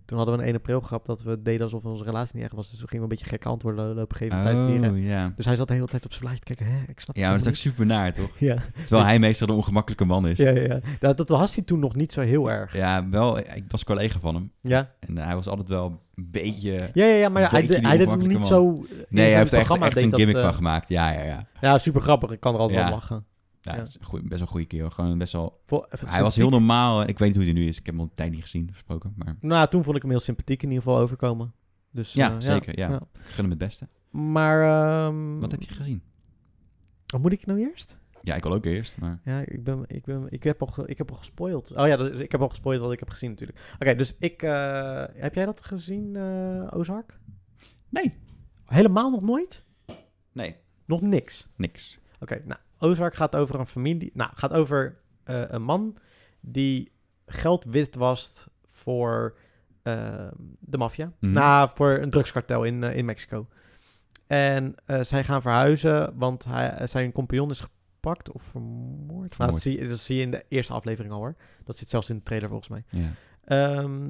Speaker 3: Toen hadden we een 1 april grap dat we deden alsof onze relatie niet echt was. Dus we gingen een beetje gekke antwoorden lopen geven tijdens het vieren.
Speaker 4: Oh, ja.
Speaker 3: Dus hij zat de hele tijd op zijn blaadje te kijken. Hè, ik snap het
Speaker 4: Ja, maar dat is ook
Speaker 3: helemaal
Speaker 4: super naar, toch?
Speaker 3: niet. ja,
Speaker 4: Terwijl hij meestal de ongemakkelijke man is.
Speaker 3: ja, ja, ja. Nou, Dat, dat was hij toen nog niet zo heel erg.
Speaker 4: Ja, wel. Ik was collega van hem.
Speaker 3: Ja,
Speaker 4: En eh, hij was altijd wel een beetje...
Speaker 3: ja, ja, ja maar
Speaker 4: Een
Speaker 3: hij,
Speaker 4: beetje
Speaker 3: deed-
Speaker 4: die
Speaker 3: hij deed hem
Speaker 4: ongemakkelijke
Speaker 3: niet zo... in
Speaker 4: Nee,
Speaker 3: zijn
Speaker 4: hij heeft er echt,
Speaker 3: programma
Speaker 4: echt
Speaker 3: deed
Speaker 4: een
Speaker 3: dat,
Speaker 4: gimmick
Speaker 3: eh,
Speaker 4: van gemaakt. Ja, ja, ja.
Speaker 3: Ja, super grappig. Ik kan er altijd
Speaker 4: Ja.
Speaker 3: wel lachen. eh,
Speaker 4: ja,
Speaker 3: Ja.
Speaker 4: het is een goeie- best wel een goede kerel. Gewoon best wel...
Speaker 3: Vo-
Speaker 4: Hij was heel normaal. eh, Ik weet niet hoe hij nu is. Ik heb hem al een tijd niet gezien, gesproken. Maar
Speaker 3: Nou, toen vond ik hem heel sympathiek in ieder geval overkomen. Dus,
Speaker 4: ja,
Speaker 3: eh,
Speaker 4: zeker. Ja. Ik gun hem het beste.
Speaker 3: Maar, ehm,
Speaker 4: Wat heb je gezien?
Speaker 3: wat moet ik nou eerst?
Speaker 4: Ja, ik wil ook eerst, maar...
Speaker 3: Ja, ik, ben, ik, ben, ik, heb, al ge- ik heb al gespoild. Oh ja, dat- ik heb al gespoild wat ik heb gezien natuurlijk. Oké, dus ik... eh, heb jij dat gezien, eh, Ozark?
Speaker 4: Nee.
Speaker 3: Helemaal nog nooit?
Speaker 4: Nee.
Speaker 3: Nog niks?
Speaker 4: Niks.
Speaker 3: Oké, nou, Ozark gaat over een familie. Nou, gaat over eh, een man die geld witwast voor eh, de maffia.
Speaker 4: Mhm.
Speaker 3: Nou, voor een drugskartel in, eh, in Mexico. En eh, zij gaan verhuizen, want hij, eh, zijn compagnon is gepakt of vermoord. Nou, dat,
Speaker 4: Vermoord.
Speaker 3: zie, je- dat zie je in de eerste aflevering al hoor. Dat zit zelfs in de trailer volgens mij.
Speaker 4: Ja.
Speaker 3: Ehm,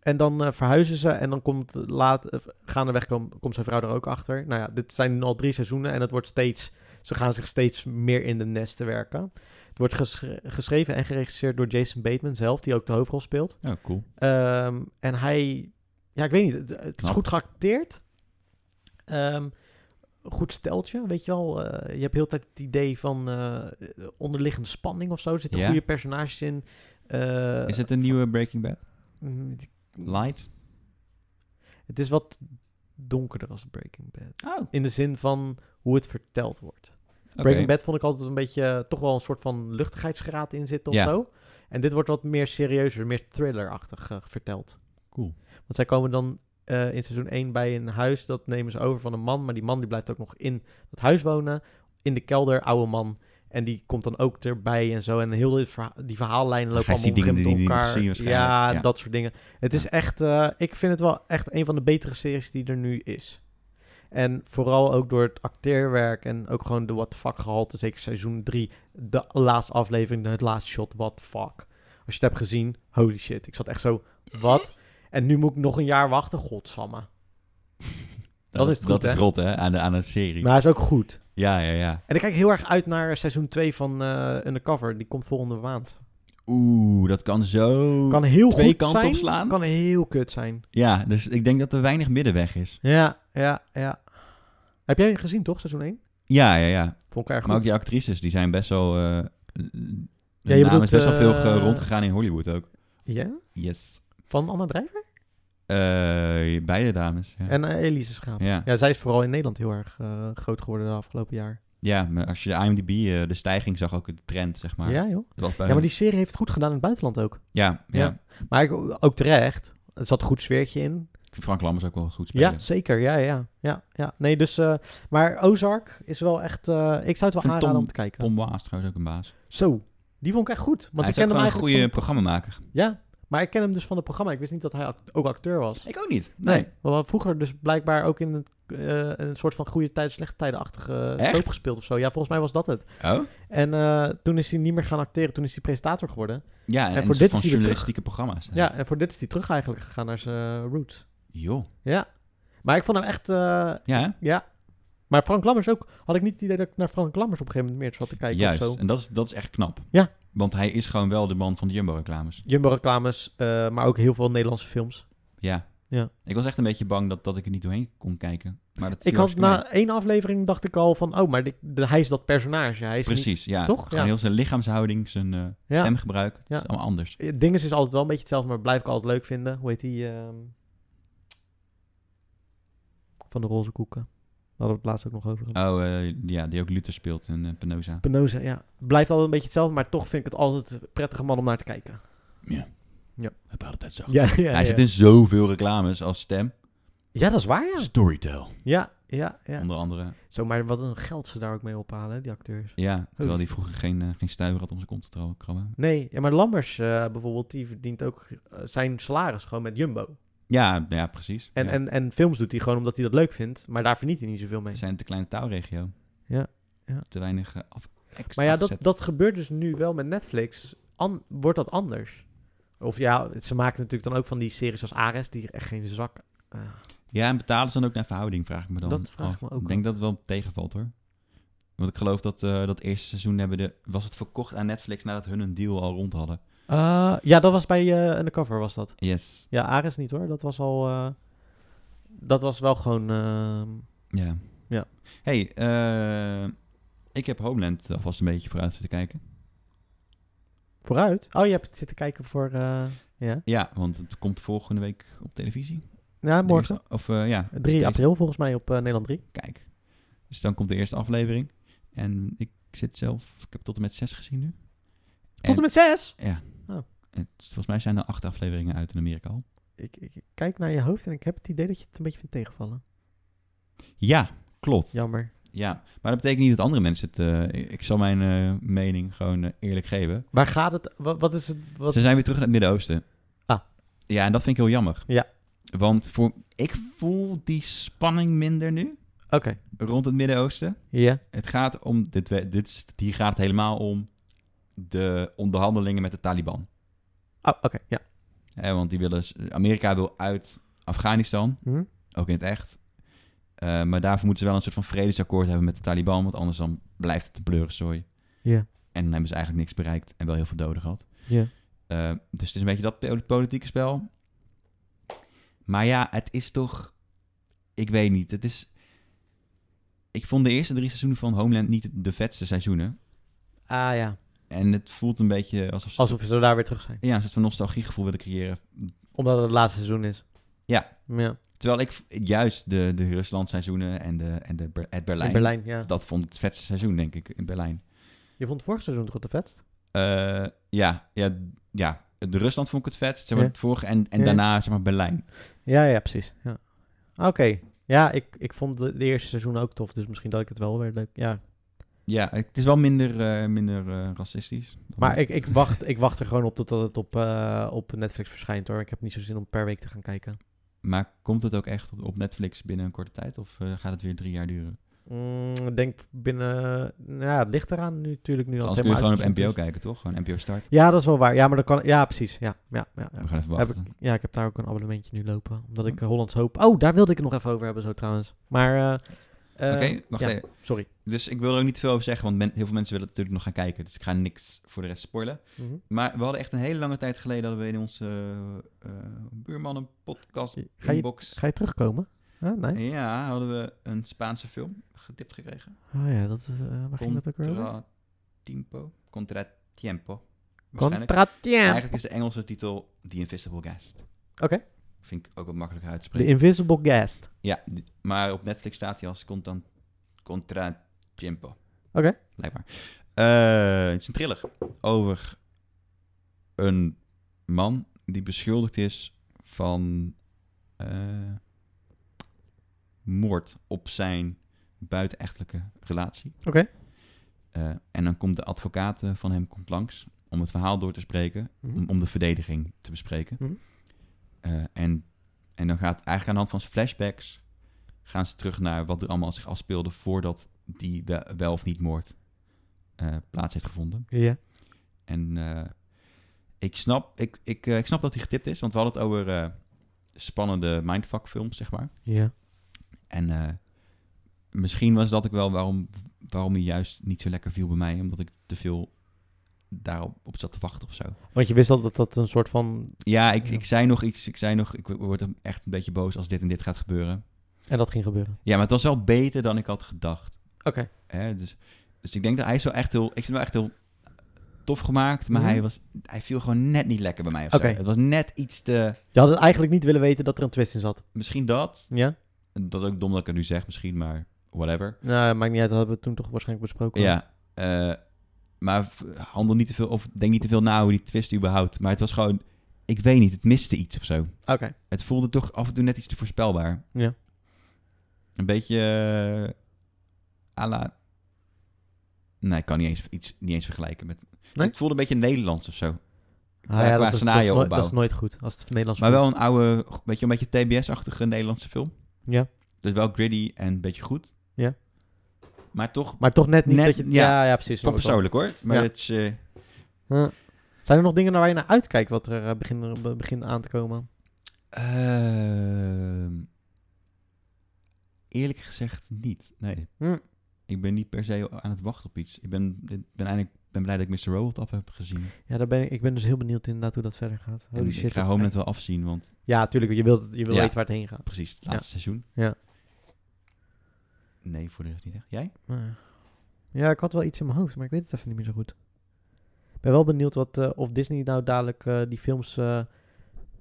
Speaker 3: en dan eh, verhuizen ze en dan komt laat, eh, gaandeweg kom, komt zijn vrouw er ook achter. Nou ja, dit zijn nu al drie seizoenen en het wordt steeds, ze gaan zich steeds meer in de nesten werken. Het wordt geschre- geschreven en geregisseerd door Jason Bateman zelf, die ook de hoofdrol speelt.
Speaker 4: Oh, cool.
Speaker 3: Ehm, en hij, ja, ik weet niet, het, het is
Speaker 4: Knap.
Speaker 3: goed geacteerd. Ehm, goed steltje, weet je wel. Eh, je hebt heel de tijd het idee van eh, onderliggende spanning of zo. Er zitten
Speaker 4: Ja.
Speaker 3: goede personages in. Eh,
Speaker 4: Is het een nieuwe Breaking Bad?
Speaker 3: mm,
Speaker 4: Light?
Speaker 3: Het is wat donkerder als Breaking Bad.
Speaker 4: Oh.
Speaker 3: In de zin van hoe het verteld wordt. Breaking Bad vond ik altijd een beetje... eh, toch wel een soort van luchtigheidsgraad in zitten of
Speaker 4: Ja.
Speaker 3: zo. En dit wordt wat meer serieuzer, meer thrillerachtig eh, verteld.
Speaker 4: Cool.
Speaker 3: Want zij komen dan eh, in seizoen 1 bij een huis. Dat nemen ze over van een man. Maar die man die blijft ook nog in het huis wonen. In de kelder, oude man. En die komt dan ook erbij en zo. En heel dit verha- die verhaallijnen lopen
Speaker 4: Hij
Speaker 3: allemaal
Speaker 4: ziet dingen
Speaker 3: omgeven
Speaker 4: die hij
Speaker 3: door
Speaker 4: niet
Speaker 3: elkaar.
Speaker 4: gezien waarschijnlijk.
Speaker 3: ja,
Speaker 4: Ja.
Speaker 3: dat soort dingen. Het is
Speaker 4: Ja.
Speaker 3: echt... eh, ik vind het wel echt een van de betere series die er nu is. En vooral ook door het acteerwerk en ook gewoon de what the fuck gehalte. Zeker seizoen 3, de laatste aflevering, het laatste shot, what the fuck. Als je het hebt gezien, holy shit. Ik zat echt zo, wat? En nu moet ik nog een jaar wachten, godsamme. Dat is het goed,
Speaker 4: Dat
Speaker 3: hè?
Speaker 4: is rot, hè? Aan, de, aan een serie.
Speaker 3: Maar hij is ook goed.
Speaker 4: Ja, ja, ja.
Speaker 3: En ik kijk heel erg uit naar seizoen 2 van eh, Undercover. Die komt volgende maand.
Speaker 4: Oeh, dat kan zo...
Speaker 3: Kan heel
Speaker 4: twee
Speaker 3: goed
Speaker 4: kanten
Speaker 3: zijn,
Speaker 4: opslaan?
Speaker 3: kan heel kut zijn.
Speaker 4: Ja, dus ik denk dat er weinig middenweg is.
Speaker 3: Ja, ja, ja. Heb jij gezien toch, seizoen 1?
Speaker 4: Ja, ja, ja.
Speaker 3: Vond ik erg
Speaker 4: Maar
Speaker 3: goed.
Speaker 4: ook die actrices, die zijn best wel... eh hun
Speaker 3: je
Speaker 4: naam
Speaker 3: bedoelt,
Speaker 4: is best wel veel ge-
Speaker 3: eh,
Speaker 4: rondgegaan in Hollywood ook.
Speaker 3: Ja?
Speaker 4: Yes.
Speaker 3: Van Anna Drijver
Speaker 4: Eh, beide dames. Ja.
Speaker 3: en eh, Elise Schaap.
Speaker 4: ja.
Speaker 3: Ja, zij is vooral in Nederland heel erg eh, groot geworden de afgelopen jaar.
Speaker 4: Ja, maar als je de IMDb, eh, de stijging zag ook de trend, zeg maar. Oh,
Speaker 3: ja, joh.
Speaker 4: Dat was bij
Speaker 3: Ja, maar
Speaker 4: hun-
Speaker 3: die serie heeft het goed gedaan in het buitenland ook.
Speaker 4: ja, ja.
Speaker 3: Ja. Maar ik, ook terecht. Er zat een goed sfeertje in.
Speaker 4: Ik vind Frank Lammers ook wel goed spelen.
Speaker 3: Ja, zeker. Ja, ja, ja. ja. Nee, dus... eh, maar Ozark is wel echt... eh, ik zou het
Speaker 4: vind
Speaker 3: wel aanraden
Speaker 4: Tom-
Speaker 3: om te kijken.
Speaker 4: Tom Waas is trouwens ook een baas.
Speaker 3: Zo, die vond ik echt goed. Want
Speaker 4: hij
Speaker 3: ik
Speaker 4: is
Speaker 3: ken
Speaker 4: ook
Speaker 3: hem
Speaker 4: gewoon een
Speaker 3: eigenlijk...
Speaker 4: goede
Speaker 3: van-
Speaker 4: programmamaker.
Speaker 3: Ja, maar ik ken hem dus van het programma. Ik wist niet dat hij act- ook acteur was.
Speaker 4: Ik ook niet.
Speaker 3: Nee, we hadden vroeger dus blijkbaar ook in het, eh, een soort van goede tijden, slechte tijden-achtige
Speaker 4: Echt?
Speaker 3: soap gespeeld of zo. Ja, volgens mij was dat het.
Speaker 4: Oh?
Speaker 3: En eh, toen is hij niet meer gaan acteren, toen is hij presentator geworden.
Speaker 4: Ja, en,
Speaker 3: voor
Speaker 4: en
Speaker 3: dit is
Speaker 4: dit
Speaker 3: hij
Speaker 4: van
Speaker 3: weer
Speaker 4: journalistieke programma's.
Speaker 3: Ja, en voor dit is hij terug eigenlijk gegaan naar zijn eh, roots.
Speaker 4: Joh.
Speaker 3: Ja, maar ik vond hem echt, eh,
Speaker 4: Ja, hè?
Speaker 3: ja. Maar Frank Lammers ook. Had ik niet het idee dat ik naar Frank Lammers op een gegeven moment meer zat te kijken
Speaker 4: Juist.
Speaker 3: of zo.
Speaker 4: En dat is, dat is echt knap.
Speaker 3: Ja.
Speaker 4: Want hij is gewoon wel de man van de Jumbo-reclames.
Speaker 3: Jumbo-reclames, eh, maar ook heel veel Nederlandse films.
Speaker 4: Ja.
Speaker 3: Ja.
Speaker 4: Ik was echt een beetje bang dat, dat ik er niet doorheen kon kijken. Maar dat
Speaker 3: Ik
Speaker 4: viel
Speaker 3: had
Speaker 4: hartstikke
Speaker 3: na één aflevering dacht ik al van, oh, maar die- de- hij is dat personage. Hij
Speaker 4: mee.
Speaker 3: is niet-
Speaker 4: Precies, ja.
Speaker 3: Toch?
Speaker 4: Gewoon
Speaker 3: Ja.
Speaker 4: heel zijn lichaamshouding, zijn eh,
Speaker 3: Ja.
Speaker 4: stemgebruik. Het
Speaker 3: Ja.
Speaker 4: is allemaal anders.
Speaker 3: Eh, Dinges is altijd wel een beetje hetzelfde, maar blijf ik altijd leuk vinden. Hoe heet die? ehm, Van de roze koeken. Daar hadden we het laatst ook nog over. gehad.
Speaker 4: Oh, eh, ja, die ook Luther speelt in eh, Penosa.
Speaker 3: Penosa, ja. Blijft altijd een beetje hetzelfde, maar toch vind ik het altijd een prettige man om naar te kijken.
Speaker 4: Ja.
Speaker 3: Ja.
Speaker 4: Heb altijd zo.
Speaker 3: Ja, ja,
Speaker 4: Hij
Speaker 3: ja.
Speaker 4: zit in zoveel reclames als stem.
Speaker 3: ja dat is waar, ja.
Speaker 4: Storytel.
Speaker 3: Ja, ja, ja.
Speaker 4: Onder andere.
Speaker 3: Zo, maar wat een geld ze daar ook mee ophalen, hè, die acteurs.
Speaker 4: Ja, terwijl hij
Speaker 3: shit.
Speaker 4: vroeger geen, eh, geen stuiver had om zijn kont te tra- krabben.
Speaker 3: Nee, ja, maar Lammers eh, bijvoorbeeld, die verdient ook eh, zijn salaris gewoon met Jumbo.
Speaker 4: Ja, ja precies.
Speaker 3: En,
Speaker 4: ja.
Speaker 3: en, en films doet hij gewoon omdat hij dat leuk vindt, maar daar verdient hij niet zoveel mee.
Speaker 4: We zijn een te kleine touwregio.
Speaker 3: Ja, ja.
Speaker 4: Te weinig eh, af. extra
Speaker 3: Maar ja, dat,
Speaker 4: gezet.
Speaker 3: dat gebeurt dus nu wel met Netflix. An- wordt dat anders? Of ja, ze maken natuurlijk dan ook van die series als Ares, die echt geen zak... eh,
Speaker 4: Ja, en betalen ze dan ook naar verhouding, vraag ik me dan.
Speaker 3: Dat vraag ik
Speaker 4: af.
Speaker 3: me ook
Speaker 4: Ik denk dat het wel tegenvalt hoor. Want ik geloof dat eh, dat eerste seizoen hebben de, was het verkocht aan Netflix nadat hun een deal al rond hadden.
Speaker 3: Eh, ja, dat was bij eh Undercover, was dat.
Speaker 4: Yes.
Speaker 3: Ja, Ares niet hoor. Dat was al... eh, dat was wel gewoon... ehm,
Speaker 4: Ja.
Speaker 3: Ja.
Speaker 4: hey, eh, ik heb Homeland alvast een beetje vooruit zitten kijken.
Speaker 3: vooruit. Oh, je hebt zitten kijken voor... eh, ja.
Speaker 4: Ja, want het komt volgende week op televisie.
Speaker 3: ja,
Speaker 4: De
Speaker 3: morgen.
Speaker 4: eerste- Of eh, ja. dus
Speaker 3: 3
Speaker 4: deze.
Speaker 3: april volgens mij op eh, Nederland 3.
Speaker 4: Kijk. Dus dan komt de eerste aflevering. En ik zit zelf, ik heb tot en met zes gezien nu.
Speaker 3: Tot en met 6!
Speaker 4: Ja.
Speaker 3: Oh.
Speaker 4: Het, volgens mij zijn er acht afleveringen uit in Amerika al.
Speaker 3: Ik, ik, ik kijk naar je hoofd en ik heb het idee dat je het een beetje vindt tegenvallen.
Speaker 4: Ja, klopt.
Speaker 3: Jammer.
Speaker 4: Ja, maar dat betekent niet dat andere mensen het... eh, ik- ik zal mijn eh, mening gewoon eh, eerlijk geven.
Speaker 3: Waar gaat het... Wat, wat is het... Wat
Speaker 4: Ze zijn weer terug naar het Midden-Oosten.
Speaker 3: Ah.
Speaker 4: Ja, en dat vind ik heel jammer.
Speaker 3: Ja.
Speaker 4: Want voor, ik voel die spanning minder nu
Speaker 3: Oké.
Speaker 4: rond het Midden-Oosten.
Speaker 3: Ja.
Speaker 4: Het gaat om... Dit, we- dit, is- hier gaat het helemaal om de onderhandelingen met de Taliban.
Speaker 3: Oh, oké. Ja.
Speaker 4: Hè, want die willen, Amerika wil uit Afghanistan,
Speaker 3: Hm?
Speaker 4: ook in het echt. Eh, maar daarvoor moeten ze wel een soort van vredesakkoord hebben met de Taliban, want anders dan blijft het een pleurenzooi.
Speaker 3: Ja.
Speaker 4: En dan hebben ze eigenlijk niks bereikt en wel heel veel doden gehad.
Speaker 3: Ja.
Speaker 4: Eh, dus het is een beetje dat po- politieke spel. Maar ja, het is toch... Ik weet niet, het is... Ik vond de eerste drie seizoenen van Homeland niet de vetste seizoenen.
Speaker 3: Ah ja.
Speaker 4: En het voelt een beetje alsof ze...
Speaker 3: Alsof ze daar weer terug zijn.
Speaker 4: Ja, een soort van nostalgiegevoel willen creëren
Speaker 3: Omdat het het laatste seizoen is.
Speaker 4: Ja.
Speaker 3: Ja.
Speaker 4: Terwijl ik v- juist de, de Rusland seizoenen en, de, en de, Ber- het Berlijn,
Speaker 3: In Berlijn, ja.
Speaker 4: dat vond ik het vetste seizoen, denk ik, in Berlijn.
Speaker 3: Je vond vorig seizoen toch het de vetst?
Speaker 4: Eh, ja, ja, ja, de Rusland vond ik het vetst, zeg maar,
Speaker 3: Ja.
Speaker 4: het vorige, en, en
Speaker 3: Ja.
Speaker 4: daarna, zeg maar, Berlijn.
Speaker 3: Ja, ja, precies. Ja. Oké. Ja, ik, ik vond de, de eerste seizoen ook tof, dus misschien dat ik het wel weer leuk... Ja.
Speaker 4: Ja, het is wel minder, eh, minder eh, racistisch.
Speaker 3: Maar ik, ik, wacht, ik wacht er gewoon op totdat het op, eh, op Netflix verschijnt hoor. Ik heb niet zo zin om per week te gaan kijken.
Speaker 4: Maar komt het ook echt op, op Netflix binnen een korte tijd, of eh, gaat het weer drie jaar duren?
Speaker 3: Mm, ik denk binnen... Nou ja, het ligt eraan nu natuurlijk nu. Als
Speaker 4: Als
Speaker 3: het
Speaker 4: kun je
Speaker 3: helemaal
Speaker 4: gewoon op NPO
Speaker 3: uitgezonden
Speaker 4: kijken, toch? Gewoon NPO Start.
Speaker 3: is. Ja, dat is wel waar. Ja, maar dat kan... Ja, precies. Ja, ja, ja, ja.
Speaker 4: We gaan even
Speaker 3: Heb
Speaker 4: wachten.
Speaker 3: ik, ja, ik heb daar ook een abonnementje nu lopen. Omdat
Speaker 4: Hm.
Speaker 3: ik eh, Hollands Hoop... Oh, daar wilde ik het nog even over hebben zo trouwens. Maar... eh, eh,
Speaker 4: Oké, wacht
Speaker 3: ja.
Speaker 4: even.
Speaker 3: Sorry.
Speaker 4: Dus ik wil er ook niet te veel over zeggen, want men- heel veel mensen willen het natuurlijk nog gaan kijken. Dus ik ga niks voor de rest spoilen.
Speaker 3: Mhm.
Speaker 4: Maar we hadden echt een hele lange tijd geleden hadden we in onze eh, eh, buurmannen podcast
Speaker 3: Je- Ga, je,
Speaker 4: inbox.
Speaker 3: ga je terugkomen? Ah, nice.
Speaker 4: Ja, hadden we een Spaanse film getipt gekregen.
Speaker 3: Oh ja, dat, is, eh, waar ging dat ook weer over?
Speaker 4: Contra Tiempo. Contra Tiempo. Waarschijnlijk.
Speaker 3: Contratien.
Speaker 4: Eigenlijk is de Engelse titel The Invisible Guest.
Speaker 3: Oké.
Speaker 4: Vind ik ook wat makkelijker uit te
Speaker 3: The
Speaker 4: spreken.
Speaker 3: Invisible Guest.
Speaker 4: ja, die- maar op Netflix staat hij als Contra, contra Tiempo.
Speaker 3: Oké.
Speaker 4: Blijkbaar. Eh, het is een thriller over een man die beschuldigd is van eh, moord op zijn buitenechtelijke relatie.
Speaker 3: Oké.
Speaker 4: Eh, en dan komt de advocaat eh, van hem komt langs om het verhaal door te spreken,
Speaker 3: Mhm.
Speaker 4: om, om de verdediging te bespreken.
Speaker 3: Mhm.
Speaker 4: Eh, en, en dan gaat eigenlijk aan de hand van flashbacks gaan ze terug naar wat er allemaal zich afspeelde voordat die we- wel, of niet moord eh, plaats heeft gevonden.
Speaker 3: Ja.
Speaker 4: En eh, ik, snap, ik, ik, eh, ik snap dat hij getipt is, want we hadden het over eh, spannende mindfuck films, zeg maar.
Speaker 3: Ja.
Speaker 4: En eh, misschien was dat ook wel waarom, waarom hij juist niet zo lekker viel bij mij. Omdat ik te veel daarop op zat te wachten of zo.
Speaker 3: Want je wist al dat dat een soort van...
Speaker 4: Ja, ik,
Speaker 3: Ja.
Speaker 4: ik zei nog iets. Ik zei nog, ik word echt een beetje boos als dit en dit gaat gebeuren.
Speaker 3: En dat ging gebeuren.
Speaker 4: Ja, maar het was wel beter dan ik had gedacht.
Speaker 3: Oké.
Speaker 4: Hè? Dus, dus ik denk dat hij is wel echt heel... Ik vind hem wel echt heel tof gemaakt. Maar
Speaker 3: Mhm.
Speaker 4: hij, was, hij viel gewoon net niet lekker bij mij of zo.
Speaker 3: Oké.
Speaker 4: Het was net iets te...
Speaker 3: Je had het eigenlijk niet willen weten dat er een twist in zat.
Speaker 4: Misschien dat.
Speaker 3: Ja?
Speaker 4: Dat is ook dom dat ik het nu zeg misschien, maar whatever.
Speaker 3: Nou, maakt niet uit. Dat hebben we toen toch waarschijnlijk besproken.
Speaker 4: Ja, eh, maar v- handel niet te veel, of denk niet te veel na hoe die twist überhaupt. Maar het was gewoon, ik weet niet, het miste iets of zo.
Speaker 3: Oké.
Speaker 4: Het voelde toch af en toe net iets te voorspelbaar.
Speaker 3: Ja.
Speaker 4: Een beetje eh à la... Nee, ik kan niet eens, iets, niet eens vergelijken met...
Speaker 3: Nee?
Speaker 4: Het voelde een beetje Nederlands of zo.
Speaker 3: Ah,
Speaker 4: Qua-
Speaker 3: ja,
Speaker 4: qua
Speaker 3: dat, is, dat, is
Speaker 4: scenario
Speaker 3: nooit,
Speaker 4: opbouw.
Speaker 3: dat is nooit goed. Als het Nederlands
Speaker 4: Maar wel
Speaker 3: wordt.
Speaker 4: een oude, weet je, een beetje TBS-achtige Nederlandse film.
Speaker 3: Ja.
Speaker 4: Dus wel gritty en een beetje goed.
Speaker 3: Ja.
Speaker 4: Maar toch,
Speaker 3: Maar toch net niet
Speaker 4: Net-
Speaker 3: dat je...
Speaker 4: ja.
Speaker 3: Ja, ja, precies. Snap
Speaker 4: van
Speaker 3: ik wel.
Speaker 4: persoonlijk hoor. Maar
Speaker 3: Ja.
Speaker 4: het is... eh,
Speaker 3: Huh. Zijn er nog dingen waar je naar uitkijkt wat er eh, begin, be- begint aan te komen?
Speaker 4: Ehm, eerlijk gezegd niet. Nee.
Speaker 3: Hm.
Speaker 4: Ik ben niet per se aan het wachten op iets. Ik ben, ben, eigenlijk, ben blij dat ik Mr. Robot af heb gezien.
Speaker 3: Ja, daar ben ik, ik ben dus heel benieuwd inderdaad hoe dat verder gaat. Holy
Speaker 4: En
Speaker 3: shit.
Speaker 4: ik ga
Speaker 3: dat-
Speaker 4: Homeland wel afzien, want
Speaker 3: Ja, tuurlijk. Je wilt, je wilt
Speaker 4: Ja.
Speaker 3: weten waar het heen gaat.
Speaker 4: precies het laatste seizoen.
Speaker 3: Ja.
Speaker 4: Nee, voor de rest niet echt. Jij?
Speaker 3: Ja. Ja, ik had wel iets in mijn hoofd, maar ik weet het even niet meer zo goed. Ik ben wel benieuwd wat, eh, of Disney nou dadelijk eh, die films eh,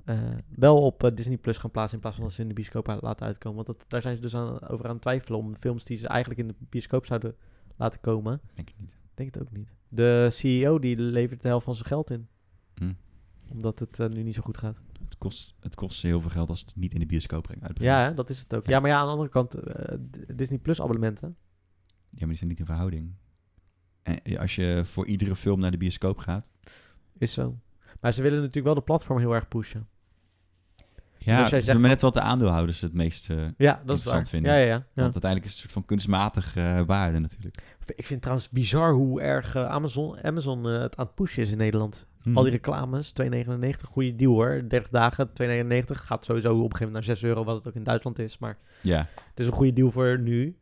Speaker 3: eh, wel op eh, Disney Plus gaan plaatsen in plaats van dat ze in de bioscoop uit- laten uitkomen. Want dat, daar zijn ze dus aan, over aan het twijfelen om films die ze eigenlijk in de bioscoop zouden laten komen.
Speaker 4: Denk ik niet.
Speaker 3: Ik denk het ook niet. De CEO die levert de helft van zijn geld in,
Speaker 4: Hm.
Speaker 3: omdat het eh, nu niet zo goed gaat.
Speaker 4: Het kost, het kost heel veel geld als het niet in de bioscoop brengt. uitbrengt.
Speaker 3: Ja, hè, dat is het ook. Ja, maar ja, aan de andere kant, eh, D- Disney Plus abonnementen.
Speaker 4: ja, maar die zijn niet in verhouding. En eh, als je voor iedere film naar de bioscoop gaat...
Speaker 3: Is zo. Maar ze willen natuurlijk wel de platform heel erg pushen.
Speaker 4: Ja,
Speaker 3: jij
Speaker 4: dus
Speaker 3: zegt
Speaker 4: ze zijn
Speaker 3: van-
Speaker 4: net wel de aandeelhouders het meest... eh,
Speaker 3: Ja, dat is
Speaker 4: Interessant
Speaker 3: waar.
Speaker 4: vinden.
Speaker 3: Ja, ja, ja. ja.
Speaker 4: Want uiteindelijk is het een soort van kunstmatige eh, waarde natuurlijk.
Speaker 3: Ik vind het trouwens bizar hoe erg eh, Amazon, Amazon eh, het aan het pushen is in Nederland. Al die reclames, 2,99, goede deal hoor. 30 dagen, 2,99. Gaat sowieso op een gegeven moment naar 6 euro, wat het ook in Duitsland is. Maar
Speaker 4: Ja,
Speaker 3: het is een goede deal voor nu.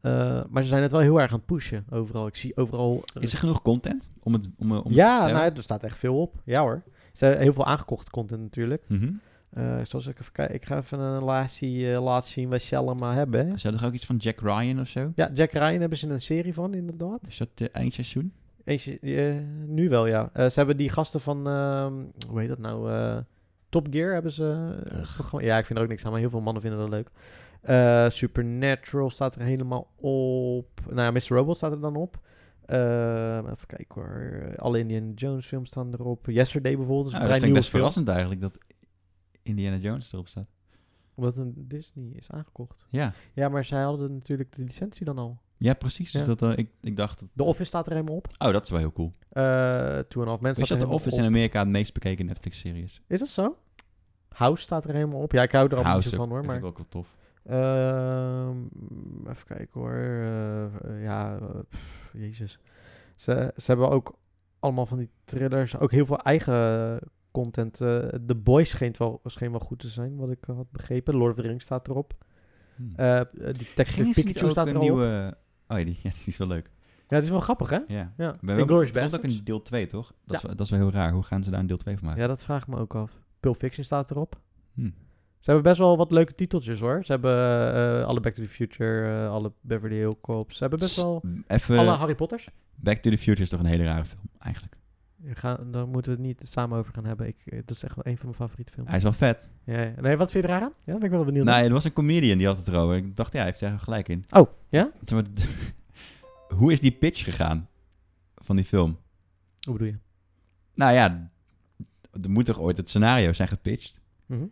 Speaker 3: Eh, maar ze zijn het wel heel erg aan het pushen overal. Ik zie overal... eh,
Speaker 4: is er genoeg content om het... Om, eh, om
Speaker 3: ja,
Speaker 4: ja?
Speaker 3: nou, er staat echt veel op. Ja hoor. Ze hebben heel veel aangekocht content natuurlijk.
Speaker 4: Mhm.
Speaker 3: Eh, zoals ik even kijk, ik ga even een relatie eh laten zien wat Shell maar hebben. hè.
Speaker 4: Zou er ook iets van Jack Ryan of zo?
Speaker 3: Ja, Jack Ryan hebben ze een serie van inderdaad.
Speaker 4: Is dat eh, eindseizoen?
Speaker 3: Eentje, eh, nu wel, ja. Eh, ze hebben die gasten van, ehm, hoe heet dat nou? eh, Top Gear hebben ze. eh, programma- ja, ik vind er ook niks aan, maar heel veel mannen vinden dat leuk. Eh, Supernatural staat er helemaal op. Nou ja, Mr. Robot staat er dan op. Eh, even kijken hoor. Alle Indiana Jones films staan erop. Yesterday bijvoorbeeld is een
Speaker 4: Nou,
Speaker 3: vrij
Speaker 4: dat vind ik
Speaker 3: nieuwe
Speaker 4: best
Speaker 3: film.
Speaker 4: verrassend eigenlijk dat Indiana Jones erop staat.
Speaker 3: Omdat het een Disney is aangekocht.
Speaker 4: Ja,
Speaker 3: Ja, maar zij hadden natuurlijk de licentie dan al.
Speaker 4: ja precies. Dus
Speaker 3: Ja.
Speaker 4: dat, eh, ik, ik dacht, dat-
Speaker 3: The Office staat er helemaal op.
Speaker 4: oh dat is wel heel cool.
Speaker 3: Eh Two and a Half Men
Speaker 4: Wist
Speaker 3: staat
Speaker 4: je
Speaker 3: er
Speaker 4: dat
Speaker 3: helemaal
Speaker 4: The Office
Speaker 3: op.
Speaker 4: in Amerika het meest bekeken Netflix-serie is?
Speaker 3: Is dat zo? House staat er helemaal op. Ja, ik hou er allemaal niet
Speaker 4: House
Speaker 3: zo
Speaker 4: ook,
Speaker 3: van hoor.
Speaker 4: vind
Speaker 3: Maar,
Speaker 4: ik ook wel tof.
Speaker 3: Ehm, even kijken hoor. Eh, eh, ja, eh, pff, jezus. Ze, ze hebben ook allemaal van die thrillers. Ook heel veel eigen content. Eh, The Boys scheen wel, scheen wel goed te zijn, wat ik had begrepen. Lord of the Rings staat erop.
Speaker 4: Hm.
Speaker 3: Eh, eh, Detective
Speaker 4: Gingen ze niet
Speaker 3: Pikachu
Speaker 4: ook
Speaker 3: staat
Speaker 4: een
Speaker 3: erop.
Speaker 4: nieuwe... Oh ja, die, ja, die is wel leuk.
Speaker 3: Ja, dat is wel grappig hè?
Speaker 4: Ja.
Speaker 3: Ja.
Speaker 4: Ik ben wel-
Speaker 3: Inglourious
Speaker 4: er komt ook
Speaker 3: Basterds.
Speaker 4: een deel 2, toch? Dat, is, wel- dat is wel heel raar. Hoe gaan ze daar een deel 2 van maken?
Speaker 3: Ja, dat vraag ik me ook af. Pulp Fiction staat erop.
Speaker 4: Hm.
Speaker 3: Ze hebben best wel wat leuke titeltjes hoor. Ze hebben eh, alle Back to the Future, eh, alle Beverly Hill Cops. Ze hebben best wel...
Speaker 4: Even,
Speaker 3: alle Harry Potters.
Speaker 4: Back to the Future is toch een hele rare film, eigenlijk.
Speaker 3: We gaan- daar moeten we het niet samen over gaan hebben. Ik, eh, dat is echt wel een van mijn favoriete films.
Speaker 4: Hij is wel vet.
Speaker 3: Ja, ja. Nee, wat vind je eraan? Ja, daar ben ik wel benieuwd.
Speaker 4: Nee, er was een comedian die had het erover. Ik dacht, ja, hij heeft er gelijk in.
Speaker 3: naar. Oh, ja?
Speaker 4: Zeg maar, hoe is die pitch gegaan van die film?
Speaker 3: Hoe bedoel je?
Speaker 4: Nou ja, er moet toch ooit het scenario zijn gepitcht?
Speaker 3: Mhm.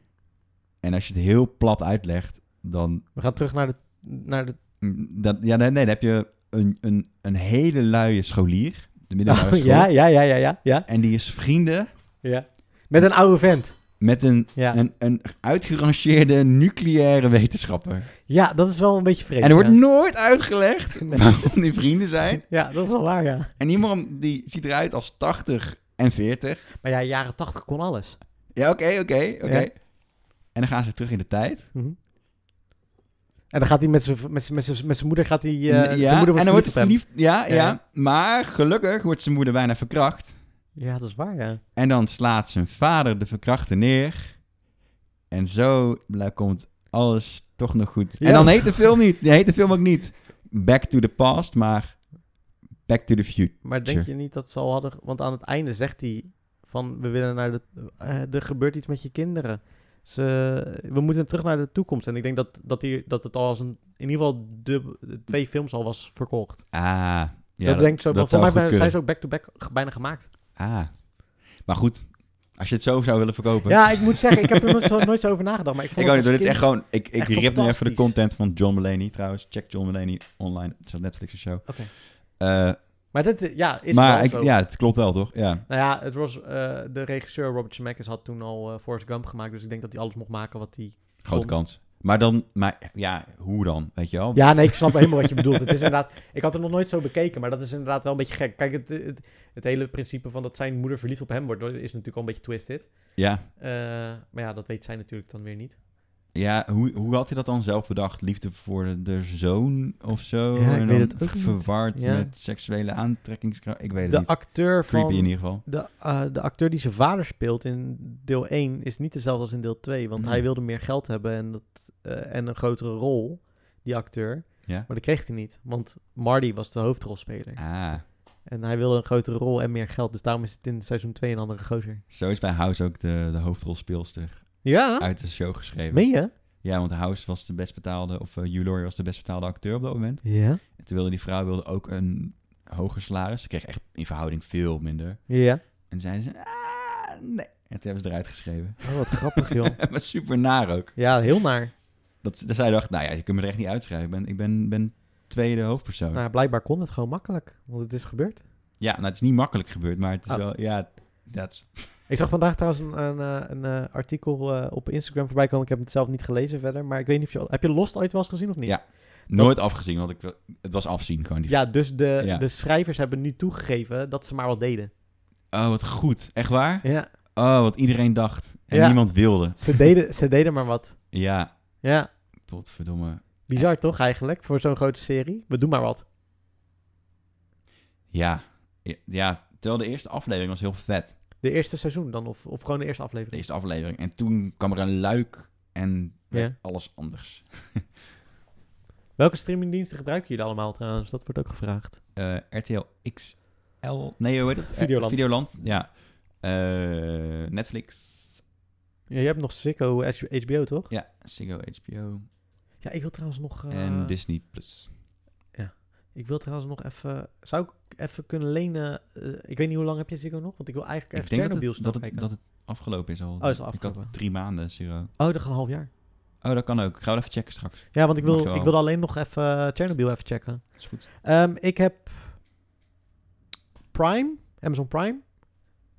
Speaker 4: En als je het heel plat uitlegt, dan...
Speaker 3: We gaan terug naar de... Naar de
Speaker 4: mm, dan ja, nee, nee, dan heb je een, een, een hele luie scholier. De middelbare
Speaker 3: Oh,
Speaker 4: school.
Speaker 3: ja, ja, ja, ja, ja, ja,
Speaker 4: En die is vrienden
Speaker 3: ja. Met een oude vent.
Speaker 4: met een,
Speaker 3: Ja.
Speaker 4: een, een uitgerangeerde nucleaire wetenschapper.
Speaker 3: Ja, dat is wel een beetje vreemd.
Speaker 4: En er wordt
Speaker 3: ja.
Speaker 4: nooit uitgelegd
Speaker 3: Nee.
Speaker 4: waarom die vrienden zijn.
Speaker 3: Ja, dat is wel waar, ja.
Speaker 4: En iemand die ziet eruit als 80 en 40.
Speaker 3: Maar ja, jaren tachtig kon alles.
Speaker 4: Ja, oké, oké, oké.
Speaker 3: Ja.
Speaker 4: En dan gaan ze terug in de tijd.
Speaker 3: Mhm. En dan gaat hij met zijn met z'n- met z'n- met zijn moeder... Gaat hij, eh, zijn
Speaker 4: ja,
Speaker 3: moeder
Speaker 4: en
Speaker 3: wordt
Speaker 4: dan
Speaker 3: verliefd
Speaker 4: wordt ze
Speaker 3: op hem.
Speaker 4: verliefd. Ja, ja,
Speaker 3: Ja, ja.
Speaker 4: Maar gelukkig wordt zijn moeder bijna verkracht.
Speaker 3: Ja, dat is waar, ja.
Speaker 4: En dan slaat zijn vader de verkrachter neer. En zo bla- komt alles toch nog goed.
Speaker 3: Ja.
Speaker 4: En dan heet de film niet. Die heet de film ook niet Back to the Past, maar Back to the Future.
Speaker 3: Maar denk je niet dat ze al hadden... Want aan het einde zegt hij van... We willen naar de... eh, er gebeurt iets met je kinderen. Ze, we moeten terug naar de toekomst. En ik denk dat, dat, die, dat het al als een... In ieder geval de, de twee films al was verkocht.
Speaker 4: Ah, ja,
Speaker 3: dat, denk ik zo. want voor mij
Speaker 4: zou
Speaker 3: ben-
Speaker 4: goed
Speaker 3: zijn
Speaker 4: kunnen.
Speaker 3: ze ook back-to-back ge- bijna gemaakt.
Speaker 4: Ah, maar goed. Als je het zo zou willen verkopen.
Speaker 3: Ja, ik moet zeggen, ik heb er nooit zo, nooit zo over nagedacht. Maar ik vond
Speaker 4: Ik ook niet,
Speaker 3: het
Speaker 4: hoor.
Speaker 3: als
Speaker 4: dit is echt
Speaker 3: kind-
Speaker 4: gewoon... Ik, ik
Speaker 3: echt
Speaker 4: rip nu even de
Speaker 3: fantastisch.
Speaker 4: content van John Mulaney trouwens. Check John Mulaney online. Het is een Netflix show.
Speaker 3: Oké.
Speaker 4: Eh,
Speaker 3: Maar dit ja, is
Speaker 4: maar
Speaker 3: wel
Speaker 4: ik-
Speaker 3: zo.
Speaker 4: ja, het klopt wel, toch? Ja.
Speaker 3: Nou ja, het was, eh, de regisseur Robert Zemeckis had toen al eh, Forrest Gump gemaakt. Dus ik denk dat hij alles mocht maken wat hij...
Speaker 4: Grote
Speaker 3: Kon.
Speaker 4: kans. Maar dan, maar ja, hoe dan? Weet je wel?
Speaker 3: Ja, nee, ik snap helemaal wat je bedoelt. Het is inderdaad, ik had het nog nooit zo bekeken, maar dat is inderdaad wel een beetje gek. Kijk, het, het, het hele principe van dat zijn moeder verliefd op hem wordt, is natuurlijk al een beetje twisted.
Speaker 4: Ja,
Speaker 3: Eh, maar ja, dat weet zij natuurlijk dan weer niet.
Speaker 4: ja hoe, hoe had hij dat dan zelf bedacht? Liefde voor de, de zoon of zo?
Speaker 3: Ja, ik
Speaker 4: en
Speaker 3: weet
Speaker 4: dan
Speaker 3: het ook niet.
Speaker 4: Verward
Speaker 3: Ja.
Speaker 4: met seksuele aantrekkingskracht? Ik weet het
Speaker 3: De
Speaker 4: niet.
Speaker 3: acteur
Speaker 4: Creepy in
Speaker 3: van...
Speaker 4: ieder geval.
Speaker 3: De, eh, de acteur die zijn vader speelt in deel 1 is niet dezelfde als in deel 2, want
Speaker 4: Hmm.
Speaker 3: hij wilde meer geld hebben en, dat, eh, en een grotere rol, die acteur.
Speaker 4: Ja.
Speaker 3: Maar dat kreeg hij niet, want Marty was de hoofdrolspeler.
Speaker 4: Ah,
Speaker 3: En hij wilde een grotere rol en meer geld, dus daarom is het in seizoen 2 een andere gozer.
Speaker 4: zo is bij House ook de, de hoofdrolspeelster
Speaker 3: Ja?
Speaker 4: uit de show geschreven.
Speaker 3: Meen je?
Speaker 4: Ja, want House was de best betaalde, of eh Hugh Laurie was de best betaalde acteur op dat moment.
Speaker 3: Ja.
Speaker 4: En toen wilde die vrouw wilde ook een hoger salaris. Ze kreeg echt in verhouding veel minder.
Speaker 3: Ja.
Speaker 4: En zeiden ze, ah, nee. En toen hebben ze eruit geschreven.
Speaker 3: Oh, wat grappig, joh.
Speaker 4: maar super naar ook.
Speaker 3: Ja, heel naar.
Speaker 4: Dat, dat zij dacht, nou ja, je kunt me er echt niet uitschrijven. Ik ben, ik ben, ben tweede hoofdpersoon.
Speaker 3: Nou, blijkbaar kon het gewoon makkelijk, want het is gebeurd.
Speaker 4: Ja, nou het is niet makkelijk gebeurd, maar het is
Speaker 3: Oh.
Speaker 4: wel, ja, dat is...
Speaker 3: Ik zag vandaag trouwens een, een, eh, een, eh, artikel eh, op Instagram voorbij komen. Ik heb het zelf niet gelezen verder, maar ik weet niet of je... Heb je Lost ooit wel eens gezien of niet?
Speaker 4: Ja. Nooit afgezien, want ik, wil- het was afzien gewoon. Die...
Speaker 3: Ja, dus de,
Speaker 4: Ja.
Speaker 3: de schrijvers hebben nu toegegeven dat ze maar wat deden.
Speaker 4: Oh, wat goed. Echt waar?
Speaker 3: Ja.
Speaker 4: Oh, wat iedereen dacht. En
Speaker 3: Ja.
Speaker 4: niemand wilde.
Speaker 3: Ze deden, ze deden maar wat.
Speaker 4: Ja,
Speaker 3: Ja.
Speaker 4: potverdomme.
Speaker 3: Bizar toch eigenlijk, voor zo'n grote serie? We doen maar wat.
Speaker 4: Ja. Ja, terwijl de eerste aflevering was heel vet.
Speaker 3: De eerste seizoen dan, of, of gewoon de eerste
Speaker 4: De
Speaker 3: aflevering.
Speaker 4: eerste aflevering. En toen kwam er een luik en werd
Speaker 3: Ja.
Speaker 4: alles anders.
Speaker 3: Welke streamingdiensten gebruiken jullie allemaal trouwens? Dat wordt ook gevraagd.
Speaker 4: eh, RTL XL. Nee, hoe heet het? Eh,
Speaker 3: Videoland.
Speaker 4: Videoland, ja. Eh, Netflix.
Speaker 3: Ja, je hebt nog Ziggo, HBO toch?
Speaker 4: Ja, Ziggo, HBO.
Speaker 3: Ja, ik wil trouwens nog. eh,
Speaker 4: En dus- Disney Plus.
Speaker 3: Ik wil trouwens nog even. Zou ik even kunnen lenen? eh, ik weet niet hoe lang heb je Ziggo nog? Want ik wil eigenlijk even
Speaker 4: dat
Speaker 3: Chernobyl
Speaker 4: het,
Speaker 3: snel
Speaker 4: dat, het,
Speaker 3: kijken.
Speaker 4: dat het afgelopen is al.
Speaker 3: Oh, is al
Speaker 4: Ik
Speaker 3: afgelopen.
Speaker 4: had drie maanden, Ziggo.
Speaker 3: Oh, dat gaat een half jaar.
Speaker 4: Oh, dat kan ook. Gaan we wel even checken straks.
Speaker 3: Ja, want ik
Speaker 4: Mag je
Speaker 3: wil,
Speaker 4: wel.
Speaker 3: ik wil alleen nog even Chernobyl even checken.
Speaker 4: Is goed.
Speaker 3: Ehm, ik heb Prime, Amazon Prime.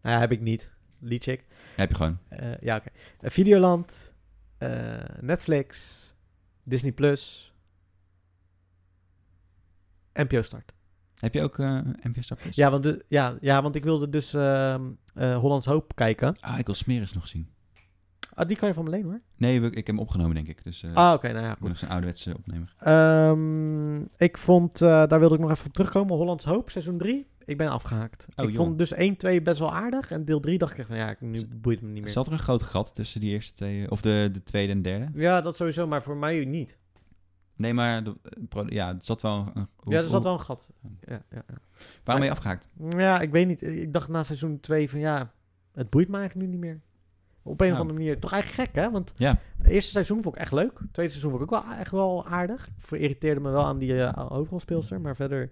Speaker 3: Nou ja, heb ik niet. Leadcheck.
Speaker 4: Heb je gewoon.
Speaker 3: Eh ja, oké. Eh, Videoland, eh, Netflix, Disney Plus, NPO Start.
Speaker 4: Heb je ook eh NPO Star Plus?
Speaker 3: Ja, want, de- ja, ja, want ik wilde dus ehm, eh, Hollands Hoop kijken.
Speaker 4: Ah, ik wil Smeris nog zien.
Speaker 3: Ah, die kan je van me lenen hoor.
Speaker 4: Nee, we- ik heb hem opgenomen, denk ik. Dus eh,
Speaker 3: Ah, oké, nou ja,
Speaker 4: ik moet
Speaker 3: goed.
Speaker 4: nog zijn ouderwetse opnemen.
Speaker 3: Ehm, ik vond, eh, daar wilde ik nog even op terugkomen, Hollands Hoop, seizoen 3. Ik ben afgehaakt.
Speaker 4: Oh,
Speaker 3: ik
Speaker 4: joh.
Speaker 3: vond dus 1, 2 best wel aardig. En deel 3 dacht ik echt van, ja, ik- nu boeit het me niet meer.
Speaker 4: Zat er een groot gat tussen die eerste twee, eh, of de, de tweede en derde?
Speaker 3: Ja, dat sowieso, maar voor mij niet.
Speaker 4: Nee, maar de, eh, pro- ja, het zat wel. een- een- hoe-
Speaker 3: Ja, er zat
Speaker 4: hoe-
Speaker 3: wel een gat. Ja, ja, ja.
Speaker 4: Waarom ben je afgehaakt?
Speaker 3: ja, ik weet niet. Ik dacht na seizoen 2 van, ja, het boeit me eigenlijk nu niet meer. Op een
Speaker 4: Nou.
Speaker 3: of andere manier. Toch eigenlijk gek, hè? Want
Speaker 4: Ja.
Speaker 3: het eerste seizoen vond ik echt leuk. Het tweede seizoen vond ik ook wel echt wel aardig. Ik irriteerde me wel aan die eh, hoofdrolspeelster, maar verder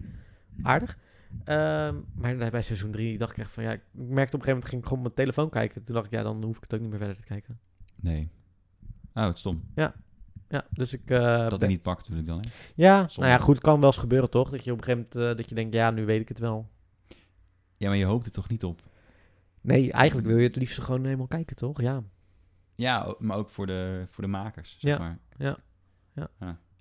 Speaker 3: aardig. Ehm, maar bij- bij seizoen 3 dacht ik echt van ja, ik merkte op een gegeven moment ging ik gewoon op mijn telefoon kijken. Toen dacht ik ja, dan hoef ik het ook niet meer verder te kijken.
Speaker 4: Nee. Oh, het is stom.
Speaker 3: Ja, dus ik. eh,
Speaker 4: Dat
Speaker 3: ben-
Speaker 4: hij niet pakt natuurlijk dan. Hè?
Speaker 3: Ja,
Speaker 4: Zonde.
Speaker 3: nou ja, goed, kan wel eens gebeuren toch? Dat je op een gegeven moment eh, dat je denkt ja, nu weet ik het wel.
Speaker 4: Ja, maar je hoopt er toch niet op.
Speaker 3: Nee, eigenlijk wil je het liefst gewoon helemaal kijken toch? Ja.
Speaker 4: Ja, o- maar ook voor de, voor de makers. Zeg
Speaker 3: Ja.
Speaker 4: Maar.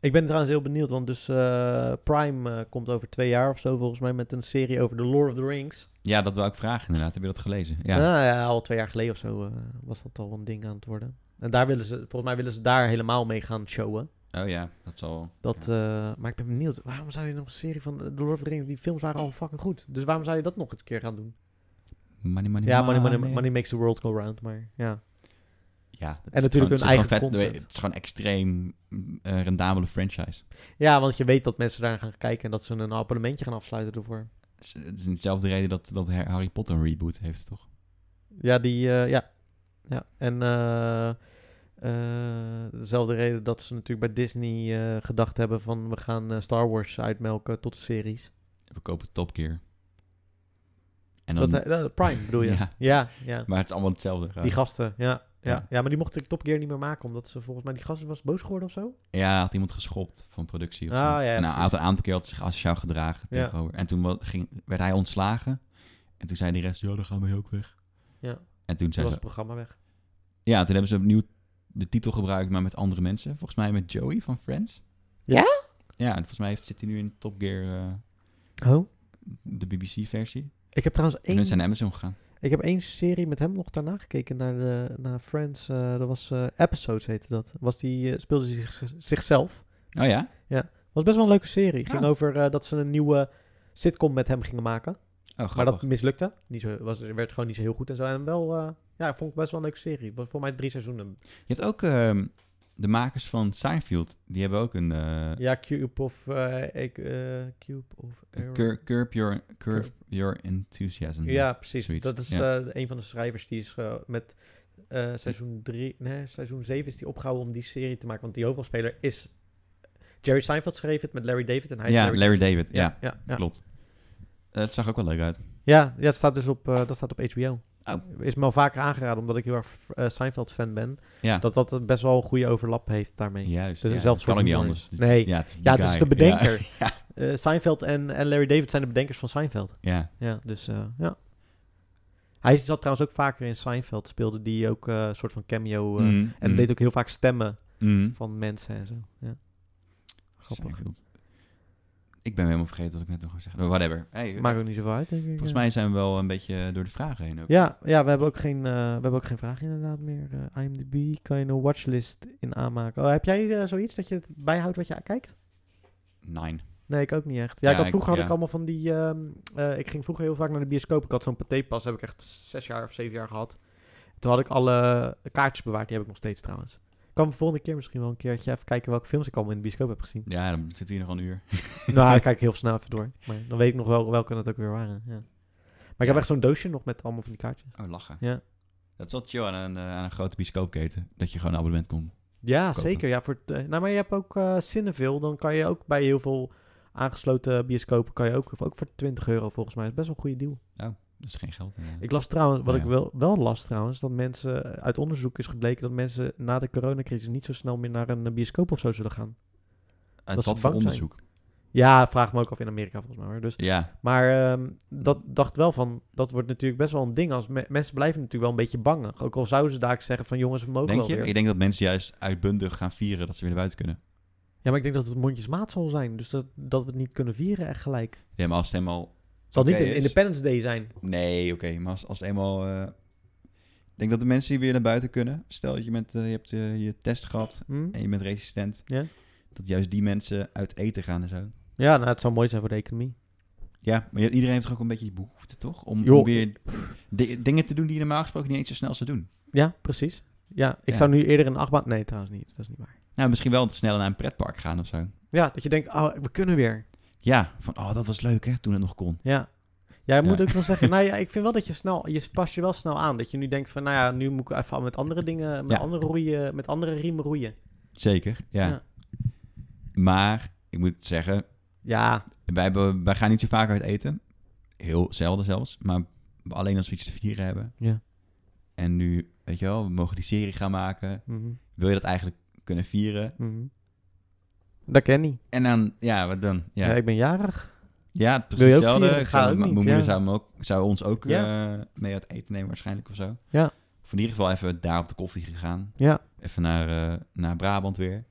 Speaker 3: Ik ben trouwens heel benieuwd, want dus eh, Prime eh, komt over twee jaar of zo volgens mij met een serie over The Lord of the Rings.
Speaker 4: ja, dat wil ik vragen inderdaad. Heb je dat gelezen? Ja.
Speaker 3: Nou ja, al twee jaar geleden of zo eh, was dat al een ding aan het worden. En daar willen ze, volgens mij willen ze daar helemaal mee gaan showen.
Speaker 4: Oh ja, dat zal...
Speaker 3: Dat, eh, maar ik ben benieuwd, waarom zou je nog een serie van eh, The Lord of the Rings, die films waren al fucking goed. Dus waarom zou je dat nog een keer gaan doen?
Speaker 4: Money, money,
Speaker 3: ja, money, money, money makes the world go round, maar ja.
Speaker 4: Ja,
Speaker 3: En
Speaker 4: dat is
Speaker 3: natuurlijk
Speaker 4: gewoon-
Speaker 3: hun
Speaker 4: het is gewoon
Speaker 3: eigen
Speaker 4: vet-
Speaker 3: content.
Speaker 4: Het is gewoon extreem mm, eh, rendabele franchise.
Speaker 3: Ja, want je weet dat mensen daar gaan kijken en dat ze een abonnementje gaan afsluiten ervoor.
Speaker 4: Het is- Het is dezelfde reden dat, dat Harry Potter een reboot heeft, toch?
Speaker 3: Ja, die, eh, ja. Ja, en eh, eh, dezelfde reden dat ze natuurlijk bij Disney eh, gedacht hebben van we gaan eh, Star Wars uitmelken tot de series.
Speaker 4: We kopen Top Gear. En dan,
Speaker 3: Dat, eh, eh, Prime bedoel je?
Speaker 4: Ja.
Speaker 3: ja, ja.
Speaker 4: maar het is allemaal hetzelfde. graag.
Speaker 3: Die gasten, ja. Ja.
Speaker 4: Ja.
Speaker 3: Ja. maar die mochten ik Top Gear niet meer maken, omdat ze volgens mij die gast was boos geworden of zo.
Speaker 4: Ja, had iemand geschopt van productie of zo.
Speaker 3: Ah, ja,
Speaker 4: en hij
Speaker 3: precies.
Speaker 4: had een aantal keer had zich asociaal gedragen
Speaker 3: Ja.
Speaker 4: tegenover. En toen wa- ging, werd hij ontslagen. En toen zei de rest, ja, dan gaan wij ook weg.
Speaker 3: Ja,
Speaker 4: En toen
Speaker 3: toen
Speaker 4: zei
Speaker 3: was
Speaker 4: ze,
Speaker 3: het programma weg.
Speaker 4: ja, toen hebben ze opnieuw de titel gebruikt, maar met andere mensen. Volgens mij met Joey van Friends.
Speaker 3: Ja?
Speaker 4: Ja, en volgens mij heeft, zit hij nu in Top Gear, eh,
Speaker 3: Oh.
Speaker 4: de BBC-versie.
Speaker 3: Ik heb trouwens
Speaker 4: En
Speaker 3: één...
Speaker 4: hun zijn naar Amazon gegaan.
Speaker 3: Ik heb één serie met hem nog daarna gekeken naar, de, naar Friends. eh, dat was eh, Episodes heette dat. Was die, eh, speelde zich, zichzelf.
Speaker 4: Oh ja?
Speaker 3: Was best wel een leuke serie. Ging
Speaker 4: Ja.
Speaker 3: over eh, dat ze een nieuwe sitcom met hem gingen maken.
Speaker 4: Oh, grappig.
Speaker 3: Maar dat mislukte. Niet zo, was, werd gewoon niet zo heel goed en zo. En wel, eh, ja, ik vond het best wel een leuke serie. Was voor mij drie seizoenen.
Speaker 4: Je hebt ook ehm, de makers van Seinfeld. Die hebben ook een... eh,
Speaker 3: Ja, Cube of... eh, ik, eh, Cube of...
Speaker 4: Cur-
Speaker 3: Arrow.
Speaker 4: Curb, your, curb
Speaker 3: Curb.
Speaker 4: your enthusiasm.
Speaker 3: Ja, precies.
Speaker 4: Zoiets,
Speaker 3: Dat is
Speaker 4: ja.
Speaker 3: eh, een van de schrijvers die is eh, met eh, seizoen 3, nee, seizoen 7 is die opgehouden om die serie te maken. Want die hoofdrolspeler is Jerry Seinfeld schreef het met Larry David en hij is
Speaker 4: Ja, Larry David. Ja,
Speaker 3: Ja, ja.
Speaker 4: klopt. Eh, Het zag ook wel leuk uit.
Speaker 3: ja, ja, het staat dus op, eh, dat staat op HBO.
Speaker 4: Oh.
Speaker 3: Is me al vaker aangeraden omdat ik heel erg eh, Seinfeld fan ben.
Speaker 4: Ja,
Speaker 3: Dat dat best wel een goede overlap heeft daarmee.
Speaker 4: juist.
Speaker 3: dat
Speaker 4: ja,
Speaker 3: is
Speaker 4: dat
Speaker 3: zelfs
Speaker 4: kan ook niet
Speaker 3: soort
Speaker 4: anders.
Speaker 3: humor. Nee.
Speaker 4: ja, het is, die
Speaker 3: Ja, het is
Speaker 4: guy.
Speaker 3: de
Speaker 4: Ja,
Speaker 3: bedenker. Eh, Seinfeld en, en Larry David zijn de bedenkers van Seinfeld.
Speaker 4: ja.
Speaker 3: Ja, dus eh, ja. Hij zat trouwens ook vaker in Seinfeld. Speelde die ook eh, een soort van cameo. eh,
Speaker 4: Mm,
Speaker 3: En
Speaker 4: mm,
Speaker 3: deed ook heel vaak stemmen
Speaker 4: mm.
Speaker 3: van mensen en zo. Ja. Grappig.
Speaker 4: Seinfeld. Ik ben helemaal vergeten wat ik net nog wou zeggen. Maar Whatever. Hey, eh,
Speaker 3: Maakt ook niet zoveel uit, denk ik.
Speaker 4: volgens
Speaker 3: ja.
Speaker 4: mij zijn we wel een beetje eh, door de vragen heen ook.
Speaker 3: Ja, ja we, hebben ook geen, eh, we hebben ook geen vragen inderdaad meer. Eh, IMDb, kan je een watchlist in aanmaken? Oh, heb jij eh, zoiets dat je het bijhoudt wat je kijkt?
Speaker 4: Nine.
Speaker 3: Nee, ik ook niet echt. Ja, ik
Speaker 4: Ja,
Speaker 3: had, vroeger
Speaker 4: ik-
Speaker 3: had ik
Speaker 4: ja.
Speaker 3: allemaal van die... ehm, eh, ik ging vroeger heel vaak naar de bioscoop. Ik had zo'n patépas, heb ik echt zes jaar of zeven jaar gehad. Toen had ik alle kaartjes bewaard, die heb ik nog steeds trouwens. Ik kan de volgende keer misschien wel een keertje even kijken welke films ik allemaal in de bioscoop heb gezien.
Speaker 4: Ja, dan zit hier nog een uur.
Speaker 3: nou, dan kijk ik heel snel even door. Maar dan weet ik nog wel welke het ook weer waren. Ja. Maar ik heb
Speaker 4: Ja.
Speaker 3: echt zo'n doosje nog met allemaal van die kaartjes.
Speaker 4: Oh, lachen.
Speaker 3: Ja.
Speaker 4: Dat is wel chill aan een, eh, aan een grote bioscoopketen. Dat je gewoon een abonnement kon.
Speaker 3: Ja,
Speaker 4: Kopen.
Speaker 3: zeker. Ja, voor, eh, nou, maar je hebt ook eh Cineville. Dan kan je ook bij heel veel aangesloten bioscopen... kan je ook, of ook voor 20 euro volgens mij. is best wel een goede deal.
Speaker 4: Dat is geen geld. eh.
Speaker 3: Ik las trouwens, wat
Speaker 4: Ja.
Speaker 3: ik wel, wel las trouwens... dat mensen, eh, uit onderzoek is gebleken... dat mensen na de coronacrisis niet zo snel meer naar een eh, bioscoop of zo zullen gaan.
Speaker 4: Uit
Speaker 3: dat ze
Speaker 4: wat voor
Speaker 3: bang zijn.
Speaker 4: onderzoek?
Speaker 3: Ja, vraag me ook af in Amerika volgens mij. Hoor. Dus
Speaker 4: Ja,
Speaker 3: Maar ehm, dat dacht wel van, dat wordt natuurlijk best wel een ding. Als me- mensen blijven natuurlijk wel een beetje bang. Ook al zouden ze daar zeggen van jongens, we mogen
Speaker 4: denk
Speaker 3: wel
Speaker 4: je?
Speaker 3: weer.
Speaker 4: Ik denk dat mensen juist uitbundig gaan vieren dat ze weer naar buiten kunnen.
Speaker 3: Ja, maar ik denk dat het mondjesmaat zal zijn. Dus dat, dat we het niet kunnen vieren echt gelijk.
Speaker 4: Ja, maar als het eenmaal...
Speaker 3: Het zal
Speaker 4: Oké, dus-
Speaker 3: niet een
Speaker 4: is-
Speaker 3: Independence Day zijn.
Speaker 4: Nee, oké. maar als, als het eenmaal... eh, Ik denk dat de mensen die weer naar buiten kunnen... Stel dat je, met, eh, je hebt eh, je test gehad
Speaker 3: Hm?
Speaker 4: en je bent resistent.
Speaker 3: Ja.
Speaker 4: Dat juist die mensen uit eten gaan en zo.
Speaker 3: Ja, nou, het zou mooi zijn voor de economie.
Speaker 4: Ja, maar iedereen heeft toch ook een beetje die behoefte, toch? Om, om
Speaker 3: Joh.
Speaker 4: weer di- dingen te doen die je normaal gesproken niet eens zo snel zou doen.
Speaker 3: Ja, precies. Ja, ik
Speaker 4: Ja.
Speaker 3: zou nu eerder een achtbaan... Nee, trouwens niet. Dat is niet waar.
Speaker 4: Nou, misschien wel te snel naar een pretpark gaan of zo.
Speaker 3: Ja, dat je denkt, oh, we kunnen weer.
Speaker 4: Ja, van oh, dat was leuk hè, toen het nog kon.
Speaker 3: Ja. Jij moet
Speaker 4: Ja.
Speaker 3: ook wel zeggen, nou ja, ik vind wel dat je snel, je past je wel snel aan. Dat je nu denkt van, nou ja, nu moet ik even met andere dingen, met,
Speaker 4: Ja.
Speaker 3: andere, roeien, met andere riemen roeien.
Speaker 4: Zeker, ja.
Speaker 3: Ja.
Speaker 4: Maar, ik moet zeggen,
Speaker 3: Ja,
Speaker 4: wij, hebben, wij gaan niet zo vaak uit eten. Heel zelden zelfs, maar alleen als we iets te vieren hebben.
Speaker 3: Ja.
Speaker 4: En nu, weet je wel, we mogen die serie gaan maken.
Speaker 3: Mhm,
Speaker 4: Wil je dat eigenlijk kunnen vieren?
Speaker 3: mhm. Dat ken ik.
Speaker 4: En dan, ja, wat dan?
Speaker 3: Ja.
Speaker 4: Ja, ja,
Speaker 3: ik ben jarig.
Speaker 4: precies
Speaker 3: Wil je ook
Speaker 4: hetzelfde.
Speaker 3: vieren?
Speaker 4: Ik
Speaker 3: Ga
Speaker 4: zou-
Speaker 3: ook
Speaker 4: mijn
Speaker 3: niet,
Speaker 4: moeder
Speaker 3: ja.
Speaker 4: zou, hem ook, zou ons ook eh, mee uit eten nemen waarschijnlijk of zo.
Speaker 3: Ja.
Speaker 4: Of in ieder geval even daar op de koffie gegaan.
Speaker 3: Ja.
Speaker 4: Even naar, eh, naar Brabant weer.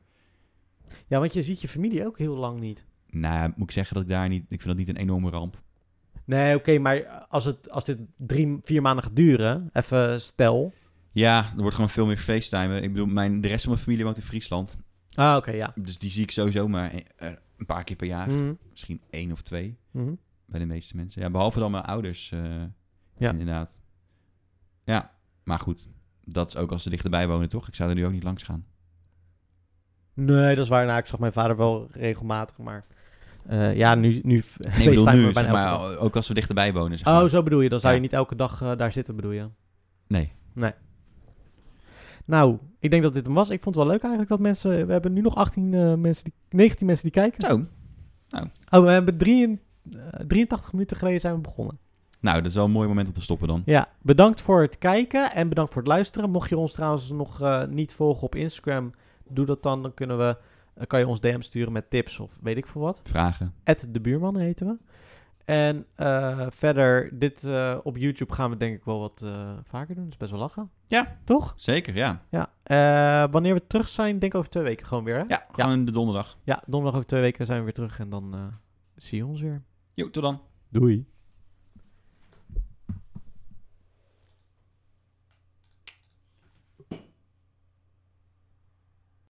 Speaker 3: Ja, want je ziet je familie ook heel lang niet.
Speaker 4: Nou, moet ik zeggen dat ik daar niet... Ik vind dat niet een enorme ramp.
Speaker 3: Nee, oké, maar als, het, als dit drie, vier maanden gaat duren, even stel.
Speaker 4: Ja, er wordt gewoon veel meer facetimen. Ik bedoel, mijn, de rest van mijn familie woont in Friesland.
Speaker 3: Ah, oké, ja.
Speaker 4: Dus die zie ik sowieso maar eh, eh, een paar keer per jaar.
Speaker 3: Mhm,
Speaker 4: Misschien één of twee
Speaker 3: mhm.
Speaker 4: bij de meeste mensen. Ja, behalve dan mijn ouders. eh,
Speaker 3: Ja.
Speaker 4: Inderdaad. Ja, maar goed. Dat is ook als ze dichterbij wonen, toch? Ik zou er nu ook niet langs gaan.
Speaker 3: Nee, dat is waar. Nou, ik zag mijn vader wel regelmatig, maar... eh, ja, nu, nu
Speaker 4: Nee, ik bedoel
Speaker 3: facetimen we bijna
Speaker 4: nu, zeg
Speaker 3: elke dag.
Speaker 4: maar, ook als we dichterbij wonen. Zeg maar.
Speaker 3: Oh, zo bedoel je. Dan zou
Speaker 4: Ja.
Speaker 3: je niet elke dag eh, daar zitten, bedoel je?
Speaker 4: Nee.
Speaker 3: Nee. Nou, ik denk dat dit hem was. Ik vond het wel leuk eigenlijk dat mensen... We hebben nu nog 18 eh, mensen, die, 19 mensen die kijken.
Speaker 4: Zo.
Speaker 3: Oh, we hebben drieën- eh, 83 minuten geleden zijn we begonnen.
Speaker 4: Nou, dat is wel een mooi moment om te stoppen dan.
Speaker 3: Ja, bedankt voor het kijken en bedankt voor het luisteren. Mocht je ons trouwens nog eh, niet volgen op Instagram, doe dat dan. Dan kunnen we, eh, kan je ons DM sturen met tips of weet ik veel wat.
Speaker 4: Vragen.
Speaker 3: At de buurman heten we. En eh, verder, dit eh, op YouTube gaan we denk ik wel wat eh, vaker doen. Dat is best wel lachen.
Speaker 4: Ja.
Speaker 3: Toch?
Speaker 4: Zeker, ja.
Speaker 3: Ja. Eh, wanneer we terug zijn, denk ik over twee weken gewoon weer, hè?
Speaker 4: Ja, gewoon de donderdag.
Speaker 3: Ja, donderdag over twee weken zijn we weer terug en dan eh, zie je ons weer.
Speaker 4: Jo, tot dan.
Speaker 3: Doei.